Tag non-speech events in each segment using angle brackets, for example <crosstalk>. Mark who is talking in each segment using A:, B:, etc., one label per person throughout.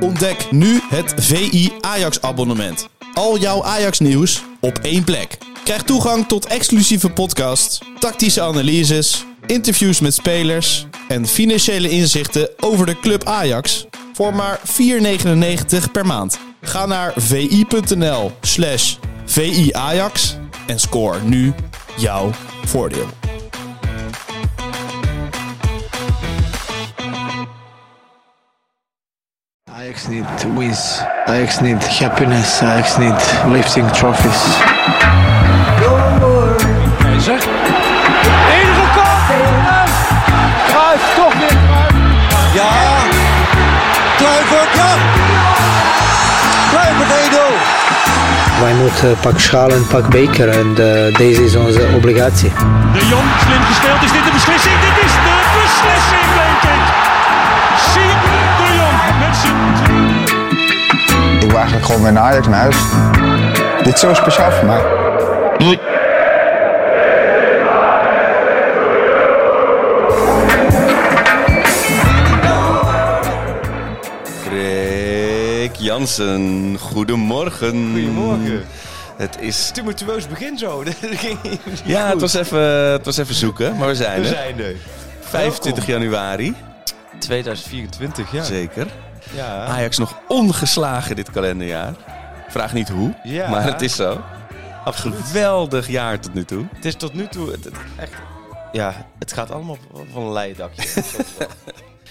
A: Ontdek nu het VI Ajax abonnement. Al jouw Ajax nieuws op één plek. Krijg toegang tot exclusieve podcasts, tactische analyses, interviews met spelers en financiële inzichten over de club Ajax voor maar 4,99 per maand. Ga naar vi.nl slash VI Ajax en score nu jouw voordeel.
B: Ajax need wins. Ajax need happiness. Ajax need lifting trophies.
C: Keizer. Ingekopt! En Kruif toch weer.
D: Ja.
E: Ah,
D: Kluivert, ja. Kluivert 1-0.
F: Wij moeten uh, pak schaal en pak beker en eh, deze is onze obligatie.
G: De Jong, slim gespeeld. Is dit de beslissing? Dit is de beslissing, denk ik. Siem de Jong met zijn...
E: Ik wil eigenlijk gewoon weer naar Ajax naar huis. Dit is zo speciaal voor mij.
H: Rick Jansen, goedemorgen.
I: Goedemorgen.
H: Het is...
I: Tumultueus Dus begin zo. <laughs> Dat ging niet
H: Ja, het
I: goed.
H: was, even, het was even zoeken, maar we zijn
I: We
H: er.
I: zijn er.
H: 25 januari,
I: 2024, ja.
H: zeker.
I: ja.
H: Ajax nog ongeslagen dit kalenderjaar. Vraag niet hoe,
I: Ja.
H: maar het is zo. Geweldig jaar tot nu toe.
I: Het is tot nu toe het, het echt... Ja, het gaat allemaal van een leien <laughs> dakje.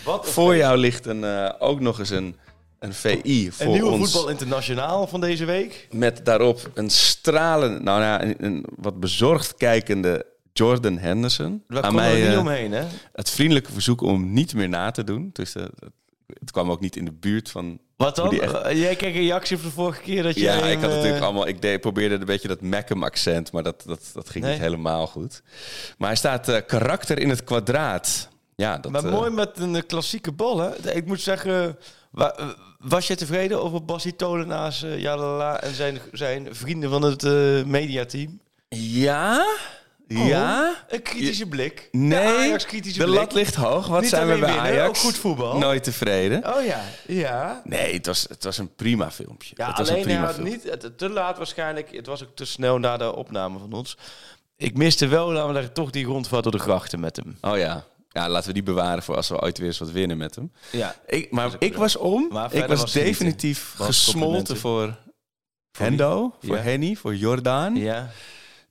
I: Wat een-
H: Voor jou ligt een, eh, ook nog eens een, een VI voor
I: Een nieuwe
H: ons.
I: voetbal internationaal van deze week.
H: Met daarop een stralend, nou ja, een, een wat bezorgd kijkende Jordan Henderson.
I: Daar
H: Aan
I: kon nou er
H: mij,
I: niet
H: eh,
I: omheen, hè?
H: het vriendelijke verzoek om niet meer na te doen. Dus eh, het kwam ook niet in de buurt van.
I: Wat
H: hoe
I: dan?
H: die echt-
I: Eh, Jij kreeg een reactie van de vorige keer dat je...
H: Ja,
I: hem,
H: ik had
I: eh,
H: natuurlijk allemaal. Ik deed, probeerde een beetje dat Mackem accent, maar dat, dat, dat ging
I: Nee.
H: niet helemaal goed. Maar hij staat eh, karakter in het kwadraat. Ja, dat,
I: Maar
H: eh,
I: mooi met een eh, klassieke bal, hè? Ik moet zeggen, wa- eh, was je tevreden over Bassi Tolenaars, eh, Jalala en zijn, zijn vrienden van het eh, mediateam?
H: Ja, ja.
I: Een kritische blik.
H: Nee,
I: de Ajax kritische
H: de
I: blik.
H: lat ligt hoog. Wat
I: Niet
H: zijn we
I: alleen
H: bij
I: winnen,
H: Ajax?
I: ook goed voetbal.
H: Nooit tevreden.
I: Oh ja, ja.
H: Nee, het was, het was een prima filmpje.
I: Ja,
H: het was een
I: alleen hij
H: prima
I: had
H: filmpje.
I: niet het, te laat waarschijnlijk. Het was ook te snel na de opname van ons. Ik miste wel, laten we daar toch die rondvaart door de grachten met hem.
H: Oh ja. Ja, laten we die bewaren voor als we ooit weer eens wat winnen met hem.
I: Ja.
H: Ik, maar ik was om.
I: Maar
H: ik
I: verder
H: was,
I: was genieten.
H: definitief
I: Was
H: gesmolten
I: complimenten.
H: voor,
I: Voor
H: Hendo,
I: wie?
H: voor
I: Ja.
H: Henny, voor Jordaan.
I: Ja.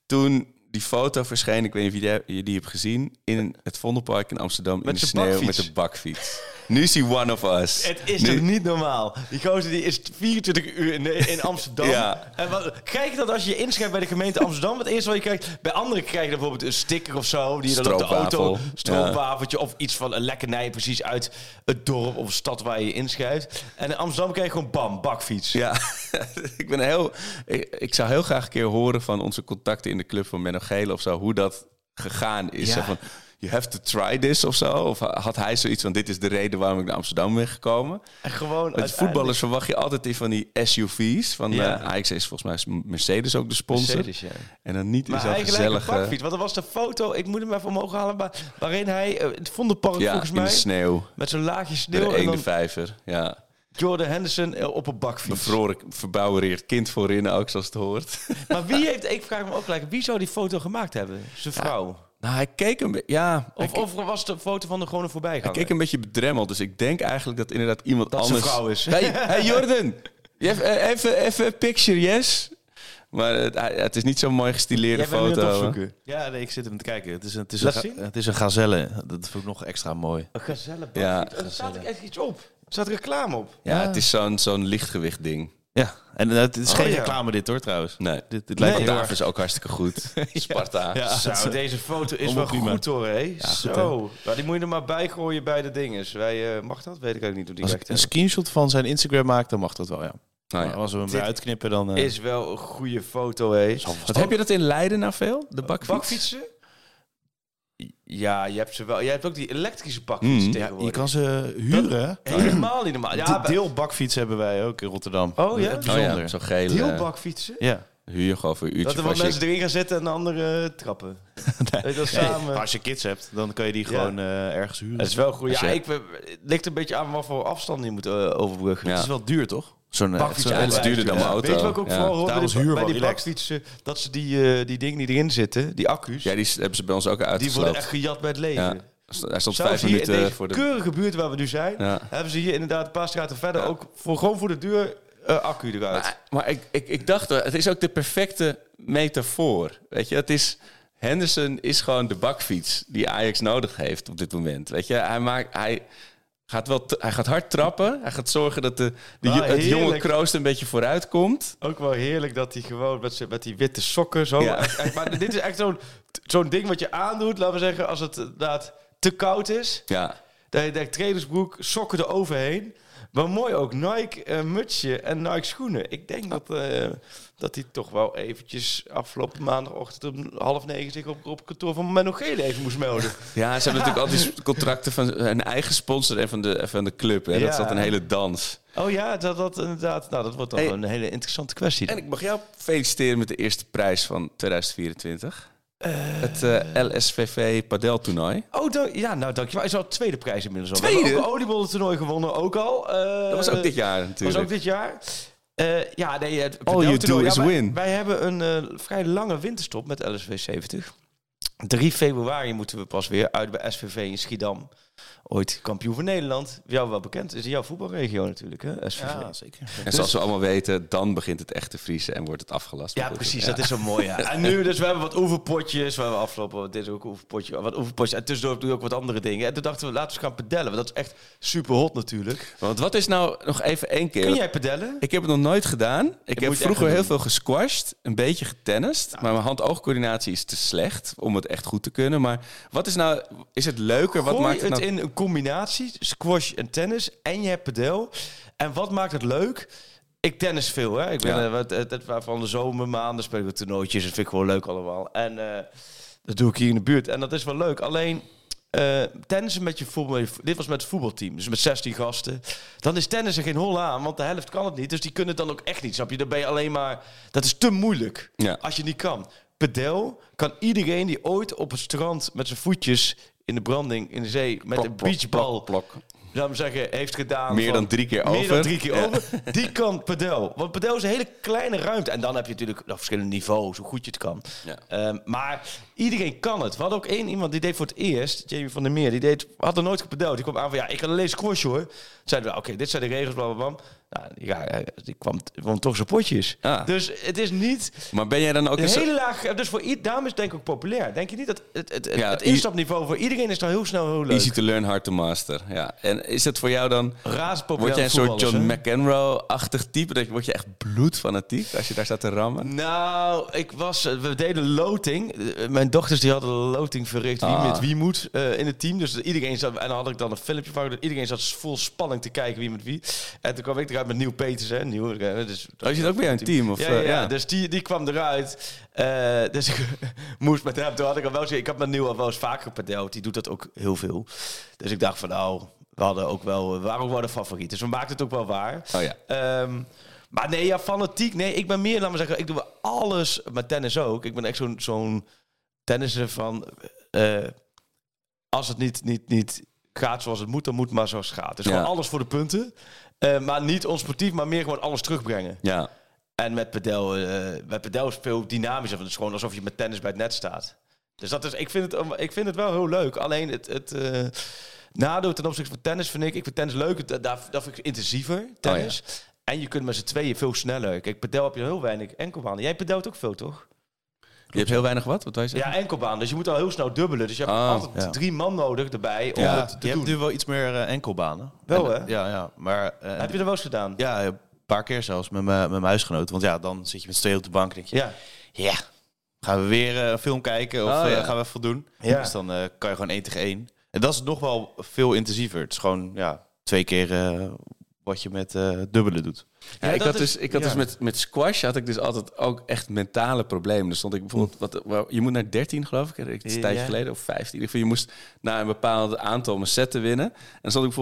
H: Toen die foto verscheen, ik weet niet of je die, je die hebt gezien, in het Vondelpark in Amsterdam in
I: Met
H: de
I: zijn
H: sneeuw
I: bakfiets.
H: met de bakfiets. nu is hij one of us.
I: Het is
H: nu,
I: toch niet normaal? Die gozer die is 24 uur in, in Amsterdam.
H: Ja.
I: en wat, krijg je dat als je je inschrijft bij de gemeente Amsterdam? Het eerste wat je krijgt... Bij anderen krijg je bijvoorbeeld een sticker of zo. Die je dan op de
H: Stroopwafel.
I: auto... Stroopwafeltje of iets van een lekkernij precies uit het dorp of stad waar je je inschrijft. En in Amsterdam krijg je gewoon bam, bakfiets.
H: Ja, <laughs> ik ben heel. Ik, ik zou heel graag een keer horen van onze contacten in de club van Menno Gele of zo, hoe dat gegaan is.
I: Ja.
H: Zo van, you have to try this of zo. Of had hij zoiets van: dit is de reden waarom ik naar Amsterdam ben gekomen?
I: En gewoon
H: Met voetballers verwacht je altijd die van die SUV's. Van
I: Ja.
H: eh, Ajax is volgens mij Mercedes ook de sponsor.
I: Mercedes, ja.
H: En dan niet in
I: Maar
H: zo'n
I: hij gelijk een
H: gezellige.
I: bakfiets. Want er was de foto, ik moet hem even omhoog halen, maar waarin hij eh, het Vondelpark
H: ja,
I: volgens
H: in de
I: mij
H: sneeuw.
I: met zo'n laagje
H: Bij
I: sneeuw
H: de
I: en
H: ene
I: dan
H: vijver. Ja.
I: Jordan Henderson eh, op een bakfiets.
H: Bevroren, verbouwereerd kind voorin ook, zoals het
I: <laughs>
H: hoort.
I: Maar wie heeft, ik vraag me ook gelijk, wie zou die foto gemaakt hebben? Zijn vrouw?
H: nou, hij keek een beetje. Ja, hij
I: Of, of was de foto van de gewone
H: Ik
I: voorbijganger?
H: keek een beetje bedremmeld, dus ik denk eigenlijk dat inderdaad iemand
I: Dat ze
H: anders...
I: vrouw is. <laughs>
H: Hey, hey Jordan, je hebt, eh, even, even een picture, yes? Maar het, eh, het is niet zo'n mooi gestileerde
C: Jij bent nu aan het
H: foto. hè?
C: opzoeken. Ja, nee, ik zit hem te kijken. Het is een, het is een,
I: Laat
C: ga-
I: zien.
C: het is een gazelle. Dat vond ik nog extra mooi.
I: Een gezellig
H: Ja,
I: ja, Er staat ook echt iets op. Er staat reclame op.
H: Ja, het is zo'n zo'n lichtgewicht ding.
C: Ja, en eh, het is
I: Oh,
C: geen
I: ja.
C: reclame dit hoor trouwens.
H: Nee,
C: Dit, dit
H: lijkt
C: lijkt
H: nee,
C: heel
H: is ook hartstikke goed. Sparta.
I: <laughs> Ja, zo, deze foto is wel
C: prima.
I: goed hoor, hé. zo. Maar die moet je er maar bij gooien bij de dinges. Wij, eh, mag dat? Weet ik ook niet hoe die
C: Als
I: werkt.
C: ik een screenshot van zijn Instagram maak, dan mag dat wel, ja.
H: Nou ja.
C: Maar als we hem
I: Dit
C: weer uitknippen, dan... eh,
I: Is wel een goede foto, hé.
H: Wat heb je dat in Leiden nou veel?
I: Oh,
H: De bakfiets?
I: Bakfietsen? Ja, je hebt ze wel. Jij hebt ook die elektrische bakfietsen
H: Hmm.
I: tegenwoordig.
C: Je kan ze huren. hè?
I: Helemaal niet normaal. Ja,
C: De deelbakfiets hebben wij ook in Rotterdam.
I: Oh, ja?
C: Dat is
H: Oh
C: bijzonder.
H: ja, zo'n gele.
I: deelbakfietsen?
C: ja.
H: Huur je gewoon voor een uurtje.
I: Dat er
H: voor
I: wat
H: als je-
I: mensen erin gaan zitten en de anderen eh,
H: <laughs>
I: trappen. Weet je dat
C: Nee,
I: samen.
C: Als je kids hebt, dan kan je die
I: Ja.
C: gewoon eh, ergens huren.
I: Dat is wel goed.
H: Als
I: Ja,
H: je-
I: ik, ben- het ligt een beetje aan wat voor afstand je moet eh, overbruggen.
H: Ja.
C: Het is wel duur, toch?
H: Zo'n eh,
I: Bakfiets
H: zo'n- het is
I: aanwijzen.
H: duurder dan mijn
I: Ja.
H: auto.
I: Weet je wat ik ook
H: Ja.
I: vooral hoor? Bij
C: Daarom is
I: die-
C: huur
I: bij
C: wel
I: die
C: relaxed.
I: bakfietsen, dat ze die, eh die dingen die erin zitten, die accu's,
H: Ja, die s- hebben ze bij ons ook
I: die worden echt
H: uitgesloopt.
I: gejat bij het leven.
H: Ja. Hij stond
I: Zelfs
H: vijf
I: hier in
H: minuten
I: deze
H: voor de...
I: keurige buurt waar we nu zijn,
H: Ja.
I: hebben ze hier inderdaad een paar straten verder
H: Ja.
I: ook voor, gewoon voor de deur eh, accu eruit.
H: Maar, maar ik, ik, ik dacht, wel, het is ook de perfecte metafoor. Weet je, het is... Henderson is gewoon de bakfiets die Ajax nodig heeft op dit moment. Weet je, hij, maakt, hij, gaat, wel t- hij gaat hard trappen. Hij gaat zorgen dat de, de,
I: Ah,
H: jo- het jonge
I: heerlijk.
H: Kroost een beetje vooruit komt.
I: Ook wel heerlijk dat hij gewoon met, z'n- met die witte sokken zo.
H: Ja.
I: Echt- echt, maar dit is echt zo'n zo'n ding wat je aandoet, laten we zeggen, als het inderdaad te koud is.
H: Ja,
I: Dat je denkt, trainersbroek, sokken eroverheen. Maar mooi ook, Nike eh, mutsje en Nike schoenen. Ik denk dat, eh, dat hij toch wel eventjes afgelopen maandagochtend om half negen zich op, op kantoor van Menno Gele even moest
H: <laughs>
I: melden.
H: ja ze hebben natuurlijk al die contracten van hun eigen sponsor en van de, van de club. Hè.
I: Ja.
H: Dat zat een hele dans.
I: Oh ja, dat, dat inderdaad. Nou, dat wordt dan
H: Hey.
I: een hele interessante kwestie.
H: En ik mag jou feliciteren met de eerste prijs van 2024. het eh, LSVV padeltoernooi.
I: Oh, dank- ja, nou dankjewel. Hij is al tweede prijs inmiddels al.
H: Tweede?
I: We hebben ook een oliebollentoernooi gewonnen, ook al. Eh,
H: Dat was ook dit jaar natuurlijk.
I: was ook dit jaar. Eh, ja, nee, het
H: All you
I: padeltoernooi.
H: do is
I: Ja, wij-
H: win.
I: Wij, hebben een eh, vrij lange winterstop met LSV 70. 3 februari moeten we pas weer uit bij SVV in Schiedam. Ooit kampioen van Nederland. Jou wel bekend. Is in jouw voetbalregio natuurlijk, hè? SVV. Ja, zeker.
H: En zoals we allemaal weten, dan begint het echt te vriezen en wordt het afgelast.
I: Dus- Ja,
H: Maar goed,
I: precies. Dat is zo mooi. Ja. En nu, dus we hebben wat oefenpotjes. We hebben afgelopen, dit is ook een oefenpotje. Wat oefenpotjes. En tussendoor doe je ook wat andere dingen. En toen dachten we, laten we eens gaan pedellen. Want dat is echt super hot natuurlijk.
H: Want wat is nou nog even één keer?
I: Kun jij pedellen?
H: Ik heb het nog nooit gedaan. Ik heb
I: moet je
H: vroeger
I: echt Nou.
H: heel
I: doen.
H: veel gesquashed, een beetje getennist. Maar mijn hand-oogcoördinatie is te slecht om het echt goed te kunnen. Maar wat is nou, is het leuker? Wat
I: Gooi
H: maakt het,
I: het
H: nou...
I: in een combinatie, squash en tennis. En je hebt padel. En wat maakt het leuk? Ik tennis veel, hè. Ik ben,
H: Ja.
I: eh, wat- het- het- van de zomermaanden speel ik wat toernooitjes. Dat vind ik gewoon leuk allemaal. En eh, dat doe ik hier in de buurt. En dat is wel leuk. Alleen... eh tennissen met je voetbal. Dit was met het voetbalteam, dus met 16 gasten. Dan is tennissen geen hol aan, want de helft kan het niet. Dus die kunnen het dan ook echt niet. Snap je? Dan ben je alleen maar. Dat is te moeilijk
H: Ja.
I: als je niet kan. Pedel kan iedereen die ooit op het strand met zijn voetjes in de branding, in de zee, met een beachbal,
H: plok.
I: zou ik maar zeggen, heeft gedaan.
H: Meer
I: van-
H: dan drie keer
I: Meer
H: over.
I: dan drie keer
H: Ja.
I: over. Die kan pedel. Want pedel is een hele kleine ruimte. En dan heb je natuurlijk nog verschillende niveaus, hoe goed je het kan.
H: Ja.
I: Ehm, maar iedereen kan het. We hadden ook één iemand die deed voor het eerst, Jamie van der Meer, die deed, had er nooit gepedeld. Die kwam aan van, ja, ik kan alleen squashen hoor. Toen zeiden we, oké, dit zijn de regels, bla bla bla. Nou, ja, hij- die kwam, kwam toch zijn potjes.
H: Ah.
I: Dus het is niet...
H: Maar ben jij dan ook...
I: Een
H: een zo-
I: hele laag, dus voor ieder, daarom is het denk ik ook populair. Denk je niet dat het, het, het,
H: Ja,
I: het
H: i-
I: instapniveau voor iedereen is dan heel snel heel leuk?
H: Easy to learn, hard to master. Ja. En is het voor jou dan...
I: Razend
H: Word jij
I: populair
H: een soort
I: met
H: John
I: voetballers,
H: McEnroe-achtig type? Dat je- Word je echt bloedfanatiek als je daar staat te rammen?
I: hè? Nou, ik was, eh, we deden loting. Eh, Mijn dochters die hadden loting verricht wie
H: Ah.
I: met wie moet eh, in het team. Dus iedereen zat, en dan had ik dan een filmpje van, dat iedereen zat vol spanning te kijken wie met wie. En toen kwam ik eruit met Nieuw Peters, hè? Nieuw, eh, dus,
H: Oh, je zit ook bij jouw team? Of,
I: ja,
H: eh,
I: ja, ja. dus die, die kwam eruit. Eh, dus <laughs> ik moest met hem. Toen had ik al wel eens, ik had met Nieuw al wel eens vaker gepadeld. Die doet dat ook heel veel. Dus ik dacht van nou, we hadden ook wel, we waren ook wel de favoriet. Dus we maakten het ook wel waar.
H: Oh ja.
I: Ehm, maar nee, ja, fanatiek. Nee, ik ben meer, laat maar zeggen, ik doe wel alles met tennis ook. Ik ben echt zo'n zo'n tennisser van, eh, als het niet, niet, niet gaat zoals het moet, dan moet het maar zoals het gaat. Dus
H: Ja.
I: gewoon alles voor de punten. Eh, maar niet onsportief, maar meer gewoon alles terugbrengen.
H: Ja.
I: En met pedel, eh met pedel is het veel dynamischer. want Het is gewoon alsof je met tennis bij het net staat. Dus dat is, ik vind het, ik vind het wel heel leuk. Alleen het, het eh, nadeel ten opzichte van tennis vind ik, ik vind tennis leuk. het- Daar, daar vind ik intensiever, tennis. En je kunt met z'n tweeën veel sneller. Kijk, pedel heb je heel weinig enkelbanen. Jij pedelt ook veel, toch?
H: Je hebt heel weinig wat? Wat wij zeggen?
I: Ja, enkelbaan. Dus je moet al heel snel dubbelen. Dus je hebt
H: Ah,
I: altijd
C: ja.
I: drie man nodig erbij. Om
C: Ja,
I: het te
C: je hebt
I: doen.
C: nu wel iets meer eh, enkelbanen.
I: Wel,
C: En-
I: hè?
C: Ja, ja. Maar, eh,
I: Heb je er wel eens gedaan?
C: Ja, een paar keer zelfs met mijn met mijn huisgenoot. Want ja, dan zit je met z'n tweeën op de bank en denk je...
I: Ja.
C: Ja, gaan we weer eh, een film kijken of
H: Oh,
C: eh,
H: ja.
C: gaan we even wat doen?
I: Ja.
C: Dus dan eh, kan je gewoon één tegen één. En dat is nog wel veel intensiever. Het is gewoon ja, twee keer eh, wat je met eh dubbelen doet.
H: Ja, ik
I: dat
H: had,
I: is-
H: dus, ik had
I: ja.
H: dus met, met squash had ik dus altijd ook echt mentale problemen. Dan stond ik bijvoorbeeld, wat, wel, je moet naar 13 geloof ik, het is een
I: Hm. Ja.
H: tijdje geleden, of 15. In ieder geval, je moest na een bepaald aantal mijn setten winnen. En dan stond ik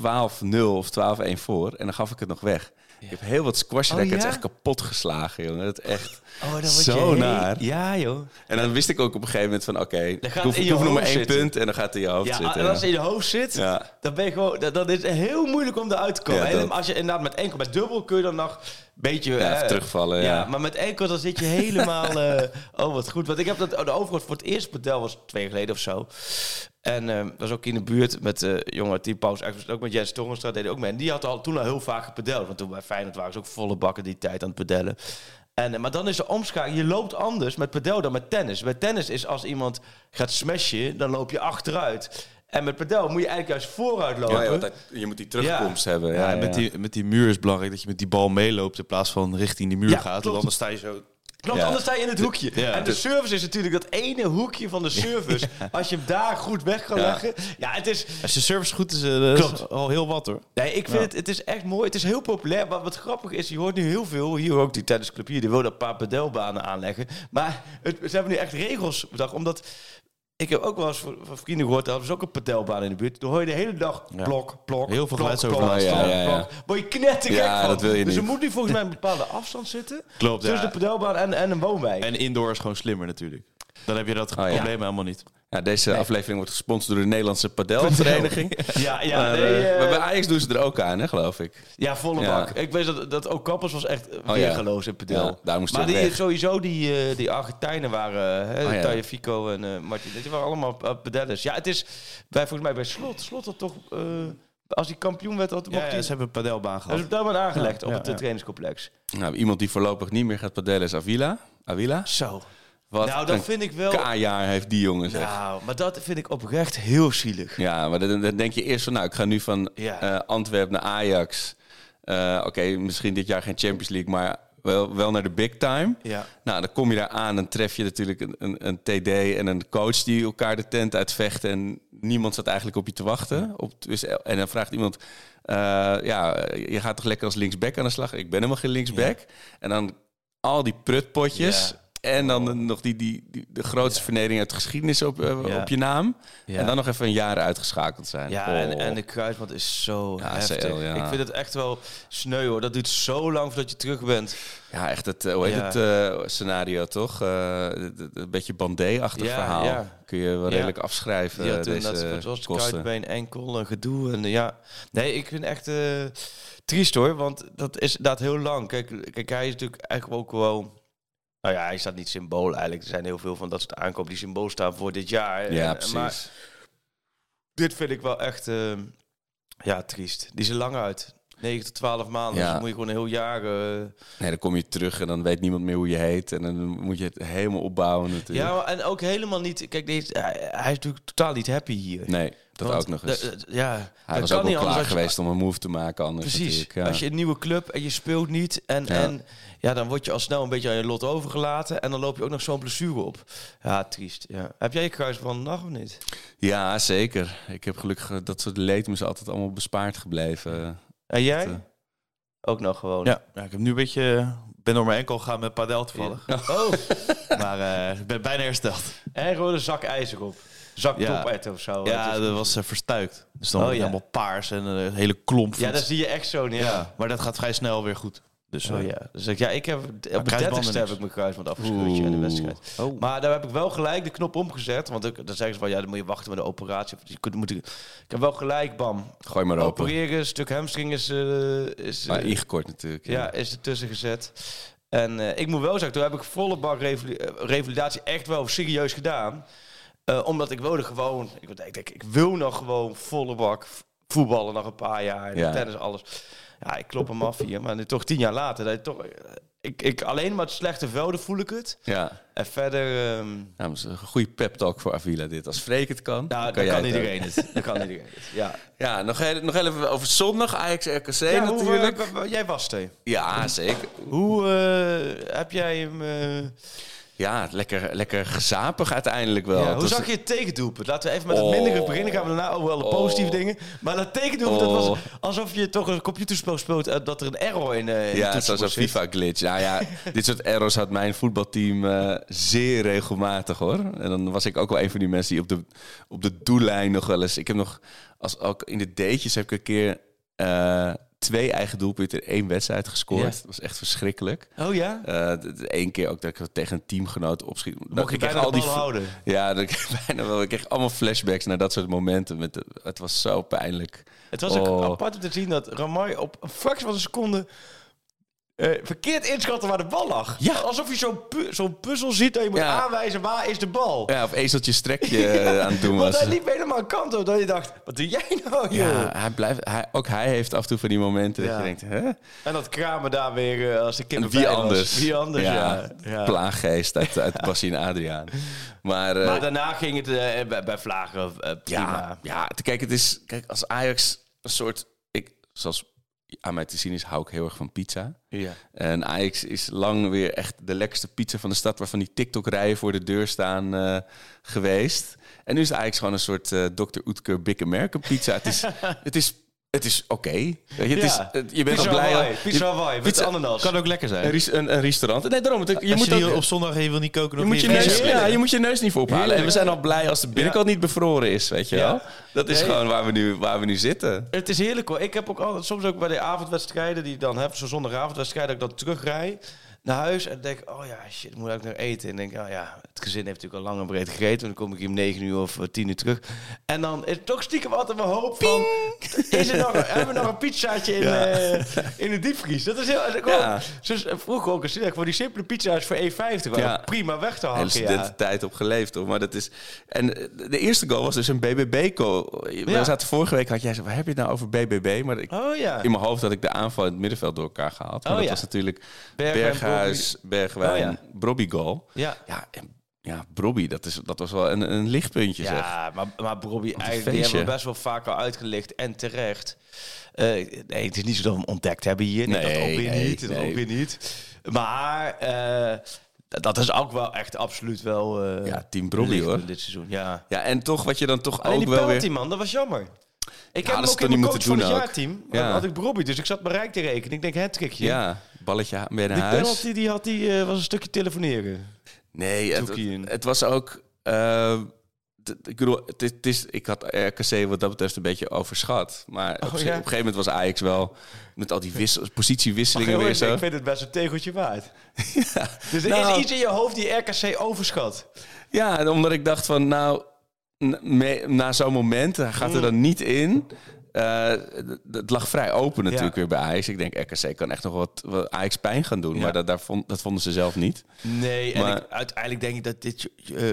H: bijvoorbeeld 12-0 of 12-1 voor en dan gaf ik het nog weg. Ik heb heel wat squash records
I: Oh, ja?
H: echt kapot geslagen, jongen. Dat is echt
I: Oh, dan word je
H: zo
I: heel-
H: naar.
I: Ja, joh.
H: En dan wist ik ook op een gegeven moment van, oké, ik
I: gaat
H: hoef,
I: in
H: ik
I: je
H: hoef nog maar
I: hoofd
H: één
I: zitten.
H: punt en dan gaat het in je hoofd
I: Ja,
H: zitten.
I: en als het
H: ja.
I: in je hoofd zit,
H: Ja.
I: dan ben je gewoon, dat, dat is heel moeilijk om eruit te komen.
H: Ja,
I: En
H: dat-
I: als je inderdaad met enkel, met dubbel kun je dan nog een beetje...
H: Ja,
I: eh,
H: even terugvallen, ja.
I: maar met enkel dan zit je helemaal... eh, oh, wat goed. Want ik heb dat, de overkant voor het eerst model was twee jaar geleden of zo. En ehm, was ook in de buurt met eh jongen Team Pauze. Eigenlijk was het Ook met Jens Torenstra deed hij ook mee. En die had al toen al heel vaak gepedeld. Want toen bij Feyenoord waren ze ook volle bakken die tijd aan het pedellen. En, eh, maar dan is de omschakeling. Je loopt anders met pedel dan met tennis. Met tennis is als iemand gaat smashen, dan loop je achteruit. En met pedel moet je eigenlijk juist vooruit lopen.
H: Ja, want dat- je moet die terugkomst
I: Ja.
H: hebben.
C: Ja,
H: Ja,
C: en met,
H: ja.
C: Die, met die muur is belangrijk dat je met die bal meeloopt in plaats van richting die muur
I: Ja,
C: gaat. Want
I: klopt.
C: anders sta je zo.
I: Klopt,
H: Ja.
I: anders sta je in het hoekje.
C: ja.
I: en de service is natuurlijk dat ene hoekje van de service. Als je hem daar goed weg kan
H: Ja.
I: leggen. Ja, het is,
C: Als je service goed is, eh, dat is
I: Klopt.
C: al heel wat hoor.
I: Nee, ik vind het, het is echt mooi. Het is heel populair. Maar wat grappig is, je hoort nu heel veel. Hier ook die tennisclub hier, die wil een paar padelbanen aanleggen. Maar het, ze hebben nu echt regels bedacht. Omdat ik heb ook wel eens van van vrienden gehoord, daar hadden ze ook een padelbaan in de buurt. Dan hoor je de hele dag plok, plok,
C: Heel veel
I: plok,
C: geluidsoverlast.
I: plok,
H: Ja, ja,
I: plok,
H: ja.
I: plok. Word je knettergek
H: Ja,
I: van.
H: dat wil je
I: dus er
H: niet.
I: moet nu volgens mij een bepaalde afstand zitten.
C: <laughs> Klopt,
I: Tussen
C: ja.
I: de padelbaan en, en een woonwijk.
C: En indoor is gewoon slimmer natuurlijk. Dan heb je dat
H: Oh, ja.
C: probleem helemaal niet.
H: Ja, deze aflevering wordt gesponsord door de Nederlandse
C: <laughs>
H: Padelvereniging.
I: <laughs> ja, ja,
H: maar,
I: nee,
H: eh,
I: eh,
H: maar bij Ajax doen ze er ook aan, hè, geloof ik.
I: Ja, volle
H: Ja. Oh,
I: bak. Ik weet dat, dat ook Kappers was echt
H: ja.
I: weergeloos in pedel.
H: Ja, daar moest hij
I: maar
H: ook
I: die,
H: weg.
I: sowieso die, eh, die Argentijnen waren, hè,
H: Oh ja.
I: Taya Fico en eh Martin, die waren allemaal eh, pedellers. Ja, het is bij, volgens mij bij Slot, Slot had toch, eh, als hij kampioen werd, had
C: Ja,
I: mocht hij...
C: ze hebben een padelbaan
I: Hij
C: gehad.
I: is op dat moment aangelegd op
C: ja,
I: het eh,
C: ja.
I: trainingscomplex.
H: Nou, iemand die voorlopig niet meer gaat padellen is Avila. Avila?
I: Zo.
H: Wat
I: nou, dat
H: een
I: vind ik wel...
H: K-jaar heeft die jongen, zeg. Ja.
I: Nou, maar dat vind ik oprecht heel zielig.
H: maar dan, dan denk je eerst van, nou, ik ga nu van
I: Ja.
H: eh, Antwerpen naar Ajax. Eh, Oké, misschien dit jaar geen Champions League, maar wel, wel naar de big time.
I: Ja.
H: Nou, dan kom je daar aan en tref je natuurlijk een, een, een TD en een coach die elkaar de tent uitvechten. En niemand zat eigenlijk op je te wachten. Op, dus, en dan vraagt iemand, eh, ja, je gaat toch lekker als linksback aan de slag? Ik ben helemaal geen linksback. En dan al die prutpotjes. En dan
I: Oh.
H: de- nog die, die, die- de grootste vernedering uit de geschiedenis op, eh,
I: Ja.
H: op je naam.
I: Ja.
H: En dan nog even een jaar uitgeschakeld zijn.
I: Ja,
H: Oh.
I: en, en de kruisband is zo
H: Ja,
I: heftig.
H: ACL, ja.
I: Ik vind het echt wel sneu hoor. Dat duurt zo lang voordat je terug bent.
H: ja echt het, eh, hoe heet
I: Ja.
H: het eh, scenario toch? Eh, d- d- een beetje bandé-achtig
I: Ja,
H: verhaal.
I: ja.
H: Kun je wel
I: Ja.
H: redelijk afschrijven.
I: Ja,
H: eh,
I: toen dat
H: deze
I: het was
H: kosten.
I: kuitbeen, enkel, een gedoe. En, eh, ja. Nee, ik vind echt eh, triest hoor, want dat is inderdaad heel lang. Kijk, kijk hij is natuurlijk eigenlijk ook wel... Nou ja, hij staat niet symbool eigenlijk. Er zijn heel veel van dat soort aankopen die symbool staan voor dit jaar.
H: Ja,
I: En-
H: precies.
I: eh, Maar dit vind ik wel echt eh, ja, triest. Die is er lang uit. 9 tot 12 maanden.
H: Ja.
I: Dus dan moet je gewoon een heel jaar... eh,
H: Nee, dan kom je terug en dan weet niemand meer hoe je heet. En dan moet je het helemaal opbouwen natuurlijk.
I: ja, maar- en ook helemaal niet... Kijk, deze, hij, hij is natuurlijk totaal niet happy hier.
H: Nee, dat
I: Want
H: ook nog
I: d-
H: eens.
I: d- Ja,
H: Hij was
I: kan
H: ook
I: niet
H: wel
I: anders
H: klaar
I: als je-
H: geweest om een move te maken anders
I: Precies.
H: natuurlijk, ja.
I: Als je een nieuwe club en je speelt niet. En,
H: Ja.
I: en ja, dan word je al snel een beetje aan je lot overgelaten. En dan loop je ook nog zo'n blessure op. Ja, triest. Ja. Heb jij je kruisband nog of niet?
H: Ja, zeker. Ik heb gelukkig eh, dat soort leed me is altijd allemaal bespaard gebleven.
I: En jij?
H: eh.
I: Ook nog gewoon.
C: Ja. ja, ik heb nu een beetje. eh, ben door mijn enkel gegaan met padel toevallig.
I: Oh,
C: Maar eh, ik ben bijna hersteld.
I: en gewoon een zak ijzer op. Zak
C: Ja.
I: topet of zo.
C: Ja,
I: Het is-
C: dat was eh, verstuikt. Dus dan
I: Oh,
C: wordt het
I: ja.
C: helemaal paars en een hele klomp.
I: ja,
C: voet.
I: dat zie je echt zo. Ja.
C: Ja, maar dat gaat vrij snel weer goed. Dus
I: Oh
C: eh,
I: ja, dus ik, ja, ik heb op de
C: kruisbanden
I: 30ste heb
C: niks.
I: ik mijn kruisband afgescheurd ja, in de wedstrijd.
H: Oh.
I: Maar daar heb ik wel gelijk de knop omgezet, want ik, dan zeggen ze van ja, dan moet je wachten met de operatie. Of, je kunt- moet, ik ik heb wel gelijk, bam.
H: Gooi
I: Oh,
H: maar open.
I: Opereren, een stuk hamstring is, eh, is,
H: Maar
I: eh,
H: ingekort natuurlijk.
I: ja, is ertussen gezet. En eh, ik moet wel zeggen, toen heb ik volle bak revali- eh, revalidatie echt wel serieus gedaan. Eh, omdat ik wilde gewoon, ik, wilde- ik denk, ik wil nog gewoon volle bak voetballen nog een paar jaar. En
H: Ja.
I: tennis, alles. Ja, ik klop hem af hier. Maar nu toch tien jaar later, dat ik toch... eh, Ik, ik, alleen maar het slechte velden voel ik het.
H: ja.
I: En verder... ehm,
H: Nou, dat is een goede pep talk voor Avila dit. Als Freek het kan,
I: nou,
H: dan
I: dan
H: jij
I: kan
H: het ook.
I: iedereen het. Dan kan iedereen het,
H: <laughs>
I: ja.
H: Ja, nog, heel- nog heel even over zondag. Ajax RKC
I: ja hoe, eh,
H: natuurlijk.
I: wa- wa- jij was er.
H: Ja, zeker.
I: Hoe eh, heb jij hem... eh,
H: ja, lekker, lekker gezapig uiteindelijk wel.
I: Ja, hoe
H: Dat-
I: zag je het tekendoelpunt? Laten we even met het
H: Oh.
I: mindere beginnen. Gaan we daarna over alle positieve
H: Oh.
I: dingen. Maar dat tekendoelpunt, dat
H: Oh.
I: was alsof je toch een computerspel speelt... eh, dat er een error in, eh in
H: Ja,
I: het
H: zoals
I: toetsenbord
H: een
I: zit.
H: FIFA-glitch. Nou ja, dit soort errors had mijn voetbalteam eh, zeer regelmatig hoor. En dan was ik ook wel een van die mensen die op de, op de doellijn nog wel eens... Ik heb nog, als, ook in de deetjes heb ik een keer eh, twee eigen doelpunten in één wedstrijd gescoord.
I: Ja.
H: Dat was echt verschrikkelijk. Eh,
I: Oh ja?
H: Eén keer ook dat ik het tegen een teamgenoot opschiet. Dan
I: Mocht je bijna al die houden.
H: Ja, dat ik, <laughs> bijna wel, ik kreeg allemaal flashbacks naar dat soort momenten. Met de- het was zo pijnlijk.
I: Het was ook
H: Oh.
I: apart om te zien dat Ramai op een fractie van een seconde... eh, verkeerd inschatten waar de bal lag.
H: Ja.
I: Alsof je zo'n pu- zo'n puzzel ziet dat je moet
H: Ja.
I: aanwijzen waar is de bal.
H: Ja, of ezeltje strekje
I: <laughs>
H: eh, aan het doen
I: Want
H: was.
I: hij liep helemaal kant op dat je dacht, wat doe jij nou joh?
H: Ja, hij blijft, hij, ook hij heeft af en toe van die momenten dat
I: Ja.
H: je denkt, hè?
I: En dat kramen daar weer eh, als de
H: En
I: kippen
H: wie
I: bij was.
H: anders?
I: Wie anders, ja. Ja.
H: Plaaggeest uit, uit Bassie en Adriaan. Maar, eh,
I: Maar daarna ging het eh, bij, bij Vlagen eh, prima.
H: ja, ja, te- kijk, het is, kijk, als Ajax een soort, ik, zoals aan mij te zien is, hou ik heel erg van pizza.
I: Ja.
H: En Ajax is lang weer echt de lekkerste pizza van de stad... waarvan die TikTok-rijen voor de deur staan eh, geweest. En nu is het Ajax gewoon een soort eh Dr. Oetker Big American pizza. het
I: <laughs>
H: is... Het is het is oké. Weet je, het
I: Ja.
H: is- het- je bent
I: Pizza
H: al blij.
I: Hawaii,
H: al-
I: pizza Hawaii met
H: pizza-
I: ananas.
C: Kan ook lekker
H: Een,
C: zijn.
H: ries- een, een restaurant. Nee, daarom. Het, je,
C: Als
H: moet
C: je die
H: ook-
C: op zondag even wil niet koken,
H: je
C: dan
H: moet je,
C: weer
H: neus,
C: verder.
H: ja, je moet je neus niet voor ophalen. En we zijn al blij als de binnenkant niet bevroren is, weet je
I: Ja.
H: wel. Dat is
I: Nee.
H: gewoon waar we, nu, waar we nu zitten.
I: Het is heerlijk hoor. Ik heb ook altijd, soms ook bij de avondwedstrijden die ik dan heb, zo'n zondagavondwedstrijd, dat ik dan terugrij naar huis en denk, oh ja, shit, moet ik nog eten? En denk, oh ja, het gezin heeft natuurlijk al lang en breed gegeten, dan kom ik hier om 9 uur of eh, 10 uur terug. En dan is toch stiekem altijd mijn hoop van, is er nog, hebben we nog een pizzaatje in,
H: Ja.
I: eh, in de diepvries? Dat is heel, eh, gewoon,
H: Ja.
I: zoals eh, vroeger ook, als je dacht, voor die simpele pizza's voor 1,50 waren
H: Ja.
I: prima weg te
H: Hele
I: hakken. Ja.
H: studententijd op geleefd, hoor. Maar dat is... En eh, de eerste goal was dus een BBB-goal. We zaten vorige week, had jij gezegd, waar heb je het nou over BBB? Maar ik,
I: Oh ja.
H: in mijn hoofd had ik de aanval in het middenveld door elkaar gehaald. Maar
I: Oh
H: dat
I: ja.
H: was natuurlijk
I: Bergwijn,
H: Berghuis, Bergwijn,
I: Oh ja.
H: Brobby-goal.
I: Ja.
H: Ja, en, ja Brobby, dat, is, dat was wel een, een lichtpuntje, zeg.
I: Ja, maar, maar Robbie, eigenlijk, die
H: feestje.
I: hebben we best wel vaak al uitgelicht en terecht. Eh, nee, het is niet zo dat we hem ontdekt hebben hier. Nee,
H: Nee,
I: dat ook weer
H: nee,
I: niet. Dat
H: nee.
I: ook weer niet. Maar eh, dat- dat is ook wel echt absoluut wel... eh,
H: Ja, team Brobby,
I: lichtpunt
H: hoor.
I: Dit seizoen, ja.
H: Ja, en toch wat je dan toch
I: Alleen
H: ook
I: die
H: wel
I: penalty,
H: weer...
I: man, dat was jammer. Ik
H: dat
I: heb hem
H: ze
I: ook
H: dat niet
I: in mijn coach
H: moeten
I: van het
H: doen ook.
I: jaarteam.
H: Ja.
I: had ik Robbie, dus ik zat mijn rijk te rekenen. Ik denk, het trickje.
H: Ja, balletje bij naar
I: Die
H: huis.
I: penalty die had, die, eh, was een stukje telefoneren.
H: Nee, het,
I: Doekie in.
H: het was ook... eh, t- ik bedoel, het, is- het is, ik had RKC wat dat betreft een beetje overschat. Maar op, zich-
I: Oh, ja?
H: op een gegeven moment was Ajax wel... met al die wissels, positiewisselingen
I: Jongens,
H: weer zo.
I: Oh, Ik
H: <laughs>
I: vind het best een tegeltje waard. Dus er
H: Nou.
I: is iets in je hoofd die RKC overschat.
H: Ja, en omdat ik dacht van, nou, n- me- na zo'n moment hij gaat er
I: Mm.
H: dan niet in. Eh, d- d- het lag vrij open natuurlijk
I: Ja.
H: weer bij Ajax. Ik denk, RKC kan echt nog wat, wat Ajax pijn gaan doen. Maar dat, daar vond, dat vonden ze zelf niet.
I: Dus- Nee, en
H: Maar-
I: ik, uiteindelijk denk ik dat dit... eh,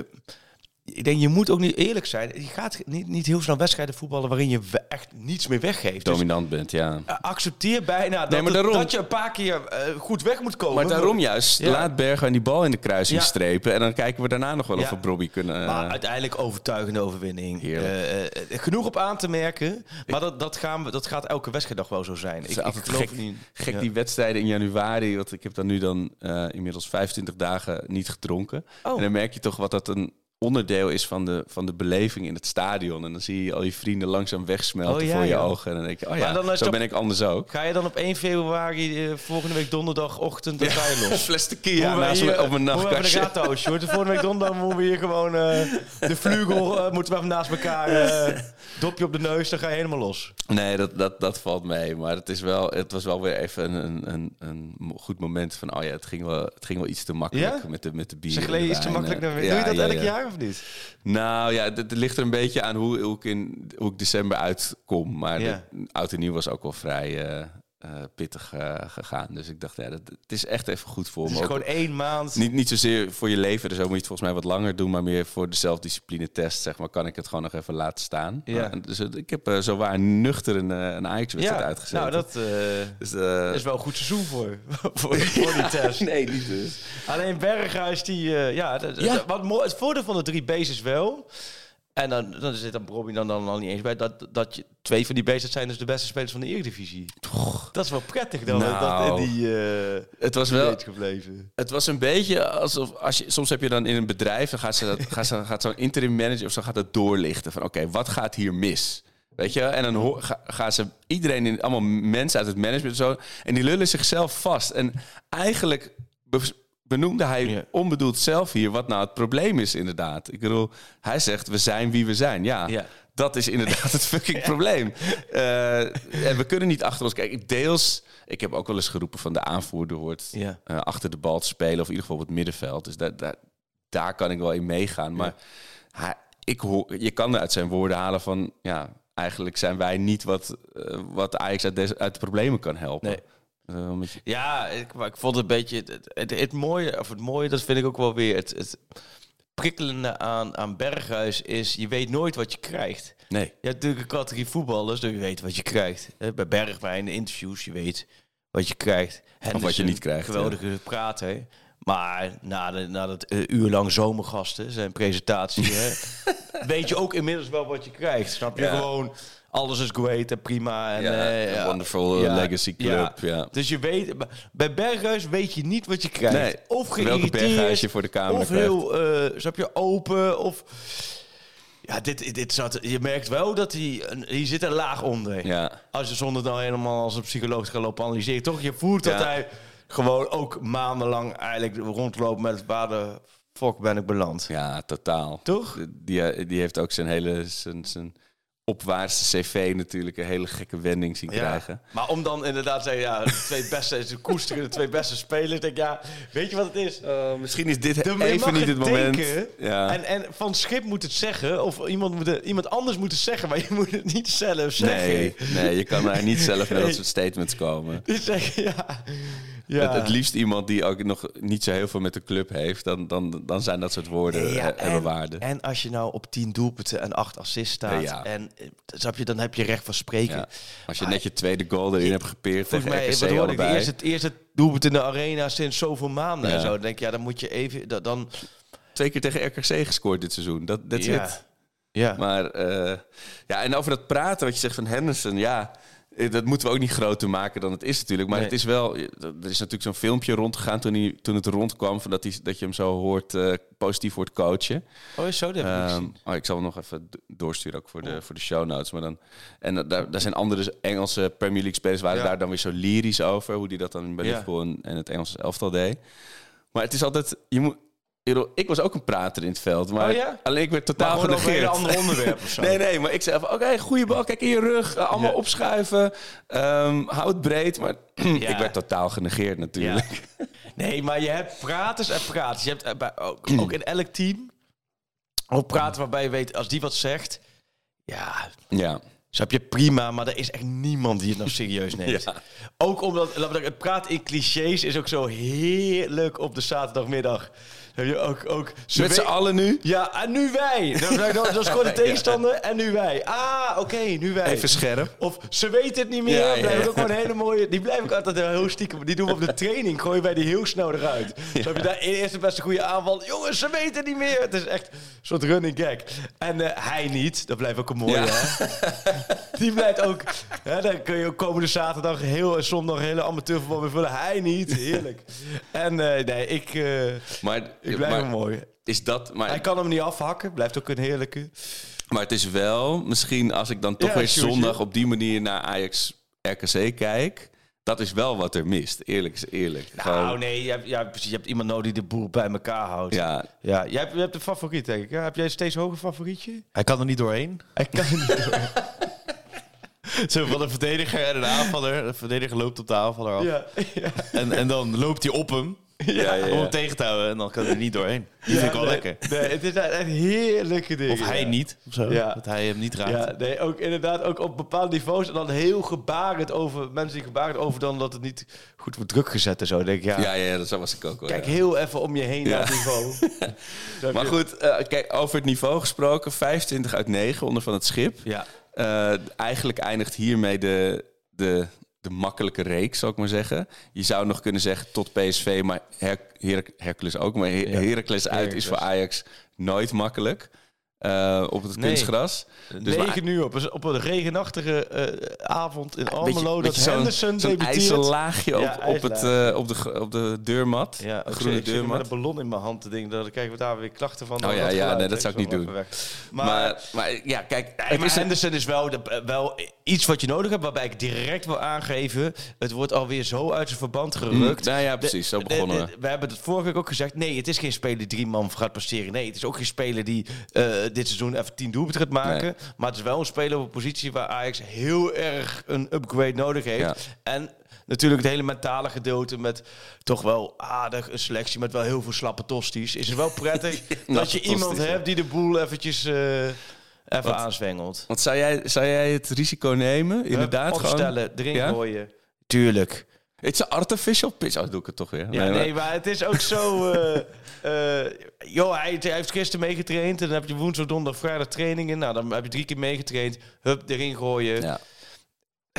I: ik denk, je moet ook niet eerlijk zijn. Je gaat niet, niet heel snel wedstrijden voetballen waarin je we- echt niets meer weggeeft. Dus,
H: Dominant bent, ja.
I: eh, accepteer bijna dat,
H: Nee, maar
I: het-
H: daarom-
I: dat je een paar keer eh, goed weg moet komen.
H: Maar daarom juist,
I: Ja.
H: laat Bergen die bal in de kruising
I: Ja.
H: strepen. En dan kijken we daarna nog wel of
I: Ja.
H: we Bobby kunnen...
I: Maar
H: eh,
I: uiteindelijk overtuigende overwinning.
H: Heerlijk.
I: Eh, eh, genoeg op aan te merken. Maar dat, dat, gaan we, dat gaat elke wedstrijd nog wel zo zijn.
H: Het
I: Ik,
H: is
I: ik
H: altijd
I: geloof
H: gek,
I: niet.
H: gek
I: Ja.
H: die wedstrijden in januari. Want ik heb dan nu dan eh, inmiddels 25 dagen niet gedronken.
I: Oh.
H: En dan merk je toch wat dat een onderdeel is van de, van de beleving in het stadion. En dan zie je al je vrienden langzaam wegsmelten
I: Oh, ja,
H: voor je
I: ja.
H: ogen. En dan denk je, oh ja,
I: Maar dan is
H: zo
I: toch-
H: ben ik anders ook.
I: Ga je dan op 1 februari eh, volgende week donderdagochtend de trein
H: Een
I: los?
H: fles tequila naast me- op mijn
I: Hoe hebben we
H: nachtkastje.
I: de gatenhoosje, hoor. De Volgende week donderdag moeten we hier gewoon... eh, de vlugel eh, moeten we even naast elkaar... eh, dopje op de neus, dan ga je helemaal los.
H: Nee, dat, dat, dat valt mee. Maar het, is wel, het was wel weer even een, een, een goed moment van... oh ja, het ging wel, het ging wel iets te makkelijk
I: Ja?
H: met, de, met de bier.
I: Zeg,
H: en de
I: Lee, is te
H: wijn.
I: makkelijk naar
H: Ja,
I: Doe je dat
H: ja,
I: elk
H: ja.
I: jaar of niet?
H: Nou ja, het ligt er een beetje aan hoe, hoe, ik, in, hoe ik december uitkom. Maar
I: Ja.
H: de, oud en nieuw was ook wel vrij eh, eh, pittig eh, gegaan. Dus ik dacht, ja, dat, het is echt even goed voor
I: Het
H: me.
I: is
H: Ook
I: gewoon één maand.
H: Niet, niet zozeer voor je leven, dus zo moet je het volgens mij wat langer doen. Maar meer voor de zelfdiscipline test, zeg maar, kan ik het gewoon nog even laten staan.
I: Ja.
H: Maar, dus eh, ik heb zo zowaar nuchter een, eh, een Ajax-wedstrijd uitgezet.
I: nou dat eh,
H: Dus, eh,
I: is wel een goed seizoen voor, <laughs> voor, voor
H: <laughs>
I: die test.
H: Nee, niet dus.
I: Alleen Berghuis, die... eh, ja, dat-
H: Ja.
I: dat- Wat mooi, het voordeel van de drie B's is wel... eh, En dan, dan zit dan Robbie dan, dan al niet eens bij dat, dat je, twee van die beesten zijn dus de beste spelers van de Eredivisie. Dat is wel prettig dan,
H: Nou.
I: dat in die eh
H: Het was wel,
I: weet gebleven.
H: Het was een beetje alsof als je soms heb je dan in een bedrijf dan gaat ze dat, gaat, ze, gaat zo'n interim manager of zo gaat dat doorlichten van oké wat gaat hier mis, weet je? En dan ho- ga- gaan ze iedereen in allemaal mensen uit het management en zo en die lullen zichzelf vast en eigenlijk be- benoemde hij onbedoeld zelf hier wat nou het probleem is inderdaad. Ik bedoel, hij zegt we zijn wie we zijn, ja.
I: Ja.
H: Dat is inderdaad het fucking probleem. Eh, en we kunnen niet achter ons kijken. Deels, ik heb ook wel eens geroepen van de aanvoerder wordt
I: Ja.
H: eh, achter de bal te spelen. Of in ieder geval op het middenveld. Dus daar, daar, daar kan ik wel in meegaan. Maar hij, ik hoor, je kan uit zijn woorden halen van... Ja, eigenlijk zijn wij niet wat, eh, wat Ajax uit, deze, uit de problemen kan helpen.
I: Nee.
H: Eh, omdat je-
I: Ja, ik, maar ik vond het een beetje... Het, het, het mooie, of het mooie, dat vind ik ook wel weer... Het, het prikkelende aan, aan Berghuis is, je weet nooit wat je krijgt.
H: nee.
I: Je hebt natuurlijk een categorie voetballers, dus je weet wat je krijgt. Eh, Bij Bergwijn, de interviews, je weet wat je krijgt. Henderson,
H: wat je niet krijgt,
I: Geweldige prater. Maar na, de, na dat eh, uur lang zomergasten, zijn
H: <laughs>
I: presentatie, hè, weet je ook inmiddels wel wat je krijgt. Snap je
H: Ja.
I: gewoon, alles is great en prima. En,
H: Ja,
I: eh,
H: een
I: ja.
H: wonderful
I: Ja,
H: legacy club, ja.
I: Dus je weet, maar bij Berghuis weet je niet wat je krijgt.
H: Nee,
I: of
H: welke
I: geïrriteerd,
H: Berghuis je voor de camera
I: of heel, eh, snap je, open, of... Ja, dit, dit zat, je merkt wel dat hij... een- Hier zit een laag onder.
H: Ja.
I: Als je zonder dan helemaal als een psycholoog gaat lopen analyseren. Toch, je voelt dat
H: Ja.
I: hij gewoon ook maandenlang eigenlijk rondloopt met... Waar de fuck ben ik beland?
H: Ja, totaal. Eh,
I: Toch?
H: Die, die heeft ook zijn hele zijn, zijn opwaartse cv natuurlijk een hele gekke wending zien krijgen.
I: Maar om dan inderdaad te zeggen, ja, de twee beste, ze koesteren de twee beste spelers. Denk ik, ja, weet je wat het is?
H: Misschien is dit
I: De- je mag
H: even niet het moment.
I: denken.
H: Ja.
I: En, en van Schip moet het zeggen, of iemand, moet het- iemand anders moet het zeggen, maar je moet het niet zelf zeggen.
H: Nee, nee, je kan daar
I: <laughs>
H: niet zelf met dat
I: Nee.
H: soort statements komen.
I: Dit zeggen, ja. ja.
H: Het, het liefst iemand die ook nog niet zo heel veel met de club heeft, dan, dan, dan zijn dat soort woorden
I: Ja,
H: eh, hebben
I: en-
H: waarde.
I: En als je nou op 10 doelpunten en 8 assists staat,
H: Ja.
I: en, eh, snap je, dan heb je recht van spreken.
H: Ja. Als je net je tweede goal erin hebt gepeerd tegen
I: Volgens mij,
H: RKC
I: wat hoorde ik, de
H: allebei.
I: eerste, het eerste doelpunt in de arena sinds zoveel maanden en
H: Ja.
I: zo. Dan denk ik, ja, dan moet je even, dat, dan...
H: Twee keer tegen RKC gescoord dit seizoen. Dat dat is
I: ja.
H: het.
I: Ja.
H: Maar eh, ja, en over dat praten wat je zegt van Henderson, ja, eh, dat moeten we ook niet groter maken dan het is natuurlijk. Maar
I: Nee.
H: het is wel, eh, d- er is natuurlijk zo'n filmpje rondgegaan toen, hij, toen het rondkwam van dat, hij, dat je hem zo hoort eh, positief hoort coachen.
I: oh, is zo, dat heb ik Oh. niet
H: Ehm,
I: gezien.
H: oh, ik zal hem nog even do- doorsturen ook voor de, voor de show notes. Maar dan, en da- daar, daar zijn andere Engelse Premier League spelers waren
I: Ja.
H: daar dan weer zo lyrisch over. Hoe die dat dan bij
I: Ja.
H: Liverpool en, en het Engelse elftal deed. Maar het is altijd... Je moet, ik bedoel, ik was ook een prater in het veld. Maar
I: Oh ja?
H: alleen ik werd
I: Maar
H: totaal
I: gewoon over een
H: genegeerd.
I: hele andere
H: <laughs>
I: onderwerp of zo.
H: nee, nee. Maar ik zei van, oké, goede bal. Kijk in je rug. eh, allemaal
I: Ja.
H: opschuiven. ehm, hou het breed. Maar <clears throat> ik
I: Ja.
H: werd totaal genegeerd natuurlijk.
I: Nee, maar je hebt praters en praters. Je hebt eh, bij- ook,
H: Hmm.
I: ook in elk team ook praten waarbij je weet, als die wat zegt, ja,
H: <laughs> Ja.
I: snap je prima, maar er is echt niemand die het nou
H: <laughs>
I: serieus neemt.
H: Ja.
I: Ook omdat laten we zeggen, het praten in clichés is ook zo heerlijk op de zaterdagmiddag. Heb je ook, ook ze
H: Met z'n
I: weet-
H: allen nu.
I: Ja, en nu wij. Dat, dat, dat is
H: <laughs>
I: gewoon de tegenstander. En nu wij. Ah, oké, nu wij.
H: Even scherp.
I: Of ze weten het niet meer.
H: Ja, ja,
I: blijf ik
H: ja.
I: ook gewoon een hele mooie. Die blijf ik altijd heel stiekem. Die doen we op de training. Gooien wij die heel snel eruit. Zo heb je daar eerst de beste goede aanval. Jongens, ze weten het niet meer. Het is echt een soort running gag. En eh, hij niet. Dat blijft ook een mooie.
H: Ja.
I: Hè? Die blijft ook. Hè, dan kun je ook komende zaterdag heel en zondag hele amateurvoetbal weer vullen. Hij niet. Heerlijk. En eh, nee, ik, eh,
H: Maar,
I: ik blijf
H: maar
I: hem mooi.
H: is dat... Maar,
I: Hij kan hem niet afhakken. Blijft ook een heerlijke.
H: Maar het is wel, misschien als ik dan toch
I: Ja,
H: weer
I: sure,
H: zondag
I: sure.
H: op die manier naar Ajax RKC kijk. Dat is wel wat er mist. Eerlijk is eerlijk.
I: Nou,
H: Gewoon-
I: nee, je hebt, ja, precies, je hebt iemand nodig die de boel bij elkaar houdt.
H: Ja,
I: Ja, jij hebt, je hebt een favoriet, denk ik. Ja, heb jij een steeds hoger favorietje? Hij kan er niet doorheen. Hij kan er niet doorheen.
J: <laughs> Zo van een verdediger en een aanvaller. De verdediger loopt op de aanvaller af.
I: ja, ja.
J: En, en dan loopt hij op hem.
H: ja, ja,
J: Om hem
H: ja.
J: tegen te houden. En dan kan hij er niet doorheen. Die
I: Ja,
J: vind ik wel
I: nee,
J: lekker.
I: Nee, het is echt een heerlijke ding.
J: Of hij niet. Of zo.
I: Ja.
J: Dat hij hem niet raakt.
I: Ja, nee, ook inderdaad, ook op bepaalde niveaus. En dan heel gebarend over, mensen die gebarend over dan dat het niet goed wordt druk gezet en zo. Denk ik, ja,
H: ja, ja, dat zo was ik ook wel.
I: kijk
H: ja.
I: heel even om je heen naar het
H: <laughs>
I: niveau. Snap
H: Maar
I: je?
H: goed, eh, kijk, over het niveau gesproken. 25 uit 9 onder van het schip.
I: Ja.
H: Eh, eigenlijk eindigt hiermee de, de, de makkelijke reeks, zal ik maar zeggen. Je zou nog kunnen zeggen tot PSV, maar Her Her- Hercules ook. Maar Her- Heracles uit is voor Ajax nooit makkelijk. eh, op het
I: Nee.
H: kunstgras. Dus maar-
I: 9 uur op, een- op een regenachtige eh, avond in
H: Beetje-
I: Almelo.
H: beetje
I: Dat
H: zo'n-
I: Henderson
H: zo'n
I: debuteert.
H: ijzerlaagje op,
I: Ja,
H: op, het, eh, op, de, gr- op de deurmat.
I: Ja,
H: de
I: ik
H: groene
I: zit- ik zit met
H: deurmat.
I: een ballon in mijn hand te denken. Dan krijgen we daar weer klachten van.
H: Oh ja, ja, nee, dat zou ik niet doen.
I: Maar,
H: Maar, maar ja, kijk,
I: het
H: maar
I: is Henderson is wel, de- eh, wel iets wat je nodig hebt. Waarbij ik direct wil aangeven. Het wordt alweer zo uit zijn verband gerukt.
H: nou ja,
I: De-
H: precies, zo
I: de-
H: begonnen
I: de-
H: we.
I: we hebben het vorige week ook gezegd. Nee, het is geen speler die drie man gaat passeren. Nee, het is ook geen speler die eh, dit seizoen even tien doelpunten gaat maken.
H: Nee.
I: Maar het is wel een speler op een positie waar Ajax heel erg een upgrade nodig heeft.
H: Ja.
I: En natuurlijk het hele mentale gedeelte met toch wel aardig een selectie met wel heel veel slappe tosties. Is het wel
H: <laughs>
I: prettig dat je
H: tosties,
I: iemand
H: ja.
I: hebt die de boel eventjes eh, even aanzwengelt.
H: Want zou jij, zou jij het risico nemen? Inderdaad, gewoon.
I: Opstellen, erin
H: Ja?
I: gooien. Tuurlijk.
H: It's an artificial pitch. Oh, doe ik het toch weer.
I: Ja, nee,
H: maar-
I: maar... het is ook
H: <laughs>
I: zo. eh, eh, joh, hij, hij heeft gisteren meegetraind. En dan heb je woensdag, donderdag, vrijdag trainingen. Nou, dan heb je drie keer meegetraind. Hup, erin gooien.
H: Ja.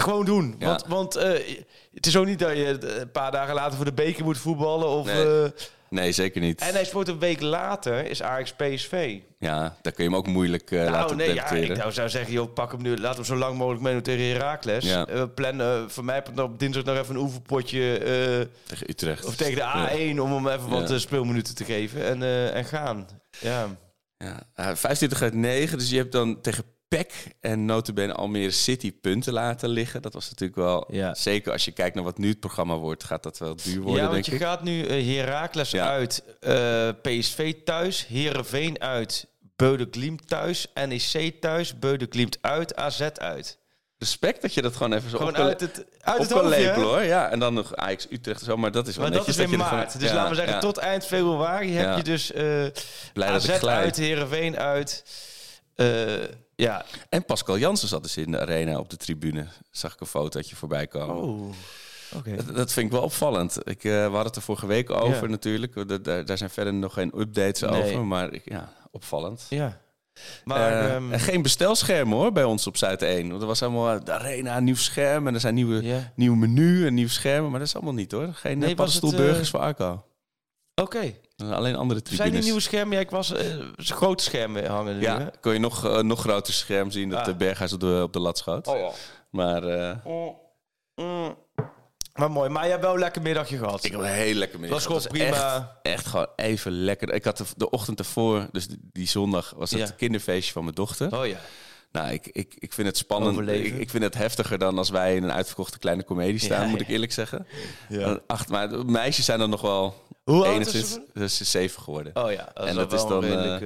I: Gewoon doen.
H: Ja.
I: Want, want eh, het is ook niet dat je eh, een paar dagen later voor de beker moet voetballen. Of,
H: Nee.
I: eh,
H: nee, zeker niet.
I: en hij speelt een week later, is Ajax PSV.
H: Ja, daar kun je hem ook moeilijk eh,
I: Nou,
H: laten
I: nee, ja,
H: debuteren.
I: ik nou zou zeggen, joh, pak hem nu, laat hem zo lang mogelijk meedoen tegen Heracles.
H: Ja.
I: Eh, plan eh, voor mij op dinsdag nog even een oefenpotje eh,
H: Tegen Utrecht.
I: Of tegen de A1 om hem even wat
H: Ja.
I: eh, speelminuten te geven en, eh, en gaan. Ja.
H: Ja, eh, 25 uit 9. Dus je hebt dan tegen PEC en notabene Almere City punten laten liggen. Dat was natuurlijk wel...
I: Ja.
H: Zeker als je kijkt naar wat nu het programma wordt, gaat dat wel duur worden,
I: ja, want
H: denk
I: je
H: ik.
I: gaat nu eh, Heracles
H: Ja.
I: uit, eh, PSV thuis, Herenveen uit, Beudeklimt thuis, NEC thuis, Beudeklimt uit, AZ uit.
H: Respect dat je dat gewoon even zo
I: Gewoon
H: op kan-
I: uit het, uit
H: op
I: het
H: kan
I: hoofdje, hè?
H: lepelen, hoor. Ja, en dan nog Ajax Utrecht en zo. Maar dat is wel
I: Maar dat is
H: netjes
I: in
H: je er
I: maart.
H: gewoon-
I: Dus
H: Ja,
I: laten we zeggen,
H: ja.
I: tot eind februari heb
H: Ja.
I: je dus eh
H: Blij dat
I: AZ
H: ik glijd.
I: uit, Herenveen uit. Eh, ja,
H: En Pascal Jansen zat dus in de arena op de tribune. Zag ik een fotootje voorbij komen.
I: Oh, oké.
H: Dat, dat vind ik wel opvallend. Ik, eh, we hadden het er vorige week over
I: Ja.
H: natuurlijk. Da- daar- daar zijn verder nog geen updates
I: Nee.
H: over. Maar ik, ja, opvallend.
I: Ja. Maar
H: Eh,
I: ehm,
H: en geen bestelscherm hoor, bij ons op Zuid 1. Want er was allemaal eh, de arena, een nieuw scherm. En er zijn nieuwe,
I: Ja.
H: nieuw menu en nieuw schermen. Maar dat is allemaal niet hoor. Geen
I: Nee,
H: nee,
I: was
H: paddenstoelburgers
I: het, eh,
H: voor Arco.
I: oké.
H: Eh, Alleen andere tribunes.
I: Zijn die nieuwe schermen? Ja, ik was eh, ze grote schermen hangen nu. hè?
H: Ja, kon je nog, eh, nog groter scherm zien dat
I: Ah. Oh,
H: de Berghuis op de, op de lat schoot. Maar eh,
I: Mm, Maar mooi. Maar jij hebt wel een lekker middagje gehad.
H: ik heb een heel lekker middag.
I: was gewoon
H: Het
I: prima.
H: Echt, echt gewoon even lekker. Ik had de, de ochtend ervoor, dus die, die zondag, was het
I: Ja.
H: kinderfeestje van mijn dochter.
I: Oh ja.
H: Nou, ik, ik, ik vind het spannend.
I: Overleven.
H: Ik, ik vind het heftiger dan als wij in een uitverkochte kleine komedie staan,
I: Ja,
H: moet
I: ja.
H: ik eerlijk zeggen. Dan Acht, maar de meisjes zijn dan nog wel
I: Hoe oud is
H: 21,
I: ze?
H: dus ze is zeven geworden.
I: Oh ja.
H: en dat is dan eh,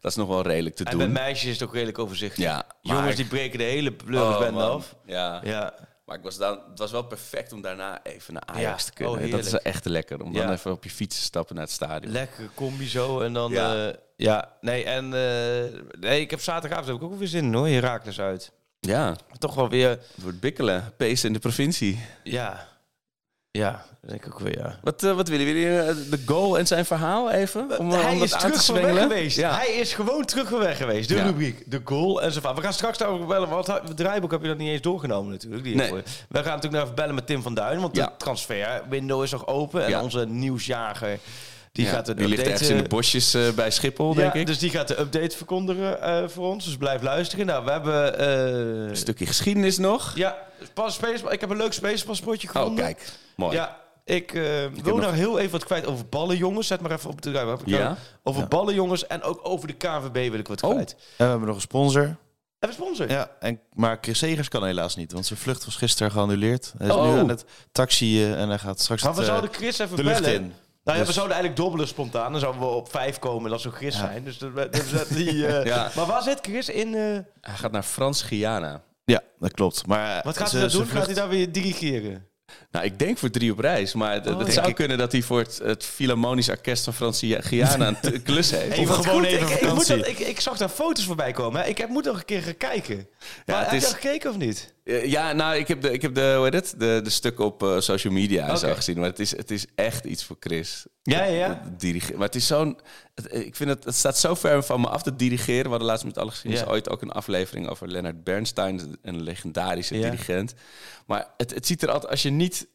H: dat is nog wel redelijk te
I: en bij
H: doen.
I: meisjes is het ook redelijk overzichtelijk.
H: Ja,
I: Jongens,
H: maar-
I: die breken de hele
H: Oh,
I: pleurisbende
H: man.
I: af.
H: Ja.
I: Ja.
H: maar ik was dan, het was wel perfect om daarna even naar Ajax
I: Ja.
H: te kunnen.
I: Oh,
H: dat is
I: heerlijk.
H: wel echt lekker om dan
I: Ja.
H: even op je fiets te stappen naar het stadion.
I: Lekkere combi zo. En dan...
H: Ja.
I: Ja. ja. Nee, en... eh, nee, ik heb zaterdagavond heb ik ook weer zin in hoor. Herakles uit.
H: ja,
I: Toch wel weer...
H: het wordt bikkelen, pees in de provincie.
I: Ja. Ja. dat Denk ik ook weer, ja.
H: Wat, eh, wat willen jullie? eh, De goal en zijn verhaal even? Om, om
I: Hij
H: dat
I: is
H: aan
I: terug
H: te
I: van weg
H: zwengelen?
I: geweest.
H: Ja.
I: Hij is gewoon terug van weg geweest. De
H: Ja.
I: rubriek, de goal en zo van. We gaan straks daarover bellen, want het draaiboek heb je dat niet eens doorgenomen natuurlijk. Die
H: Nee.
I: info. We gaan natuurlijk nog even bellen met Tim van Duin, want
H: Ja.
I: de transferwindow is nog open. En
H: Ja.
I: onze nieuwsjager, die
H: Ja,
I: gaat de
H: die ligt
I: update,
H: ergens in de
I: eh,
H: bosjes eh, bij Schiphol,
I: ja,
H: denk ik.
I: Dus die gaat de update verkondigen eh, voor ons. Dus blijf luisteren. Nou, we hebben... eh,
H: Een stukje geschiedenis nog.
I: ja, pas space, ik heb een leuk spacepaspoortje gevonden.
H: Oh, kijk. Mooi.
I: Ja, ik eh, wil
H: nog-
I: nog heel even wat kwijt over ballen, jongens. Zet maar even op de ruimte.
H: Ja?
I: Over ballen, jongens. En ook over de KNVB wil ik wat
H: Oh.
I: kwijt.
C: En we hebben nog een sponsor.
I: Even sponsor.
C: Ja, en, maar Chris Segers kan helaas niet, want zijn vlucht was gisteren geannuleerd. Hij is
H: Oh.
C: nu aan het taxi eh, en hij gaat straks
I: Maar we
C: het, eh,
I: zouden Chris even
C: de lucht
I: bellen.
C: in.
I: Nou ja, we
C: Dus-
I: zouden eigenlijk dobbelen spontaan. Dan zouden we op vijf komen. Dat zou Chris zijn. Dus dat, dat, dat- die, eh,
H: Ja.
I: Maar waar zit Chris in? eh,
H: Hij gaat naar Frans-Guyana.
C: Ja, dat klopt.
J: eh,
C: Maar
I: wat gaat
C: ze-
I: hij dat
C: ze
I: doen?
C: vlucht-
I: Gaat hij daar weer dirigeren?
H: Nou, ik denk voor drie op reis. Maar het, het
I: ja.
H: zou kunnen dat hij voor het, het Philharmonisch Orkest van Frans-Guyana een
I: <laughs>
H: t- klus heeft.
I: Hey,
H: Of-
I: wat
C: gewoon
I: goed.
C: even
I: ik, ik, moet
C: vakantie.
I: dat, ik, ik zag daar foto's voorbij komen. hè. Ik heb, moet nog een keer gaan kijken. Maar
H: het
I: heb
H: is-
I: je al gekeken of niet?
H: Eh, ja, nou, ik heb de, ik heb de, hoe heet het? de, de stukken op eh, social media en zo
I: Oké.
H: gezien. Maar het is, het is echt iets voor Chris.
I: Ja, ja, ja.
H: Dat dirige- Maar het is zo'n... het- eh, Ik vind het... Het staat zo ver van me af te dirigeren. We hadden laatst met alle geschiedenis
I: Ja.
H: ooit ook een aflevering over Leonard Bernstein. Een legendarische
I: Ja.
H: dirigent. Maar het, het ziet er altijd... Als je niet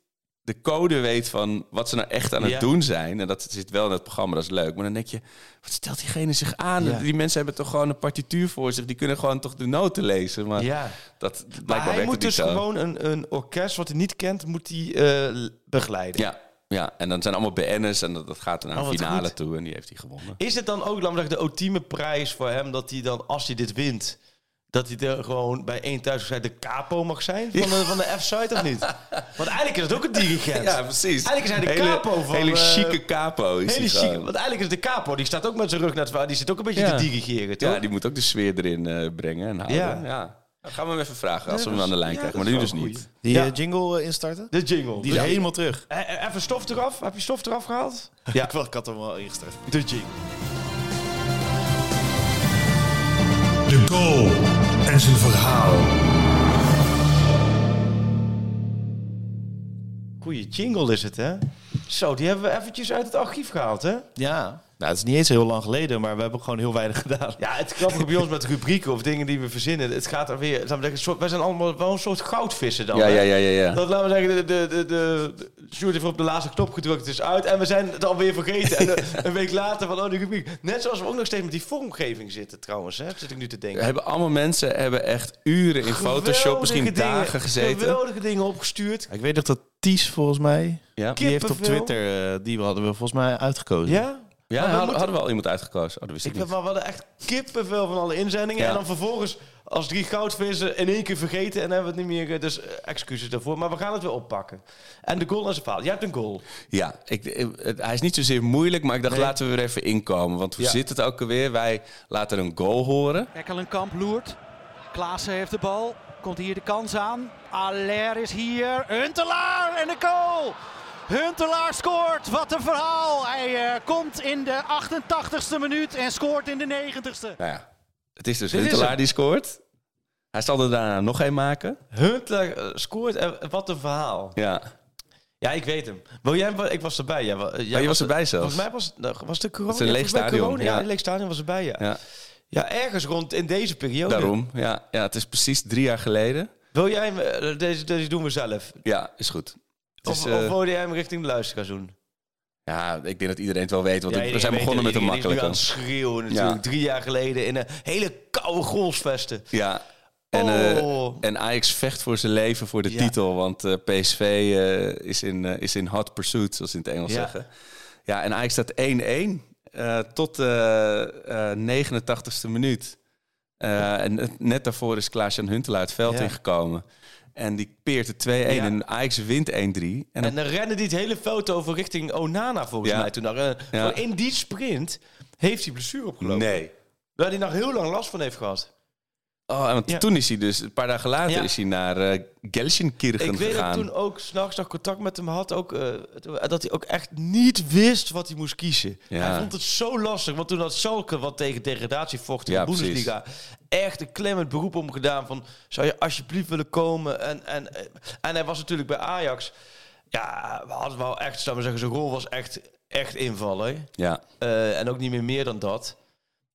H: de code weet van wat ze nou echt aan het
I: Ja.
H: doen zijn. En dat zit wel in het programma, dat is leuk. Maar dan denk je, wat stelt diegene zich aan?
I: Ja.
H: Die mensen hebben toch gewoon een partituur voor zich. Die kunnen gewoon toch de noten lezen. Maar
I: Ja.
H: dat
I: Maar
H: blijkbaar
I: hij
H: werkt
I: moet
H: het niet
I: dus
H: zo.
I: gewoon een, een orkest wat hij niet kent, moet hij eh, begeleiden.
H: Ja, ja, en dan zijn allemaal BN'ers en dat, dat gaat dan naar
I: Oh,
H: de
I: wat
H: finale
I: goed.
H: toe. En die heeft hij gewonnen.
I: Is het dan ook, laat maar zeggen, de ultieme prijs voor hem dat hij dan, als hij dit wint, dat hij er gewoon bij één thuiswedstrijd de capo mag zijn van de, van de F-site of
H: <laughs>
I: niet? Want eigenlijk is het ook een dirigent.
H: Ja, precies.
I: Eigenlijk is hij de
H: hele,
I: capo van,
H: Hele
I: eh,
H: chique capo is
I: Hele
H: hij
I: chic,
H: gewoon.
I: want eigenlijk is de capo, die staat ook met zijn rug naar het vader, die zit ook een beetje
H: Ja.
I: te dirigeren, toch?
H: Ja, die moet ook de sfeer erin eh, brengen en houden. Ja.
I: Ja.
H: Dat gaan we hem even vragen als we hem aan de lijn krijgen. Maar nu dus niet.
A: Die
I: Ja.
A: eh, jingle eh, instarten?
I: De jingle.
A: Die is helemaal terug.
I: Eh, eh, Even stof eraf, heb je stof eraf gehaald? <laughs>
A: Ik, wou- ik had hem al ingestart.
I: De jingle.
K: De goal en zijn verhaal.
I: Goeie jingle is het, hè? Zo, die hebben we eventjes uit het archief gehaald, hè?
A: Ja.
C: Nou, het is niet eens heel lang geleden, maar we hebben gewoon heel weinig gedaan.
I: Ja, het grappige bij ons met rubrieken of dingen die we verzinnen, het gaat er weer... Laten we zeggen, soort- wij zijn allemaal wel een soort goudvissen dan,
H: Ja,
I: hè?
H: ja, ja, ja. ja.
I: Dat laten we zeggen, de, de, de, de, de Sjoerd heeft op de laatste knop gedrukt, het is uit. En we zijn het alweer vergeten. En eh, een week later van, oh, die rubriek. Net zoals we ook nog steeds met die vormgeving zitten trouwens, hè? Zit ik nu te denken.
H: Hebben allemaal mensen hebben echt uren in Photoshop,
I: Geweldige
H: misschien
I: dingen,
H: dagen gezeten.
I: Geweldige dingen opgestuurd.
C: Ik weet nog dat Ties volgens mij,
H: Ja,
C: die heeft op
I: Kippenvel.
C: Twitter, eh, die hadden we volgens mij uitgekozen.
I: Ja?
H: ja
I: Maar we
H: hadden,
I: moeten-
H: hadden we al iemand uitgekozen. Oh, dat wist ik,
I: Ik ben
H: niet.
I: wel wel echt kippenvel van alle inzendingen.
H: Ja.
I: En dan vervolgens als drie goudvissen in één keer vergeten en hebben we het niet meer. eh, Dus eh, excuses daarvoor. Maar we gaan het weer oppakken. En de goal en zijn verhaal. Jij hebt een goal.
H: Ja, ik, ik- het- hij is niet zozeer moeilijk, maar ik dacht laten we er even inkomen. Want hoe
I: Ja.
H: zit het ook alweer? Wij laten een goal horen.
D: Ekkelenkamp loert. Klaassen heeft de bal. Komt hier de kans aan. Aller is hier. Huntelaar en de goal. Huntelaar scoort. Wat een verhaal. Hij eh, komt in de 88ste minuut en scoort in de 90ste.
H: Nou ja, het is dus
I: is
H: Huntelaar
I: hem.
H: die scoort. Hij zal er daarna nog één maken.
I: Huntelaar eh, scoort. En wat een verhaal.
H: Ja,
I: Ja, ik weet hem. Wil jij, hem- ik was erbij. Jij, wa- eh, jij
H: maar Oh, je was erbij zelfs.
I: Volgens mij was, nou, was de corona.
H: Het is een leeg
I: volgens mij
H: stadion,
I: corona,
H: ja.
I: ja, een leeg stadion was erbij. Ja.
H: Ja.
I: ja. ergens rond in deze periode.
H: Daarom, ja, ja. Het is precies drie jaar geleden.
I: Wil jij hem, eh, deze, deze doen we zelf.
H: Ja, is goed. Het
I: Of,
H: is,
I: of
H: eh,
I: wil jij hem richting de luisteraars doen?
H: ja, ik denk dat iedereen het wel weet. Want
I: Ja,
H: ik- we
I: iedereen
H: zijn
I: weet
H: begonnen met
I: het.
H: een
I: Iedereen is nu
H: makkelijke.
I: aan het schreeuwen natuurlijk.
H: Ja.
I: Drie jaar geleden in een hele koude goalsvesten.
H: Ja. En, eh,
I: Oh.
H: en Ajax vecht voor zijn leven voor de
I: Ja.
H: titel. Want eh, PSV eh, is, in, eh, is in hot pursuit, zoals ze in het Engels
I: Ja.
H: zeggen. Ja, en Ajax staat 1-1 eh, tot de 89ste minuut. Eh, en net- net daarvoor is Klaas-Jan Huntelaar het veld
I: Ja.
H: ingekomen. En die peert het 2-1
I: Ja.
H: en Ajax wint 1-3. En, dan-
I: En dan rende die het hele veld over richting Onana volgens
H: Ja.
I: mij. Toen daar, eh,
H: Ja.
I: gewoon In die sprint heeft hij blessure opgelopen.
H: Nee.
I: Waar hij nog heel lang last van heeft gehad.
H: Oh, en want
I: Ja.
H: toen is hij dus, een paar dagen later,
I: Ja.
H: is hij naar eh Gelsenkirchen
I: Ik weet dat ik
H: gegaan.
I: toen ook s'nachts nog contact met hem had. Ook, eh, dat hij ook echt niet wist wat hij moest kiezen.
H: Ja.
I: Hij vond het zo lastig. Want toen had Schalke wat tegen degradatie vocht in
H: Ja,
I: de Bundesliga. Echt een klemmend beroep om gedaan. Van, zou je alsjeblieft willen komen? En, en, eh, en hij was natuurlijk bij Ajax. Ja, we hadden wel echt, zou ik maar zeggen, zijn rol was echt, echt invallen.
H: Ja.
I: Eh, en ook niet meer meer dan dat.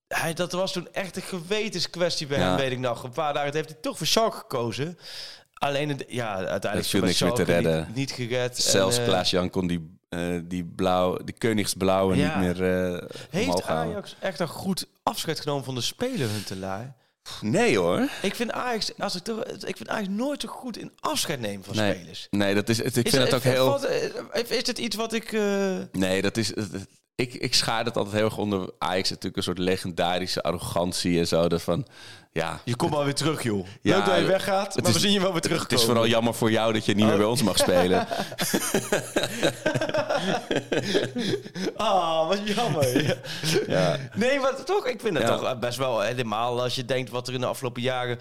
I: Hij, dat was toen echt een gewetenskwestie bij
H: Ja.
I: hem, weet ik nog. Een paar dagen heeft hij toch voor Schalke gekozen. Alleen, het- ja, uiteindelijk
H: viel
I: bij
H: niks meer te
I: Schalke
H: redden.
I: Niet, niet gered.
H: Zelfs
I: En, eh,
H: Klaas-Jan kon die, eh die, blauw, die Koningsblauwe
I: Ja.
H: niet meer eh
I: Heeft
H: omhoog houden.
I: Ajax echt een goed afscheid genomen van de speler Huntelaar?
H: Nee hoor.
I: Ik vind Ajax, als ik, toch, ik vind Ajax nooit zo goed in afscheid nemen van
H: Nee,
I: spelers.
H: nee, dat is, het, ik vind
I: is,
H: dat ook heel...
I: wat- eh, is dit iets wat ik... eh,
H: Nee, dat is... het- het- ik, ik schaar dat altijd heel erg onder Ajax. Natuurlijk een soort legendarische arrogantie en zo. Dat van, ja...
I: je komt wel weer terug, joh.
H: Ja,
I: Leuk dat je weggaat, maar
H: is-
I: we zien je wel weer
H: het-
I: terugkomen. Oh.
H: Het is vooral jammer voor jou dat je niet meer bij ons mag
I: <laughs>
H: spelen.
I: Ah, wat jammer.
H: <laughs> ja.
I: Nee, maar toch, ik vind het
H: Ja.
I: toch eh, best wel helemaal als je denkt wat er in de afgelopen jaren.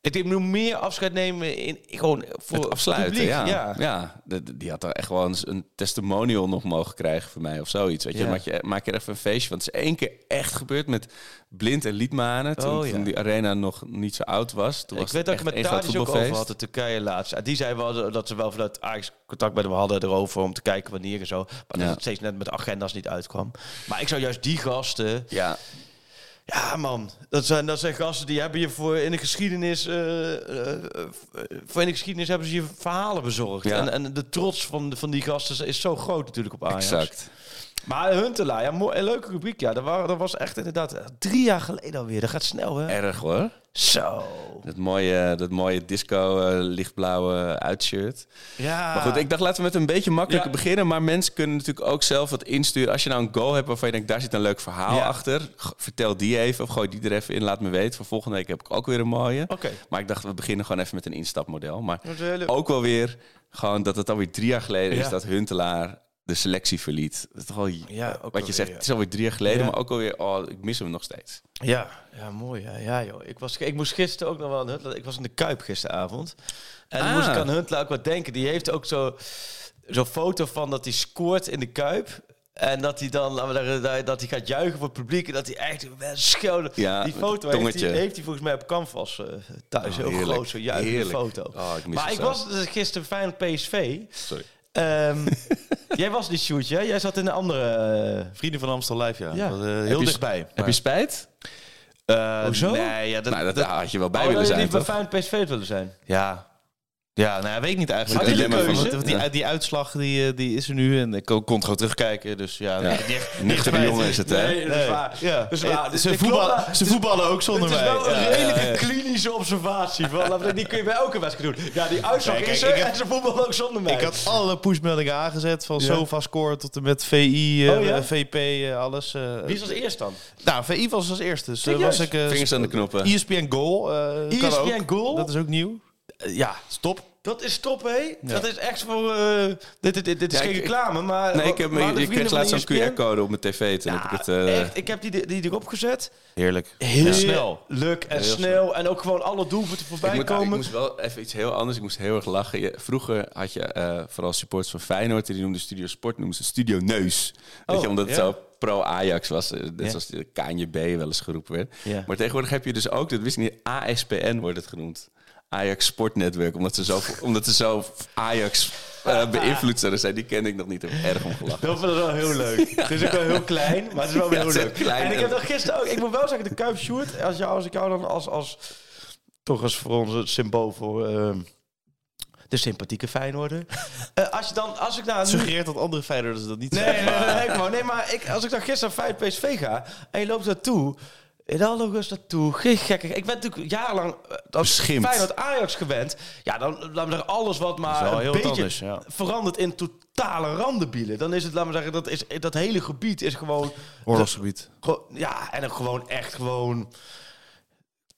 I: Ik denk, moet meer afscheid nemen in gewoon voor
H: Het afsluiten,
I: publiek,
H: ja. ja.
I: ja.
H: de- de- die had er echt wel eens een testimonial nog mogen krijgen voor mij of zoiets. Weet je,
I: Ja.
H: Dan maak, je, maak je er even een feestje. Want het is één keer echt gebeurd met Blind en Liedmanen. Toen,
I: Oh, ja.
H: toen die arena nog niet zo oud was. Toen
I: Ik
H: was
I: weet dat
H: het
I: ik
H: echt
I: het
H: één
I: met
H: groot
I: Tadis ook over
H: voetbalfeest.
I: had in Turkije laatst. En Die zei wel dat ze wel vanuit Ajax contact met hem hadden erover om te kijken wanneer en zo. Maar
H: Ja.
I: dat het steeds net met agendas niet uitkwam. Maar ik zou juist die gasten,
H: Ja,
I: Ja, man. Dat zijn, dat zijn gasten die hebben je voor in de geschiedenis. eh, eh, voor in de geschiedenis hebben ze je verhalen bezorgd.
H: Ja.
I: En, en de trots van, van die gasten is zo groot natuurlijk op Ajax.
H: Exact.
I: Maar Huntelaar, ja, mooi, een leuke rubriek. Ja, dat, waren, dat was echt inderdaad eh, drie jaar geleden alweer. Dat gaat snel, hè?
H: Erg hoor.
I: Zo.
H: Dat mooie, dat mooie disco eh, lichtblauwe uitshirt.
I: Ja.
H: Maar goed, ik dacht laten we met een beetje makkelijker
I: Ah. Ja.
H: beginnen. Maar mensen kunnen natuurlijk ook zelf wat insturen. Als je nou een goal hebt waarvan je denkt, daar zit een leuk verhaal
I: Ja.
H: achter. g- Vertel die even of gooi die er even in. Laat me weten. Voor volgende week heb ik ook weer een mooie.
I: Oké.
H: Maar ik dacht, we beginnen gewoon even met een instapmodel. Maar
I: Dat is een hele-
H: ook wel weer gewoon dat het alweer drie jaar geleden
I: Ja.
H: is dat Huntelaar de selectie verliet. Dat is toch al,
I: Ja,
H: wat je
I: ook alweer,
H: zegt,
I: ja.
H: het is alweer drie jaar geleden.
I: Ja.
H: Maar ook alweer, oh, ik mis hem nog steeds.
I: Ja, ja mooi. Ja, ja joh. Ik, was, ik moest gisteren ook nog wel aan Huntelaar. Ik was in de Kuip gisteravond. En toen
H: Ah.
I: moest ik aan Huntelaar ook wat denken. Die heeft ook zo- zo'n foto van dat hij scoort in de Kuip. En dat hij dan laten we zeggen, dat- dat hij gaat juichen voor het publiek. En dat hij echt wel schouder.
H: Ja,
I: die
H: met het
I: foto heeft hij,
H: tongetje.
I: heeft hij volgens mij op canvas eh, thuis.
H: Oh,
I: heel
H: heerlijk.
I: groot, zo'n juichende
H: Heerlijk.
I: foto.
H: Oh, ik mis
I: maar
H: het
I: ik
H: zo.
I: was dus gisteren fijn PSV.
H: Sorry.
I: Ehm, <laughs> jij was niet shootje, hè? Jij zat in een andere... eh,
J: Vrienden van Amstel Live, ja.
I: Ja.
J: Dat, eh,
H: Heb
J: heel
H: je-
J: dichtbij.
H: Heb
J: Maar-
H: je spijt?
J: Eh,
I: Hoezo?
J: Nee, ja, dat,
H: <laughs> nou, dat,
J: dat-
H: had je wel bij
I: Oh,
H: willen
I: dat je
H: zijn,
I: niet bij
H: toch?
I: Feyenoord PSV had willen zijn.
J: Ja. Ja, nou, ja, weet ik niet eigenlijk.
I: Had je
J: Het
I: de
J: dilemma
I: keuze?
J: van- want die,
H: Ja.
J: die uitslag die, eh, die is er nu en ik kon kon het gewoon terugkijken. Dus ja, niet
H: Ja.
J: echt- niet echt
H: Nuchtere
J: bij-
H: jongen is het, hè?
I: Nee, dat is waar.
J: Ja. Eh,
I: Dat is waar. Dus
J: Ze,
I: ik geloof
J: voetballen,
I: dat-
J: ze voetballen ook zonder
I: Het is
J: mij.
I: wel een
J: Ja,
I: redelijke
J: ja, ja.
I: klinische observatie. Van, laten we- die kun je bij elke wedstrijd doen. Ja, die uitslag
J: Nee, kijk,
I: is er
J: ik heb-
I: en ze voetballen ook zonder mij.
J: Ik had alle pushmeldingen aangezet. Van
I: Ja.
J: sofa score tot en met VI, eh,
I: Oh, ja?
J: VP, eh, alles. eh.
I: Wie is als eerst dan?
J: Nou, VI was als eerste. Dus eh,
I: Serieus?
J: was ik, eh,
H: Vingers aan de knoppen.
J: ESPN Goal. eh, kan
H: E
I: ESPN
J: ook.
I: Goal?
J: Dat is ook nieuw.
H: Eh,
I: Ja,
J: Stop.
I: dat is top, hé. Dat is echt voor... eh, dit, dit, dit, dit is
H: Ja,
I: geen
H: ik-
I: reclame, maar...
H: Nee, ik, heb,
I: maar de
H: ik kreeg
I: vrienden
H: laatst
I: van E
H: zo'n
I: ESPN
H: QR-code op mijn tv. Toen heb ik het... eh,
I: Echt, ik heb die, die erop gezet.
J: Heerlijk.
I: Heel
J: snel.
I: Leuk en snel. En ook gewoon alle doelpunten voorbij
H: ik, moet, ik
I: komen.
H: moest wel even iets heel anders. Ik moest heel erg lachen. Je- vroeger had je eh, vooral supporters van Feyenoord. Die noemden Studio Sport, noemden ze Studio Neus. Weet je, omdat het
I: Oh, ja.
H: zo pro-Ajax was. eh, Net
I: Ja.
H: zoals de KNJB wel eens geroepen werd.
I: Ja.
H: Maar tegenwoordig heb je dus ook, dat wist ik niet, ASPN wordt het genoemd. Ajax Sportnetwerk. Omdat ze zo, <laughs> omdat ze zo Ajax
I: Ah.
H: eh, beïnvloed zouden zijn. Die ken ik nog niet. Heb ik erg om gelachen.
I: Dat vond ik wel
H: <laughs>
I: heel leuk. Het is ook wel heel klein, maar het is wel weer
H: Ja,
I: heel
H: het is
I: leuk.
H: heel klein
I: en ik
H: en-
I: heb dat gisteren ook. Ik moet wel zeggen, de Kuip Sjoerd, als, jou, als ik jou dan als, als toch als voor ons het symbool voor ehm, de sympathieke Feyenoorder. Eh, als je dan, als ik naar nu-
J: Suggereert dat andere Feyenoorders dat niet
I: Nee,
J: zijn.
I: nee, nee, nee, nee, maar, nee, maar ik, als ik dan gisteren naar Feyenoord PSV ga en je loopt daartoe. In alle rust naartoe. Geen gekke. Ik ben natuurlijk jarenlang eh, als
J: Beschimpt.
I: Feyenoord Ajax gewend. Ja, dan laten we er alles wat maar
J: wel
I: een
J: heel wat
I: beetje
J: anders, ja.
I: verandert in totale randenbielen. Dan is het, laten we zeggen, dat, is, dat hele gebied is gewoon...
J: Oorlogsgebied.
I: Gewoon- ja, en ook gewoon echt gewoon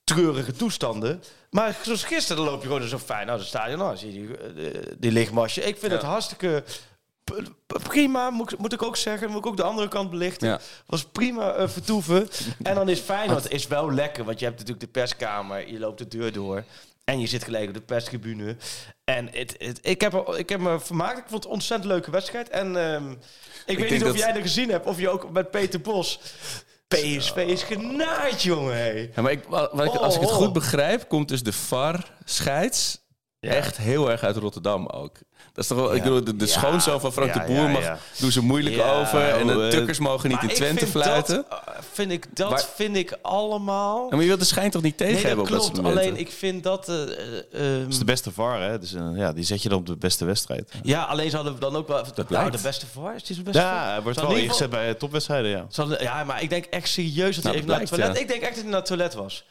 I: treurige toestanden. Maar zoals gisteren dan loop je gewoon in zo'n fijn uit het stadion. Nou, dan zie je die, eh, die lichtmasje. Ik vind het hartstikke p- p- prima, moet, ik- moet ik ook zeggen. Moet ik ook de andere kant belichten.
H: Ja.
I: Was prima
H: <laughs>
I: eh, vertoeven. en dan is Feyenoord is wel lekker. Want je hebt natuurlijk de perskamer. Je loopt de deur door. En je zit gelijk op de perstribune. En het, het, ik, heb, er- ik heb me vermaakt. Ik vond het een ontzettend leuke wedstrijd. En ehm, ik, weet
H: denk
I: niet of
H: dat-
I: jij er gezien hebt. Of je ook met Peter Bos... PSV is genaaid, jongen. hé.
H: Ja, maar ik, wa- wat ik-
I: Oh,
H: als ik het
I: oh.
H: goed begrijp, komt dus de VAR-scheids echt heel erg uit Rotterdam ook. Dat is toch wel, ik bedoel, de, de
I: Ja.
H: schoonzoon van Frank
I: Ja,
H: de Boer
I: ja,
H: mag,
I: ja.
H: doen ze moeilijk
I: Ja,
H: over. En
I: hoe,
H: de
I: eh,
H: tukkers mogen niet
I: Maar
H: in
I: ik
H: Twente
I: vind
H: fluiten.
I: Dat, eh, vind ik, dat
H: Waar-
I: vind ik allemaal...
H: Ja, maar je wilt de schijn toch niet tegen
I: Nee,
H: hebben
I: dat
H: op dat
I: klopt.
H: soort momenten?
I: Alleen ik vind dat... eh, eh, ehm,
J: Dat is de beste VAR, hè? Dus, eh, ja, die zet je dan op de beste wedstrijd.
I: ja, alleen zouden we dan ook wel... Dat
H: blijkt.
I: de beste voor. Is die de beste
J: Ja,
I: voor?
J: hij wordt
I: Zou
J: wel
I: in ieder
J: ingezet bij eh, topwedstrijden, ja.
I: geval- zou- ja, maar ik denk echt serieus dat hij
H: Nou, dat
I: even naar het
H: blijkt,
I: toilet... Ik denk echt dat hij naar het toilet was.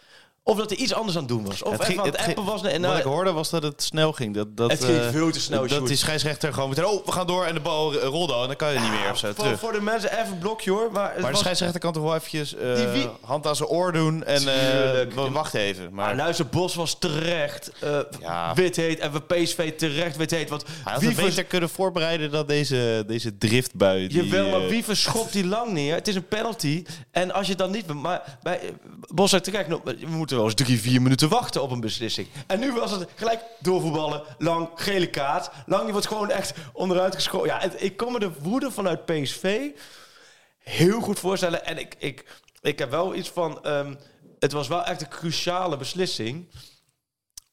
I: Of dat hij iets anders aan het doen was. Of
J: Het
I: even
J: ging-
I: aan het
J: het ging-
I: appen was. En,
J: Wat ik
I: nou,
J: hoorde was dat het snel ging. Dat, dat,
I: Het ging
J: eh,
I: veel te snel,
J: Dat
I: Sjoerd.
J: die scheidsrechter gewoon meteen... Oh, we gaan door en de bal eh, rolde al. En dan kan je niet meer of zo,
I: voor,
J: terug.
I: voor de mensen even een blokje hoor. Maar, het
J: Maar de
I: was-
J: scheidsrechter kan toch wel eventjes eh,
I: Die wie-
J: hand aan zijn oor doen en eh,
I: Tuurlijk. Ah, nou,
J: we wachten even. Maar
I: Maar luister, Bos was terecht eh
J: Ja.
I: wit heet. En we PSV terecht wit heet. Want
J: hij had
I: wie
J: het beter kunnen voorbereiden dan deze, deze driftbui. Die,
I: Jawel, maar
J: eh,
I: wie verschopt die lang neer? Het is een penalty. En als je het dan niet... Maar bij eh, Bos zegt, kijk, nou, we moeten wel eens drie, vier minuten wachten op een beslissing. En nu was het gelijk doorvoetballen, lang, gele kaart. Lang, die wordt gewoon echt onderuit geschoten. Ja, het- ik kom me de woede vanuit PSV heel goed voorstellen. En ik, ik, ik heb wel iets van... ehm, het was wel echt een cruciale beslissing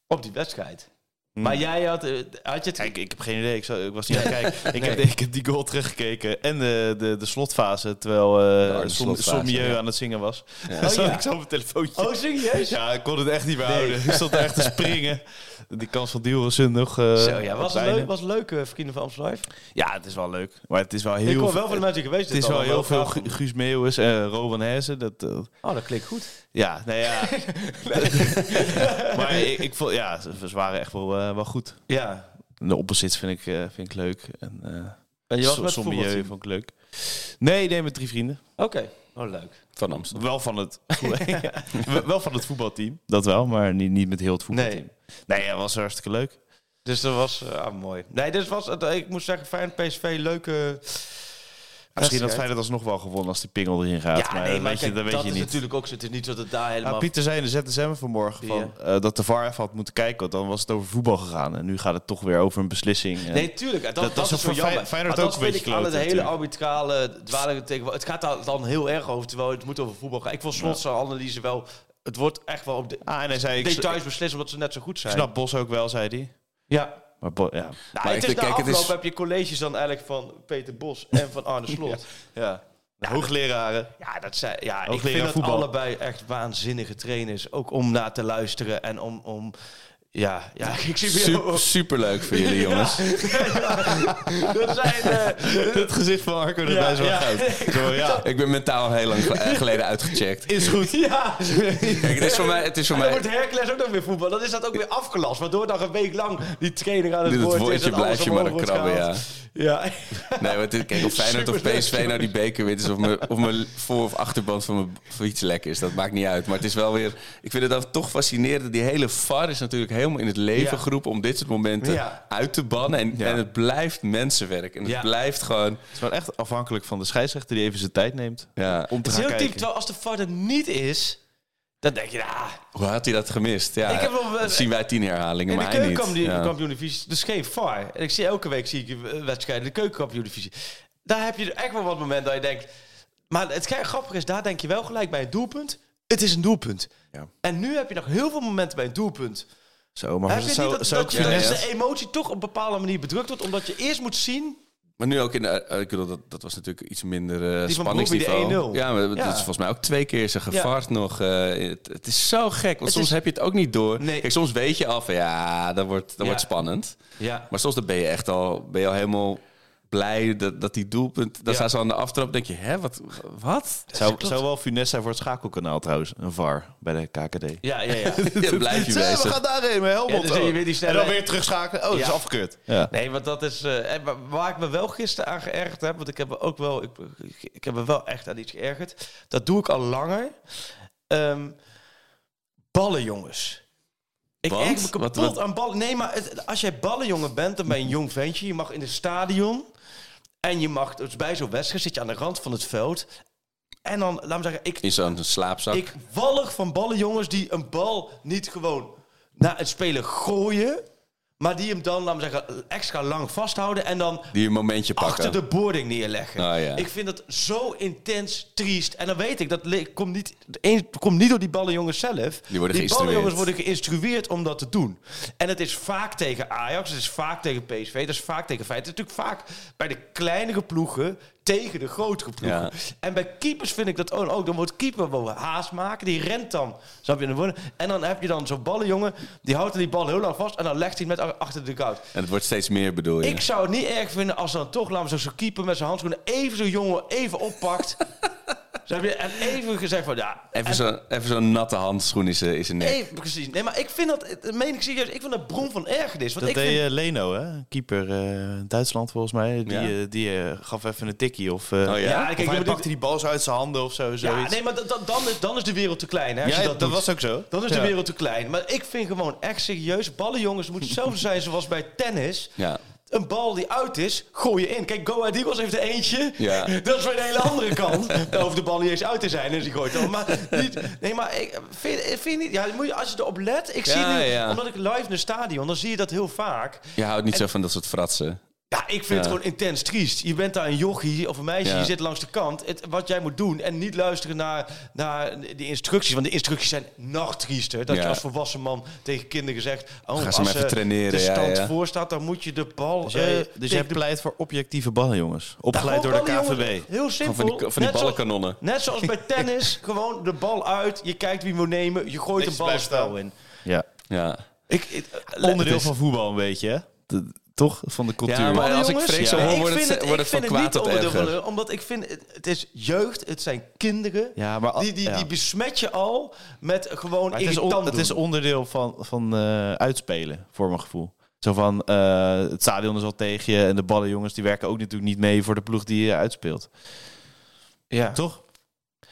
I: op die wedstrijd. Maar jij had, eh, had je het...
C: Hmm. Kijk, ik heb geen idee. Ik, zou- ik was niet aan
I: <laughs>
C: het kijken. Ik, heb, ik heb die goal teruggekeken. En de, de, de slotfase, terwijl eh
H: de
C: som-
H: slotfase,
C: Sommieu
H: ja.
C: aan het zingen was.
H: Ja.
C: <laughs> Dan
H: Oh,
C: zat
H: ja.
C: ik zo op mijn telefoontje.
I: Oh, serieus?
C: Ja, ik kon het echt niet meer houden. <laughs> Ik stond daar echt te springen. Die kans van Dielsen nog... eh
I: Zo, ja, was het
C: bijna.
I: leuk, was het leuk eh, Vrienden van Amsterdam Live?
C: Ja, het is wel leuk. eh, Maar het is wel heel
I: Ik hoor
C: veel-
I: wel van de mensen die geweest
C: Het is
I: zijn,
C: wel heel veel
I: graag.
C: Gu- Guus Meeuwis
J: eh,
C: en Rowan Hezen. Dat, eh,
I: Oh, dat klinkt goed.
C: ja, nou ja. maar ik, ik vond, ja, ze ze waren echt wel, eh, wel goed.
I: Ja.
C: De opposites vind ik, eh, vind ik leuk. En, eh
I: En je was
C: so-
I: met
C: Sommieu
I: voetbalteam?
C: vond ik leuk. Nee, nee, met drie vrienden.
I: Oké. Oh, leuk.
H: Van Amsterdam.
C: Wel van <laughs> het, ja, <laughs> wel van het voetbalteam. Dat wel, maar niet, niet met heel het voetbalteam. Nee, nee dat was hartstikke leuk.
I: Dus dat was... eh, ah, mooi. Nee, dus was... het- ik moet zeggen, fijn PSV, leuke...
C: Misschien
I: wedstrijd.
C: dat Feyenoord alsnog wel gewonnen als die pingel erin gaat.
I: Ja,
C: maar
I: nee,
C: dat
I: maar
C: weet je,
I: kijk,
C: dat weet
I: dat
C: je
I: is
C: niet.
I: natuurlijk ook zo. Het is niet zo dat daar
C: Ja,
I: helemaal...
C: Pieter zei in de ZSM vanmorgen van, eh, dat de VAR even had moeten kijken, want dan was het over voetbal gegaan. En nu gaat het toch weer over een beslissing. En-
I: Nee, tuurlijk. Dat,
C: Dat-
I: dat,
C: dat is
I: is zo
C: voor
I: jammer.
C: Fey- Feyenoord
I: Maar
C: ook
I: dat
C: een
I: vind
C: beetje
I: ik aan het
C: kloten,
I: hele
C: natuurlijk.
I: arbitrale dwaling tegen. Het gaat daar dan heel erg over, terwijl het moet over voetbal gaan. Ik vond slot zijn analyse wel. Het wordt echt wel op de
C: Ah, en hij zei, ik,
I: details beslissen omdat ze net zo goed
C: ik
I: zijn.
C: snap Bos ook wel, zei hij.
I: Ja.
C: Maar Bo- ja.
I: Nou,
H: Maar
I: het
H: ik
I: is
H: denk,
I: na
H: kijk, het
I: afloop
H: is-
I: heb je colleges dan eigenlijk van Peter Bos en van Arne Slot. Nou,
C: ja. Hoogleraren.
I: Ja, dat zijn, ja ik
C: Hoogleraar
I: vind dat
C: voetbal.
I: allebei echt waanzinnige trainers. Ook om naar te luisteren en om... om ja, ja, ik <laughs> zie weer...
H: Super, superleuk voor
I: <laughs>
H: jullie, jongens.
I: Dat zijn... <laughs> eh,
C: Het gezicht van Arco erbij is wel
I: ja.
C: goud.
I: <laughs>
C: Zo, ja.
H: Ik ben mentaal heel lang gel- geleden uitgecheckt.
C: Is goed.
I: ja,
H: Kijk, het is voor mij... Het is voor
I: En
H: mij
I: dan wordt Hercules ook nog weer voetbal. Dan is dat ook weer afgelast. Waardoor dan een week lang die trainer aan het
H: Dit het
I: woord is.
H: woordje
I: en alles
H: blijf je
I: omhoog
H: maar
I: wordt
H: krabben, ja.
I: gehaald. ja.
H: Nee, want dit-
I: <laughs>
H: kijk, of Feyenoord of
I: Superleuk,
H: PSV nou die beker wint... is of mijn, of mijn voor- of achterband van mijn fiets lek is. Dat maakt niet uit. Maar het is wel weer... Ik vind het dan toch fascinerend. Die hele VAR is natuurlijk helemaal in het leven
I: Ja.
H: geroepen... om dit soort momenten
I: Ja.
H: uit te bannen. En, en het blijft mensenwerk. En het
I: Ja.
H: blijft gewoon...
C: Het is wel echt afhankelijk van de scheidsrechter die even zijn tijd neemt.
H: Ja.
C: Om te
I: Het is
C: gaan
I: heel diep.
C: kijken.
I: Terwijl als de VAR er niet is, dan denk je, nou,
H: Hoe had hij dat gemist? Ja,
I: Ik heb wel-
H: dat zien wij tien herhalingen,
I: in de
H: maar hij niet. Ja.
I: keukenkampioen-divisie, dus geen VAR. En ik zie elke week zie ik eh, wedstrijden in de keukenkampioen-divisie. Daar heb je echt wel wat momenten dat je denkt... Maar het ge- grappige is, daar denk je wel gelijk bij een doelpunt. Het is een doelpunt.
H: Ja.
I: En nu heb je nog heel veel momenten bij een doelpunt.
C: Zo, maar
I: Heb je
C: zo,
I: niet dat,
C: zo
I: dat,
H: ja,
I: dat
H: ja.
I: de emotie toch op een bepaalde manier bedrukt wordt? Omdat je eerst moet zien
H: Maar nu ook in de... eh, Ik bedoel, dat, dat was natuurlijk iets minder eh
I: Die van
H: spanningsniveau.
I: Brobbey, de 1-0.
H: ja, maar dat
I: Ja.
H: is volgens mij ook twee keer zijn
I: Ja.
H: gevaart nog. eh, het, het is zo gek, want soms
I: is-
H: heb je het ook niet door.
I: Nee.
H: Kijk, soms weet je al van ja, dat wordt, dat
I: Ja.
H: wordt spannend.
I: Ja.
H: Maar soms dan ben je echt al, ben je al helemaal blij dat, dat die doelpunt... Dan
I: Ja.
H: staan ze aan de aftrap denk je, hè, wat? wat?
C: zou, zou wel funest zijn voor het schakelkanaal trouwens. Een VAR bij de KKD.
I: Ja, ja, <laughs>
C: <laughs>
I: ja.
H: Ja, blijf je
C: Zo, we
H: bezig.
C: gaan daarheen met Helmond.
I: Ja, dan zie je
C: Oh.
I: weer die
C: en
I: snelle-
C: dan weer terugschakelen. Oh, dat is
I: Ja.
C: afgekeurd. Ja.
I: Nee, want dat is... eh, en wa- waar ik me wel gisteren aan geërgerd heb... Want ik heb me ook wel... Ik, ik heb me wel echt aan iets geërgerd. Dat doe ik al langer. Ehm, ballen, jongens. Ik
H: Want?
I: erg me kapot
H: Wat- wat-
I: aan ballen. Nee, maar het- als jij ballenjongen bent, dan ben je een jong ventje. Je mag in het stadion. En je mag... Dus bij zo'n wedstrijd zit je aan de rand van het veld. En dan, laat me zeggen... Ik
H: In zo'n slaapzak.
I: Ik wallig van ballen, jongens, die een bal niet gewoon naar het spelen gooien. Maar die hem dan, laten we zeggen, extra lang vasthouden. En dan
H: die een momentje pakken.
I: achter de boarding neerleggen.
H: Ah, ja.
I: Ik vind dat zo intens triest. En dan weet ik, dat le- komt niet, een, komt niet door die ballenjongens zelf.
H: Die worden geïnstrueerd.
I: ballenjongens worden geïnstrueerd om dat te doen. En het is vaak tegen Ajax, het is vaak tegen PSV, het is vaak tegen Feyenoord. Het is natuurlijk vaak bij de kleinere ploegen tegen de grotere ploegen.
H: Ja.
I: En bij keepers vind ik dat ook. ook. Dan wordt keeper wel haast maken, die rent dan. Snap je? Dan worden- En dan heb je dan zo'n ballenjongen, die houdt die bal heel lang vast... en dan legt hij hem net a- achter de goud.
H: En het wordt steeds meer, bedoel je?
I: Ik zou het niet erg vinden als dan toch, laten we zo- zo'n keeper met zijn handschoenen even zo'n jongen even
C: <laughs>
I: oppakt. Ze hebben en even gezegd van ja.
H: Even
I: en-
H: zo'n even zo'n natte handschoen is zijn, in zijn nek.
I: Even, precies. Nee, maar ik vind dat, dat meen ik serieus, ik vind dat bron van ergernis. Want
C: Dat
I: ik vind,
C: deed eh, Leno, hè? keeper eh, Duitsland volgens mij. Die,
H: Ja.
C: eh, die eh, gaf even een tikkie. Of, eh,
H: Oh, ja?
C: of
H: Ja,
I: kijk,
C: hij
I: ik bedoel-
C: pakte die bal zo uit zijn handen of zo.
I: ja,
C: Zoiets.
I: nee, maar dat- dat- dan, is, dan is de wereld te klein. Hè, als
C: Ja,
I: je
C: dat,
I: dat doet.
C: was ook zo.
I: Dan is
C: Ja.
I: de wereld te klein. Maar ik vind gewoon echt serieus, ballenjongens moeten hetzelfde zijn zoals bij tennis.
H: Ja.
I: Een bal die uit is, gooi je in. Kijk, Go Ahead Eagles heeft er eentje.
H: Ja.
I: <laughs> Dat is weer een hele andere kant.
H: <laughs>
I: Dan hoeft de bal niet eens uit te zijn. Dus die gooit dan. Maar niet, nee, maar ik vind, vind je niet... Ja, moet je, als je erop let... Ik
H: Ja,
I: zie nu,
H: ja.
I: omdat ik live in het stadion, dan zie je dat heel vaak.
H: Je houdt niet zo van dat soort fratsen.
I: Ja, ik vind ja. het gewoon intens triest. Je bent daar een jochie of een meisje, ja. je zit langs de kant. Het, wat jij moet doen en niet luisteren naar, naar de instructies. Want de instructies zijn nog triester. Dat ja. je als volwassen man tegen kinderen zegt...
H: Oh, Ga ze maar even traineren.
I: de stand voor staat, dan moet je de bal... eh,
C: Dus jij, dus jij pleit voor objectieve ballen, jongens.
I: Oh,
C: Opgeleid door de KVB.
I: Heel simpel.
H: Van die, van die ballenkanonnen.
I: net zoals
H: <laughs>
I: bij tennis, gewoon de bal uit. Je kijkt wie moet nemen. Je gooit een balspel in.
C: Ja.
H: ja.
C: Ik, ik onderdeel van voetbal een beetje, hè? De, toch? Van de cultuur.
H: Ja, maar als ik Freek zo hoor, wordt het, wordt het van kwaad tot
I: erger. Omdat ik vind, het, het is jeugd, het zijn kinderen.
C: Ja, maar,
I: die, die,
C: ja.
I: die besmet je al met gewoon
C: maar het is, on, het is onderdeel van, van uh, uitspelen, voor mijn gevoel. Zo van, uh, het stadion is al tegen je en de ballenjongens die werken ook natuurlijk niet mee voor de ploeg die je uitspeelt.
I: Ja.
C: Toch?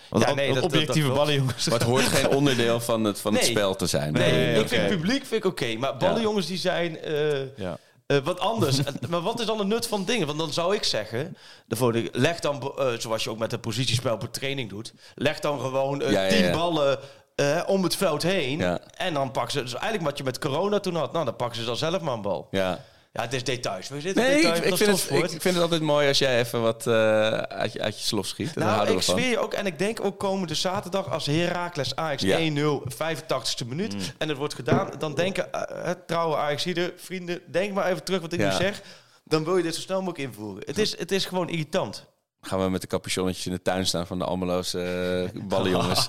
C: Want ja, nee, dat, objectieve dat, dat, ballenjongens.
H: Maar het hoort geen onderdeel van het, van nee. het spel te zijn.
I: Nee, nee ik okay. vind publiek vind ik oké. Okay, maar ballenjongens die zijn... Uh, ja. Uh, wat anders. <laughs> maar wat is dan de nut van dingen? Want dan zou ik zeggen, de volgende, leg dan, uh, zoals je ook met het positiespel op training doet, leg dan gewoon uh, ja, tien ja, ja. ballen eh, om het veld heen. En dan pakken ze, dus eigenlijk wat je met corona toen had, nou dan pakken ze dan zelf maar een bal.
H: Ja.
I: Ja, het is details. We
H: zitten nee, details, ik, ik, vind het, ik, vind het, altijd mooi als jij even wat eh, uit, je, uit je slof schiet.
I: Nou, houden ik zweer je ook. En ik denk ook komende zaterdag als Heracles Ajax 1-0, 85ste minuut. Mm. En het wordt gedaan. Dan denken uh, trouwe ajax vrienden, denk maar even terug wat ik ja. nu zeg. Dan wil je dit zo snel mogelijk invoeren. Het is, het is gewoon irritant.
H: Gaan we met de capuchonnetjes in de tuin staan van de Almeloos uh, ballenjongens.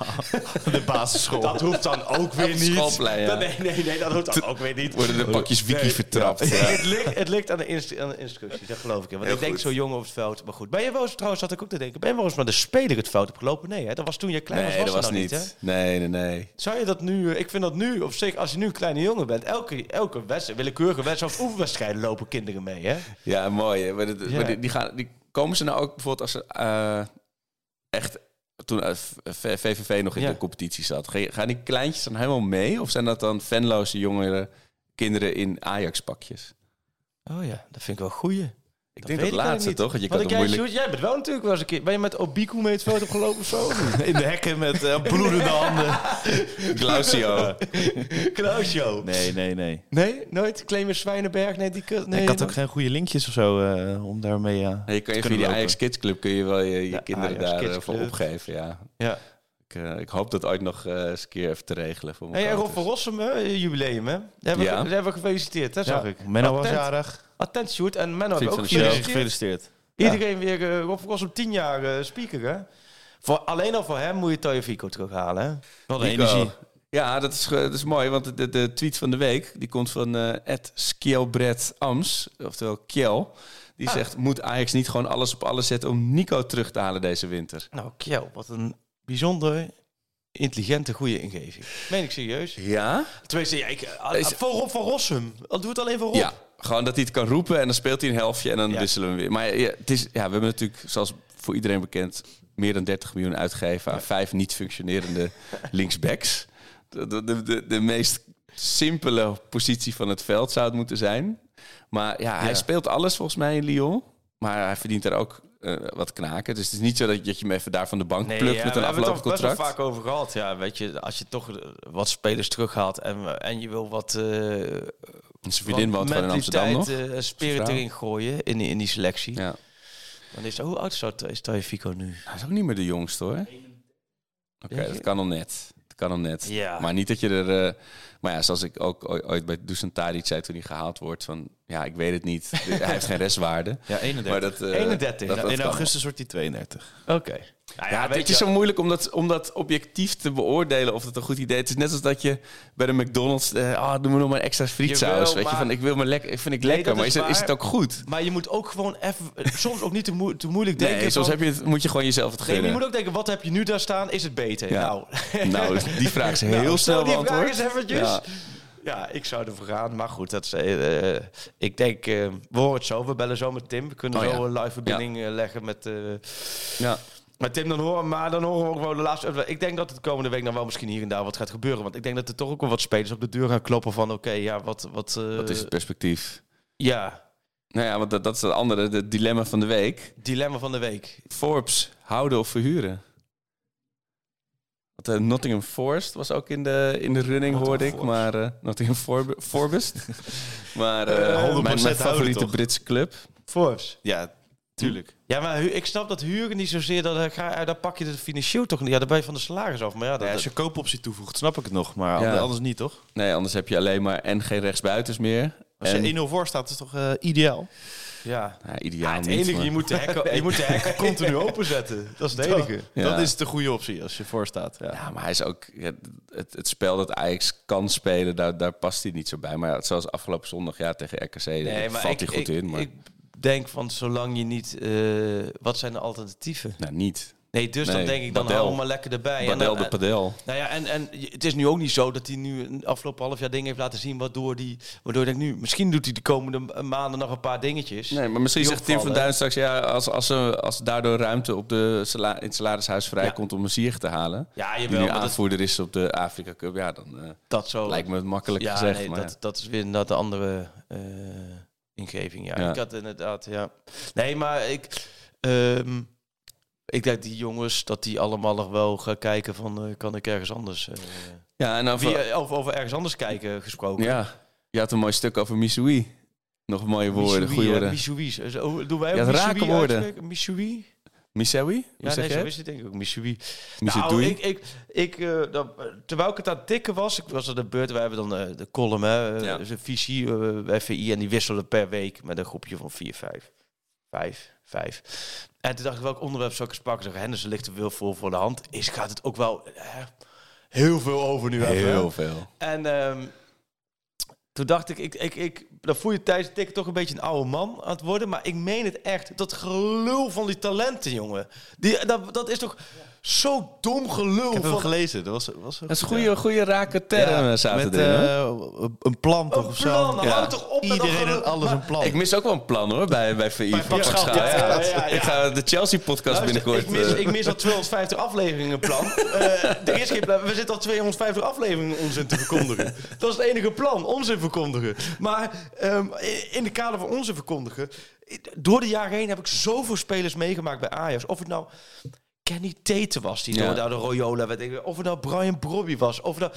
C: de basisschool.
I: Dat hoeft dan ook weer niet.
H: Ja.
I: Nee, nee, nee, dat hoeft dan ook weer niet.
H: Worden de pakjes wiki
I: <laughs>
H: nee. vertrapt.
I: Nee, ja. het, ligt, het ligt aan de, inst aan de instructies, dat geloof ik. In. Want Heel ik goed. denk zo jong op het veld. Maar goed, ben je wel eens, trouwens zat ik ook te denken, ben je wel eens maar de speler het fout opgelopen? Nee, hè? dat was toen je klein was,
H: nee, was,
I: dat
H: was
I: nou niet.
H: niet nee, nee, nee.
I: Zou je dat nu, eh, ik vind dat nu op zich, als je nu een kleine jongen bent, elke, elke wedstrijd, willekeurige wedstrijd of oefenwedstrijden lopen kinderen mee, hè?
H: Ja, mooi. Hè? Maar, dit, ja. maar die, die, gaan... Die, komen ze nou ook bijvoorbeeld als ze uh, echt toen uh, VVV nog in ja. de competitie zat, gaan die kleintjes dan helemaal mee? Of zijn dat dan fanloze jongeren, kinderen in <laughs> Ajax-pakjes?
I: Oh ja, dat vind ik wel goeie.
H: Ik dat denk dat laatste toch?
I: Want
H: je
I: kan
H: het
I: jij, moeilijk... Sjoerd, jij bent wel natuurlijk wel eens een keer. Ben je met Obiku mee het veld opgelopen of zo?
C: <laughs>
I: <laughs>
C: In de hekken met uh, bloedende handen.
H: Glausio.
I: Glausio.
C: Nee, nee, Dus- nee.
I: Nee, nooit. Claimer Zwijnenberg. Nee, die nee,
C: nee, ik had dan... ook geen goede linkjes of zo uh, om daarmee. Uh,
H: nee, je kan je via die Ajax Kids Club kun je wel je, je ja, kinderen daarvoor opgeven. Ja.
I: ja.
H: Ik, ik, hoop dat ooit nog eh, eens een keer even te regelen. Voor
I: hey, Rob van Rossum, jubileum hè? Daar hebben, ja. we, hebben we gefeliciteerd, hè, zag ik.
C: Menno was jarig
I: attent shoot. En Menno heeft ook
C: gefeliciteerd. gefeliciteerd.
I: Iedereen ja. weer, uh, Rob was op tien jaar uh, speaker, hè? Voor, alleen al voor hem moet je Toyo Fico terughalen, hè?
C: Wat een energie.
H: Ja, dat is, eh, dat is mooi, want de, de tweet van de week die komt van eh, uh, Ams, oftewel Kjell. Die ah. zegt, moet Ajax niet gewoon alles op alles zetten om Nico terug te halen deze winter?
I: Nou, Kjell, wat een bijzonder intelligente, goede ingeving. Meen ik serieus?
H: Ja?
I: Tenminste, ja, ik, is, voor Rob van Rossum. Dat doet alleen voor Rob.
H: Ja, gewoon dat hij het kan roepen en dan speelt hij een helftje en dan ja. wisselen we weer. Maar ja, het is, ja, we hebben natuurlijk, zoals voor iedereen bekend, meer dan 30 miljoen uitgegeven aan ja. vijf niet functionerende <laughs> linksbacks. De, de, de, de, meest simpele positie van het veld zou het moeten zijn. Maar ja, hij speelt alles volgens mij in Lyon. Maar hij verdient daar ook uh, wat knaken. Dus het is niet zo dat je, dat je hem even daar van de bank nee, plukt ja, met een aflopend contract.
I: Daar hebben het vaak over gehad. Ja, weet je, als je toch wat spelers terughaalt en, en je wil wat... Uh,
C: eh,
H: zijn vriendin woont in Amsterdam nog.
I: Uh, spirit erin gooien in, in die selectie. Ja. Dan is, hoe oud is Taje Fico nu?
H: Hij is ook niet meer de jongste hoor. Oké, okay, dat kan al net. Dat kan al net.
I: Ja.
H: Maar niet dat je er... Uh, maar ja, zoals ik ook ooit bij Dusan Tadic zei toen hij gehaald wordt van... Ja, ik weet het niet. hij heeft geen restwaarde.
C: Ja, 31.
H: Maar dat, eh,
I: uh, 31. Dat,
C: eh, dat in augustus wordt hij 32.
I: Oké. Okay.
H: Nou ja, ja het is zo moeilijk om dat, om dat objectief te beoordelen of het een goed idee is. Het is net als dat je bij de McDonald's, ah, uh, oh, doen we nog maar extra frietsaus. weet je, van ik wil me lekker, vind ik lekker, nee, maar is, is, het, is, het ook goed?
I: Maar je moet ook gewoon even, eh, soms ook niet te, mo te moeilijk denken.
H: Nee, soms heb je het, moet je gewoon jezelf het geven.
I: Nee, je moet ook denken, wat heb je nu daar staan? Is het beter? Ja. Nou.
H: nou, die vraag is heel nou, snel beantwoord.
I: Die vraag is eventjes. Ja. Ja, ik zou ervoor gaan. Maar goed, dat is, uh, ik denk, uh, we horen het zo. We bellen zo met Tim. We kunnen oh, zo ja. een live verbinding ja. leggen met... Uh,
H: ja.
I: Maar Tim, dan horen, maar dan horen we ook wel de laatste... Ik denk dat het komende week dan wel misschien hier en daar wat gaat gebeuren. Want ik denk dat er toch ook wel wat spelers op de deur gaan kloppen van... Oké, okay, ja, wat... Wat, eh,
H: wat is het perspectief?
I: Ja.
H: Nou ja, want dat, dat is het andere. Het dilemma van de week.
I: Dilemma van de week.
H: Forbes, houden of verhuren? Want, uh, Nottingham Forest was ook in de, in de running, Not hoorde ik. Forest. Maar eh,
I: <laughs> Eh,
H: uh, Nottingham Forest. maar uh, mijn, mijn, favoriete Britse club.
I: Forbes.
C: Ja, tuurlijk.
I: Ja, maar Hu- ik snap dat huren niet zozeer, dat, eh, ga, eh, daar pak je het financieel toch niet. Ja, daar ben je van de salaris af. Maar ja, dat, dus
C: Ja, als je koopoptie toevoegt, snap ik het nog. Maar
H: Ja.
C: anders niet, toch?
H: Nee, anders heb je alleen maar en geen rechtsbuiters meer.
C: Als
H: En-
C: je 1-0 voor staat, is toch eh, ideaal?
I: ja.
H: Ja, ideaal
I: het
H: niet,
I: enige,
H: maar-
I: je moet de
H: <laughs>
I: hekken, je moet de hekken continu openzetten. Dat is het
C: Dat-
I: enige.
H: Ja.
C: Dat is de goede optie als je voor staat. Ja.
H: Ja, maar hij is ook... ja, het, het spel dat Ajax kan spelen, daar, daar past hij niet zo bij. Maar zoals afgelopen zondag ja, tegen RKC, daar valt hij goed in. Maar
I: ik denk van, zolang je niet... eh, wat zijn de alternatieven?
H: nou, niet.
I: Nee, dus dan
H: Nee,
I: denk ik, dan
H: Badel.
I: hou hem maar lekker erbij. En
H: Padel
I: dan,
H: de padel.
I: Nou ja, en, en je- het is nu ook niet zo dat hij nu een afgelopen half jaar dingen heeft laten zien... waardoor, die, waardoor ik denk nu, misschien doet hij de komende ma- maanden nog een paar dingetjes.
H: Nee, maar misschien
I: Die
H: zegt Tim van
I: opvallen.
H: Duin straks... Ja, als, als, ze- als daardoor ruimte op de sala- in het salarishuis vrijkomt om een Ziyech te halen...
I: Ja,
H: die
I: jawel,
H: nu
I: maar dat,
H: aanvoerder is op de Afrika Cup... Ja, dan eh,
I: dat zo...
H: lijkt me het makkelijk
I: ja,
H: gezegd.
I: nee,
H: maar
I: dat,
H: ja.
I: dat is weer inderdaad de andere eh, ingeving. Ja.
H: Ja.
I: ik had inderdaad, ja. Nee, maar ik, ehm, ik denk die jongens dat die allemaal nog wel gaan kijken van eh, kan ik ergens anders. eh,
H: Ja, en over,
I: wie, eh, over, over ergens anders kijken gesproken.
H: eh, ja, je had een mooi stuk over Missoui. Nog mooie woorden,
I: eh,
H: goede woorden.
I: Missoui. Zo, Doen wij
H: Ja,
I: ook
H: het
I: Missoui
H: raken woorden.
I: uitspreken? Missoui?
H: Missoui? Hoe
I: Ja,
H: zeg
I: nee,
H: je
I: zo
H: het?
I: is het denk ik ook. Missoui. Nou,
H: Missoui?
I: ik, ik, ik, eh, dat- eh, terwijl ik het aan het tikken was, ik was aan de beurt. Wij hebben dan eh, de column, hè, eh,
H: Ja.
I: dus een visie eh, bij VI. En die wisselen per week met een groepje van vier, vijf. Vijf, vijf. En toen dacht ik, welk onderwerp zou ik eens pakken? Ik Zeg, Henderson ligt er wel voor voor de hand. Is, gaat het ook wel eh, heel veel over nu? even, hè?
H: Heel veel.
I: En ehm, toen dacht ik, ik, ik, ik, dan voel je tijdens het tikken toch een beetje een oude man aan het worden. Maar ik meen het echt. Dat gelul van die talenten, jongen. Die, dat, dat is toch zo dom gelul.
C: Ik heb hem
I: van,
C: gelezen. Dat was, was
H: Dat is een goede, goede rake term eh,
C: Met
H: zaterdag. hè?
C: eh, een plan toch
I: een
C: of zo.
I: plan, hou toch op met dat
C: Iedereen
I: gelul.
C: en alles
I: Maar-
C: een plan.
H: ik mis ook wel een plan hoor, bij, bij VI. van
I: Pak
H: Pak
I: Schaal.
H: Schaal.
I: Ja, ja, ja, ja.
H: Ik ga de Chelsea-podcast
I: Luister,
H: binnenkort...
I: ik, mis,
H: eh,
I: ik mis al 250 afleveringen
H: <laughs>
I: plan. Eh, er is geen plan. We zitten al 250 afleveringen onzin te verkondigen. Dat is het enige plan, onzin verkondigen. Maar ehm, i- in de kader van onzin verkondigen... i- Door de jaren heen heb ik zoveel spelers meegemaakt bij Ajax. Of het nou Kenny Tete was, die
H: Ja.
I: door daar de Royola werd. Ik- Of het nou Brian Brobby was. Of het nou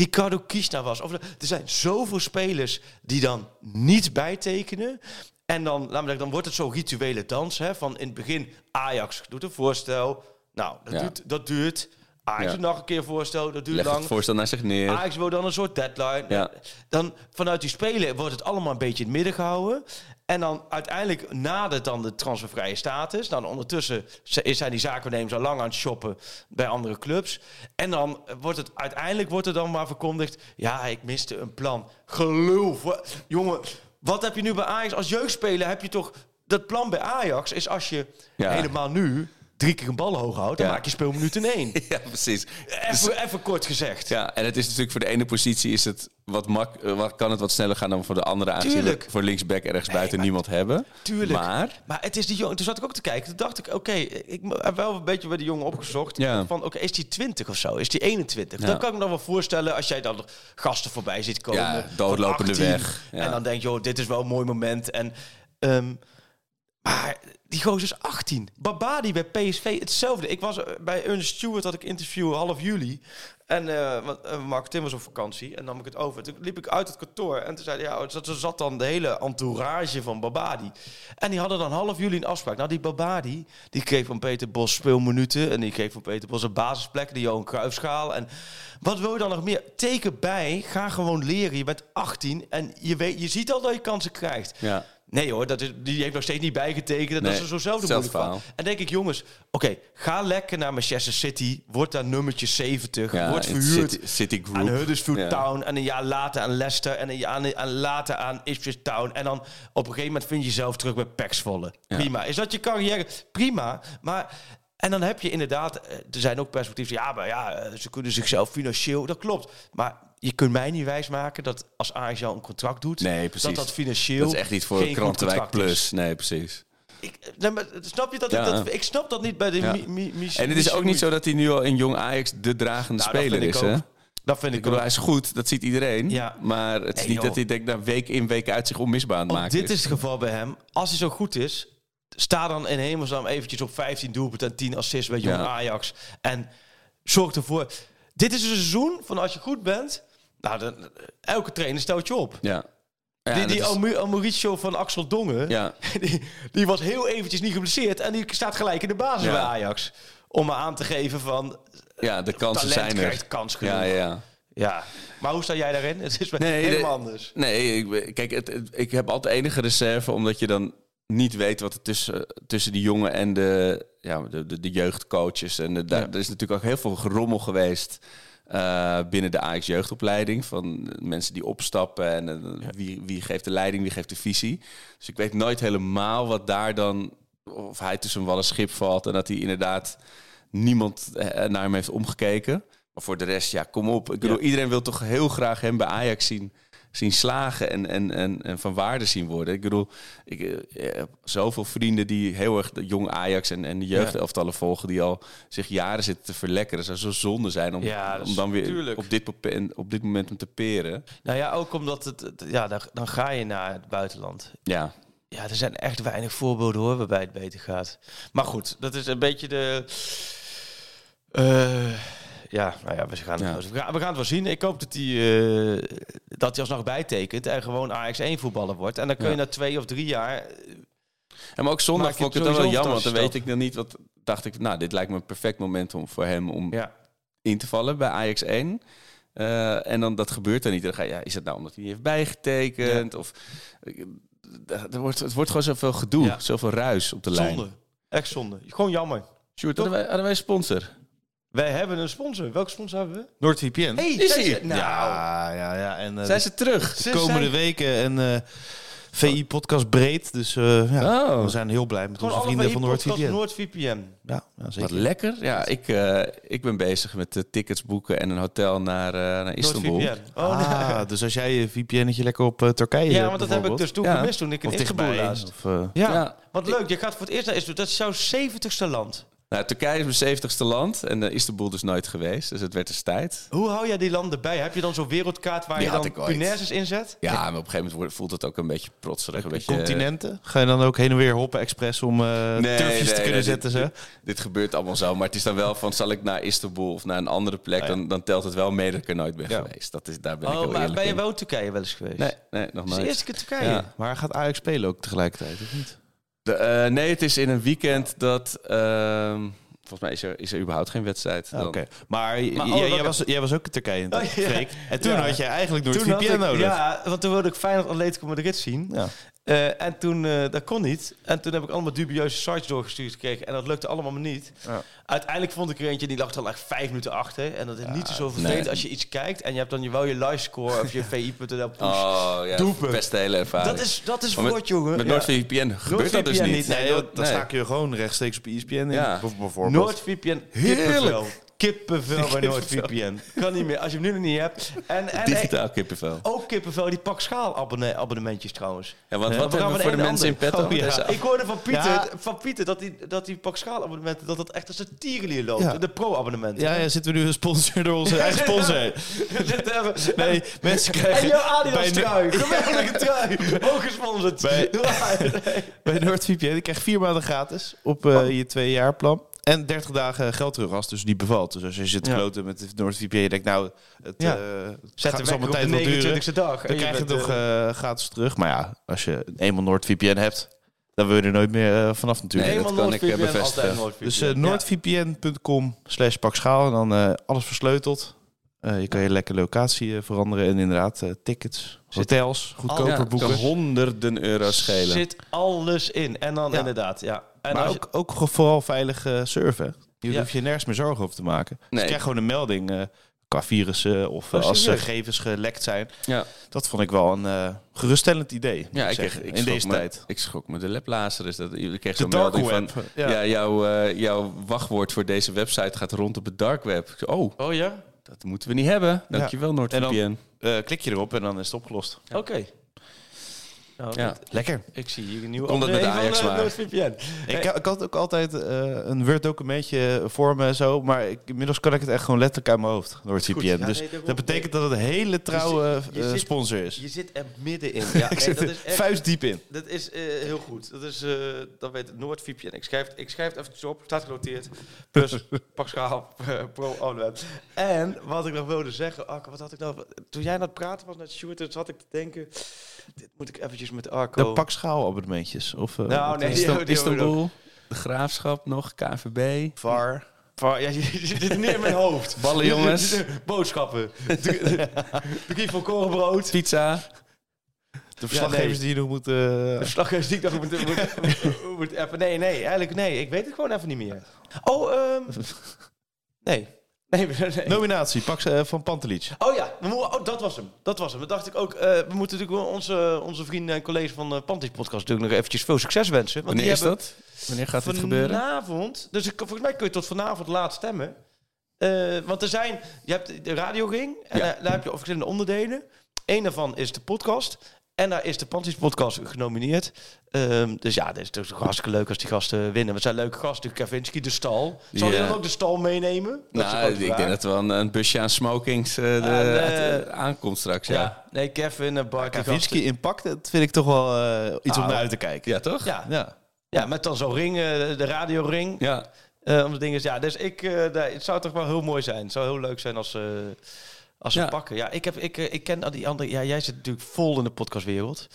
I: Ricardo Kiesna was. Of het- nou- er zijn zoveel spelers die dan niet bijtekenen. En dan, laat me zeggen, dan wordt het zo'n rituele dans. Hè, van in het begin, Ajax doet een voorstel. Nou, dat,
H: Ja.
I: duurt, dat duurt. Ajax
H: Ja.
I: doet nog een keer een voorstel. Dat duurt
H: leg
I: lang. Ah.
H: het voorstel naar zich neer.
I: Ajax wil dan een soort deadline.
H: Ja.
I: Dan vanuit die spelen wordt het allemaal een beetje in het midden gehouden. En dan uiteindelijk nadert dan de transfervrije status. Dan ondertussen z- zijn die zakennemers al lang aan het shoppen bij andere clubs. En dan wordt het uiteindelijk wordt er dan maar verkondigd... ja, ik miste een plan. Gelul. voor- Jongen, wat heb je nu bij Ajax? Als jeugdspeler heb je toch... Dat plan bij Ajax is als je
H: Ja.
I: helemaal nu drie keer een bal hoog houdt... dan
H: Ja.
I: maak je speelminuut in één.
H: <laughs> Ja, precies. <laughs> Dus-
I: Even, even kort gezegd.
H: ja, en het is natuurlijk voor de ene positie is het wat mak eh, wat, kan het wat sneller gaan dan voor de andere. aangezien we
I: Tuurlijk.
H: Voor linksback ergens buiten
I: maar-
H: niemand hebben.
I: Tuurlijk.
H: Maar
I: Maar het is die jongen. Toen zat ik ook te kijken. Toen dacht ik, oké, ik mo- heb wel een beetje bij de jongen opgezocht.
H: Ja.
I: Van, oké, is die 20 of zo? Is die 21?
H: Ja.
I: Dan kan ik me nog wel voorstellen als jij dan nog gasten voorbij ziet komen.
H: Ja, doodlopende
I: van 18.
H: weg. Ja.
I: En dan denk je, joh, dit is wel een mooi moment. En, ehm, maar die gozer is 18. Babadi bij PSV, hetzelfde. Ik was eh, bij Ernst Stewart, had ik interview half juli. En eh, want, eh, Mark Tim was op vakantie en nam ik het over. Toen liep ik uit het kantoor en toen zei hij, ja, er zat dan de hele entourage van Babadi. En die hadden dan half juli een afspraak. Nou, die Babadi, die kreeg van Peter Bos speelminuten. En die kreeg van Peter Bos een basisplek, de Johan Cruijffschaal. En wat wil je dan nog meer? Teken bij, ga gewoon leren. Je bent 18 en je, weet, je ziet al dat je kansen krijgt.
H: Ja.
I: Nee hoor, dat is, die heeft nog steeds niet bijgetekend. En
H: Nee,
I: dat is er zo zelf de
H: hetzelfde
I: moeilijk van.
H: verhaal.
I: En denk ik, jongens, oké, ga lekker naar Manchester City. Word daar nummertje 70.
H: ja,
I: word
H: in
I: verhuurd
H: City, City Group.
I: aan Huddersfield
H: Ja.
I: Town. En een jaar later aan Leicester. En een jaar aan- aan later aan Ipswich Town. En dan op een gegeven moment vind je jezelf terug bij Paxvolle. Prima. Is dat je carrière? Prima. Maar... En dan heb je inderdaad, eh, er zijn ook perspectieven. Ja, maar ja, eh, ze kunnen zichzelf financieel. Dat klopt. Maar je kunt mij niet wijsmaken dat als Ajax jou een contract doet,
H: Nee, precies.
I: dat dat financieel.
H: Dat is echt niet voor
I: geen goed
H: Krantenwijk
I: contract is.
H: Plus. Nee, precies.
I: Ik, nee, maar snap je dat,
H: Ja.
I: ik dat? Ik snap dat niet bij de
H: Ja.
I: mi, mi, mi-
H: En het is ook
I: Missouri.
H: niet zo dat hij nu al in jong Ajax de dragende
I: Nou, dat
H: speler
I: vind
H: is.
I: ik
H: Hè?
I: ook. Dat vind
H: Ik
I: ik ook.
H: bedoel, hij is goed, dat ziet iedereen.
I: Ja.
H: Maar het is
I: Nee,
H: niet
I: joh.
H: dat hij denkt, nou, week in, week uit zich onmisbaar aan het
I: Ook
H: maken
I: dit is het geval bij hem. Als hij zo goed is, sta dan in hemelsnaam eventjes op 15 doelpunten en 10 assists bij Jong
H: Ja.
I: Ajax. En zorg ervoor. Dit is een seizoen van als je goed bent. Nou, dan, elke trainer stelt je op.
H: Ja.
I: Ja, die die is... Mauricio van Axel Dongen, ja. <laughs> die, die was heel eventjes niet geblesseerd en die staat gelijk in de basis ja. bij Ajax. Om me aan te geven van...
H: Ja, de kansen zijn er.
I: krijgt kans genoeg.
H: Ja, ja.
I: Ja, maar hoe sta jij daarin? <laughs> Het is nee, helemaal de, anders.
H: Nee, ik, kijk, het, het, ik heb altijd enige reserve, omdat je dan niet weet wat er tussen, tussen die jongen en de, ja, de, de, de jeugdcoaches. En de, daar, ja. er is natuurlijk ook heel veel gerommel geweest uh, binnen de Ajax jeugdopleiding. Van mensen die opstappen en uh, ja. wie, wie geeft de leiding, wie geeft de visie. Dus ik weet nooit helemaal wat daar dan, of hij tussen wel een schip valt en dat hij inderdaad niemand eh, naar hem heeft omgekeken. Maar voor de rest, ja, kom op. Ik bedoel, ja. iedereen wil toch heel graag hem bij Ajax zien, zien slagen en, en, en, en van waarde zien worden. Ik bedoel, ik, ik heb zoveel vrienden die heel erg de jong Ajax en, en de jeugdelftallen ja. volgen, die al zich jaren zitten te verlekkeren. Het zou zo zonde zijn om, ja, om dan weer tuurlijk. op dit, op dit momentum te peren.
I: Nou ja, ook omdat het, ja, dan, dan ga je naar het buitenland.
H: Ja.
I: Ja, er zijn echt weinig voorbeelden hoor, waarbij het beter gaat. Maar goed, dat is een beetje de. Uh, ja, nou ja, we gaan, ja. We, gaan, we gaan het wel zien. Ik hoop dat hij, uh, dat hij alsnog bijtekent en gewoon AX1 voetballer wordt. En dan kun je ja. na twee of drie jaar... eh,
H: En maar ook zondag vond ik het wel jammer, want dan weet ik dan niet wat... Dacht ik, nou, dit lijkt me een perfect moment om, voor hem om ja. in te vallen bij AX1. Uh, en dan dat gebeurt er niet. Dan ga je, ja, is het nou omdat hij niet heeft bijgetekend? Of, eh, er wordt, het wordt gewoon zoveel gedoe, zoveel ruis op de
I: zonde.
H: lijn.
I: Echt zonde. Gewoon jammer.
H: Sjoerd, hadden wij, hadden wij sponsor?
I: Wij hebben een sponsor. Welke sponsor hebben we?
C: NordVPN.
I: Hey,
H: is hij?
I: Ze, nou.
C: Ja, Ah, ja, ja. En,
H: uh, zijn ze terug?
C: De komende zijn... weken en uh, VI podcast breed. Dus uh, ja, oh. we zijn heel blij met Gewoon onze vrienden van NordVPN.
I: NordVPN.
C: Ja, ja
H: zeker. Wat lekker. Ja, ik, eh, ik ben bezig met eh, tickets boeken en een hotel naar, eh, naar Istanbul.
C: NordVPN. Oh, ah, nou. dus als jij je VPN'tje lekker op eh, Turkije
I: Ja, want dat heb ik dus toen ja. gemist toen ik in Istanbul was.
C: eh,
I: Ja. ja. wat leuk. Je gaat voor het eerst naar Istanbul. Dat is jouw 70ste land.
H: Nou, Turkije is mijn 70ste land en uh, Istanbul dus nooit geweest. Dus het werd dus tijd.
I: Hoe hou jij die landen bij? Heb je dan zo'n wereldkaart waar die je dan punaises in zet?
H: Ja, maar op een gegeven moment voelt het ook een beetje protserig. Een beetje, eh,
C: Continenten? Ga je dan ook heen en weer hoppen expres om uh, nee, turfjes nee, te kunnen nee, zetten?
H: Dit,
C: ze?
H: Dit, dit, gebeurt allemaal zo. Maar het is dan wel van, zal ik naar Istanbul of naar een andere plek? Ah, ja. dan, dan, telt het wel mee dat ik er nooit ben ja. geweest. Dat is, daar ben
I: oh,
H: ik
I: heel maar ben je
H: in.
I: wel Turkije wel eens geweest?
H: Nee, nee nog nooit.
I: Dus de eerste keer Turkije? Ja.
C: Maar gaat Ajax spelen ook tegelijkertijd, of niet?
H: De, uh, nee, het is in een weekend dat. Uh, volgens mij is er, is er überhaupt geen wedstrijd.
C: Ah, Oké. Okay. Maar, maar oh, jij, was, jij was ook in Turkije in oh, ja. En toen ja. had je eigenlijk door toen het VPN
H: dus.
C: nodig.
I: Ja, want toen wilde ik Feyenoord Atletico Madrid zien. Ja. Uh, en toen, dat kon niet. En toen heb ik allemaal dubieuze sites doorgestuurd gekregen. En dat lukte allemaal maar niet. Ja. Uiteindelijk vond ik er eentje, die lag dan echt vijf minuten achter. En dat is niet zo vervelend nee. als je iets kijkt. En je hebt dan je wel je live score
H: <laughs>
I: of je vi.nl push.
H: Oh ja, Doepen. best hele ervaring.
I: Dat is, dat is voor
H: met,
I: jongen.
H: Met NordVPN ja. gebeurt NordVPN dat dus niet.
C: Nee, nee dat, dan nee. sta ik je gewoon rechtstreeks op E ESPN in, ja. bijvoorbeeld.
I: NordVPN, heerlijk kippenvel bij
H: <laughs>
I: NoordVPN. kan niet meer, als je hem nu nog niet hebt. En, en
H: Digitaal hey, kippenvel.
I: Ook kippenvel, die pak schaal abonne abonnementjes trouwens.
H: Ja, want ja, wat hebben we voor de mensen ander. in petto?
I: Oh, ja. Ik hoorde van Pieter, ja. van Pieter dat, die, dat die pak schaal abonnementen, dat dat echt als een tierenlier loopt. De pro-abonnementen. <laughs>
C: Ja, ja, zitten we nu een sponsor door <laughs> onze eigen sponsor. nee, mensen krijgen...
I: En jouw Adidas trui, geweldige trui. Ook gesponsord. <laughs>
C: Bij, bij NoordVPN, ik krijg vier maanden gratis op uh, je twee jaar plan. En 30 dagen geld terug als dus niet bevalt. Dus als je zit te kloten ja. met NordVPN, je denkt nou, het ja. uh,
I: zet er mijn tijd wel duren. e dag.
C: Dan krijg je het toch uh, gratis terug. Maar ja, als je eenmaal NordVPN hebt, dan wil je er nooit meer uh, vanaf natuurlijk.
I: Nee, dat kan ik eh, bevestigen.
C: Dus noordvpn.com slash pakschaal en dan eh, alles versleuteld. Uh, je kan je lekker locatie uh, veranderen en inderdaad uh, tickets, hotels, goedkoper ja, boeken.
H: honderden euro schelen.
I: Zit alles in. En dan ja. inderdaad, ja. En
C: maar ook, je... ook vooral veilig surfen. Je ja. hoef je nergens meer zorgen over te maken. Nee. Dus je krijgt gewoon een melding qua virussen of oh, als gegevens gelekt zijn. Ja. Dat vond ik wel een uh, geruststellend idee.
H: Ja, ik
C: kreeg, ik
H: in
C: deze
H: me,
C: tijd.
H: Ik schrok me de laplaser. Dus dat, ik kreeg zo'n melding web. van... Ja. ja jouw, uh, jouw wachtwoord voor deze website gaat rond op het dark web.
I: Oh, oh ja?
H: Dat moeten we
C: Eh,
H: niet hebben. Dankjewel, ja. NordVPN.
C: En dan uh, klik je erop en dan is het opgelost.
I: Ja. Oké. Okay. Nou, ja.
C: Lekker.
I: Ik zie hier een nieuwe eh,
H: Komt dat met Ajax maar.
I: VPN.
C: Ik, ik had ook altijd uh, een Word documentje voor me en zo, maar ik, inmiddels kan ik het echt gewoon letterlijk uit mijn hoofd door het
I: Goed,
C: VPN.
I: ja,
C: dus
I: nee, daarom.
C: dat betekent dat het een hele trouwe
I: Je zit- je
C: eh,
I: zit-
C: sponsor is.
I: Je zit er
C: <laughs>
I: middenin. Ja,
C: Ik
I: en
C: zit
I: dat
C: er
I: is echt-
C: vuistdiep in.
I: Dat is eh, heel goed. Dat is, eh dat weet het, NoordVPN. Ik schrijf, het- ik schrijf het eventjes op, staat genoteerd.
C: <laughs>
I: Plus Pascal eh, Pro Onweb. En wat ik nog wilde zeggen, Arco, wat had ik nou... Toen jij aan het praten was met Sjoerd, toen zat ik te denken... Dit moet ik eventjes met Arco...
C: De pak schaal abonnementjes. Of, eh,
I: Nou,
C: wat
I: nee,
C: is
I: die
C: dat?
I: hebben- die hebben we
H: Istanbul, de Graafschap nog, KVB.
C: VAR.
I: Van, ja, je zit dit neer in mijn hoofd. <laughs>
H: Ballen, jongens.
C: <laughs>
I: Boodschappen. De kiep voor korenbrood.
H: Pizza.
C: De verslaggevers
I: nee.
C: die je nog moeten...
I: De verslaggevers die ik nog moet, moet, moet appen. Nee, nee, eigenlijk nee. Ik weet het gewoon even niet meer. Oh, ehm nee. Nee, <laughs> nee.
C: Nominatie pak, eh, van Pantelic.
I: Oh ja, we moeten- oh, dat was hem. Dat was hem. Dat dacht ik ook. eh, we moeten natuurlijk wel onze, onze vrienden en collega's van de Panties Podcast natuurlijk nog eventjes veel succes wensen. Want
H: Wanneer is
I: hebben
H: dat? Wanneer gaat dit gebeuren?
I: Vanavond. Dus ik, volgens mij kun je tot vanavond laat stemmen. Eh, want er zijn... Je hebt de radio ging. En
H: Ja.
I: daar, daar heb je verschillende onderdelen. Eén daarvan is de podcast. En daar is de Panties Podcast genomineerd. Ehm, dus ja, dit is natuurlijk hartstikke leuk als die gasten winnen. We zijn leuke gasten. Kavinsky, de stal. Zal je
H: Ja.
I: dan ook de stal meenemen? Dat is de
H: Nou,
I: grote
H: ik
I: vraag.
H: denk dat er wel een, een busje aan smokings eh, de,
I: Ah, nee.
H: eh, aankomt straks. Ja,
I: Ja, nee, Kevin en Bart. die
C: Kavinski
I: gasten.
C: in pak, dat vind ik toch wel eh, iets om naar uit te kijken.
H: ja toch?
I: Ah, Ja,
C: Ja.
I: ja, met dan zo'n ring, eh, de radioring. Ja.
H: Ja.
I: om de dingen, ja, dus ik, eh, nee, het zou toch wel heel mooi zijn. Het zou heel leuk zijn als, ze als ze
H: Ja.
I: pakken. Ja, ik, heb, ik, eh, ik ken al die andere... Ja, jij zit natuurlijk vol in de podcastwereld.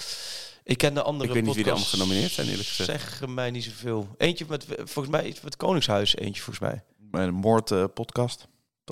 I: Ik ken de andere
H: Ik weet niet wie er
I: podcasts,
H: allemaal genomineerd zijn, eerlijk gezegd.
I: Zeggen mij niet zoveel. Eentje met, volgens mij, iets met Koningshuis. Eentje, volgens mij.
C: Mijn moord-podcast.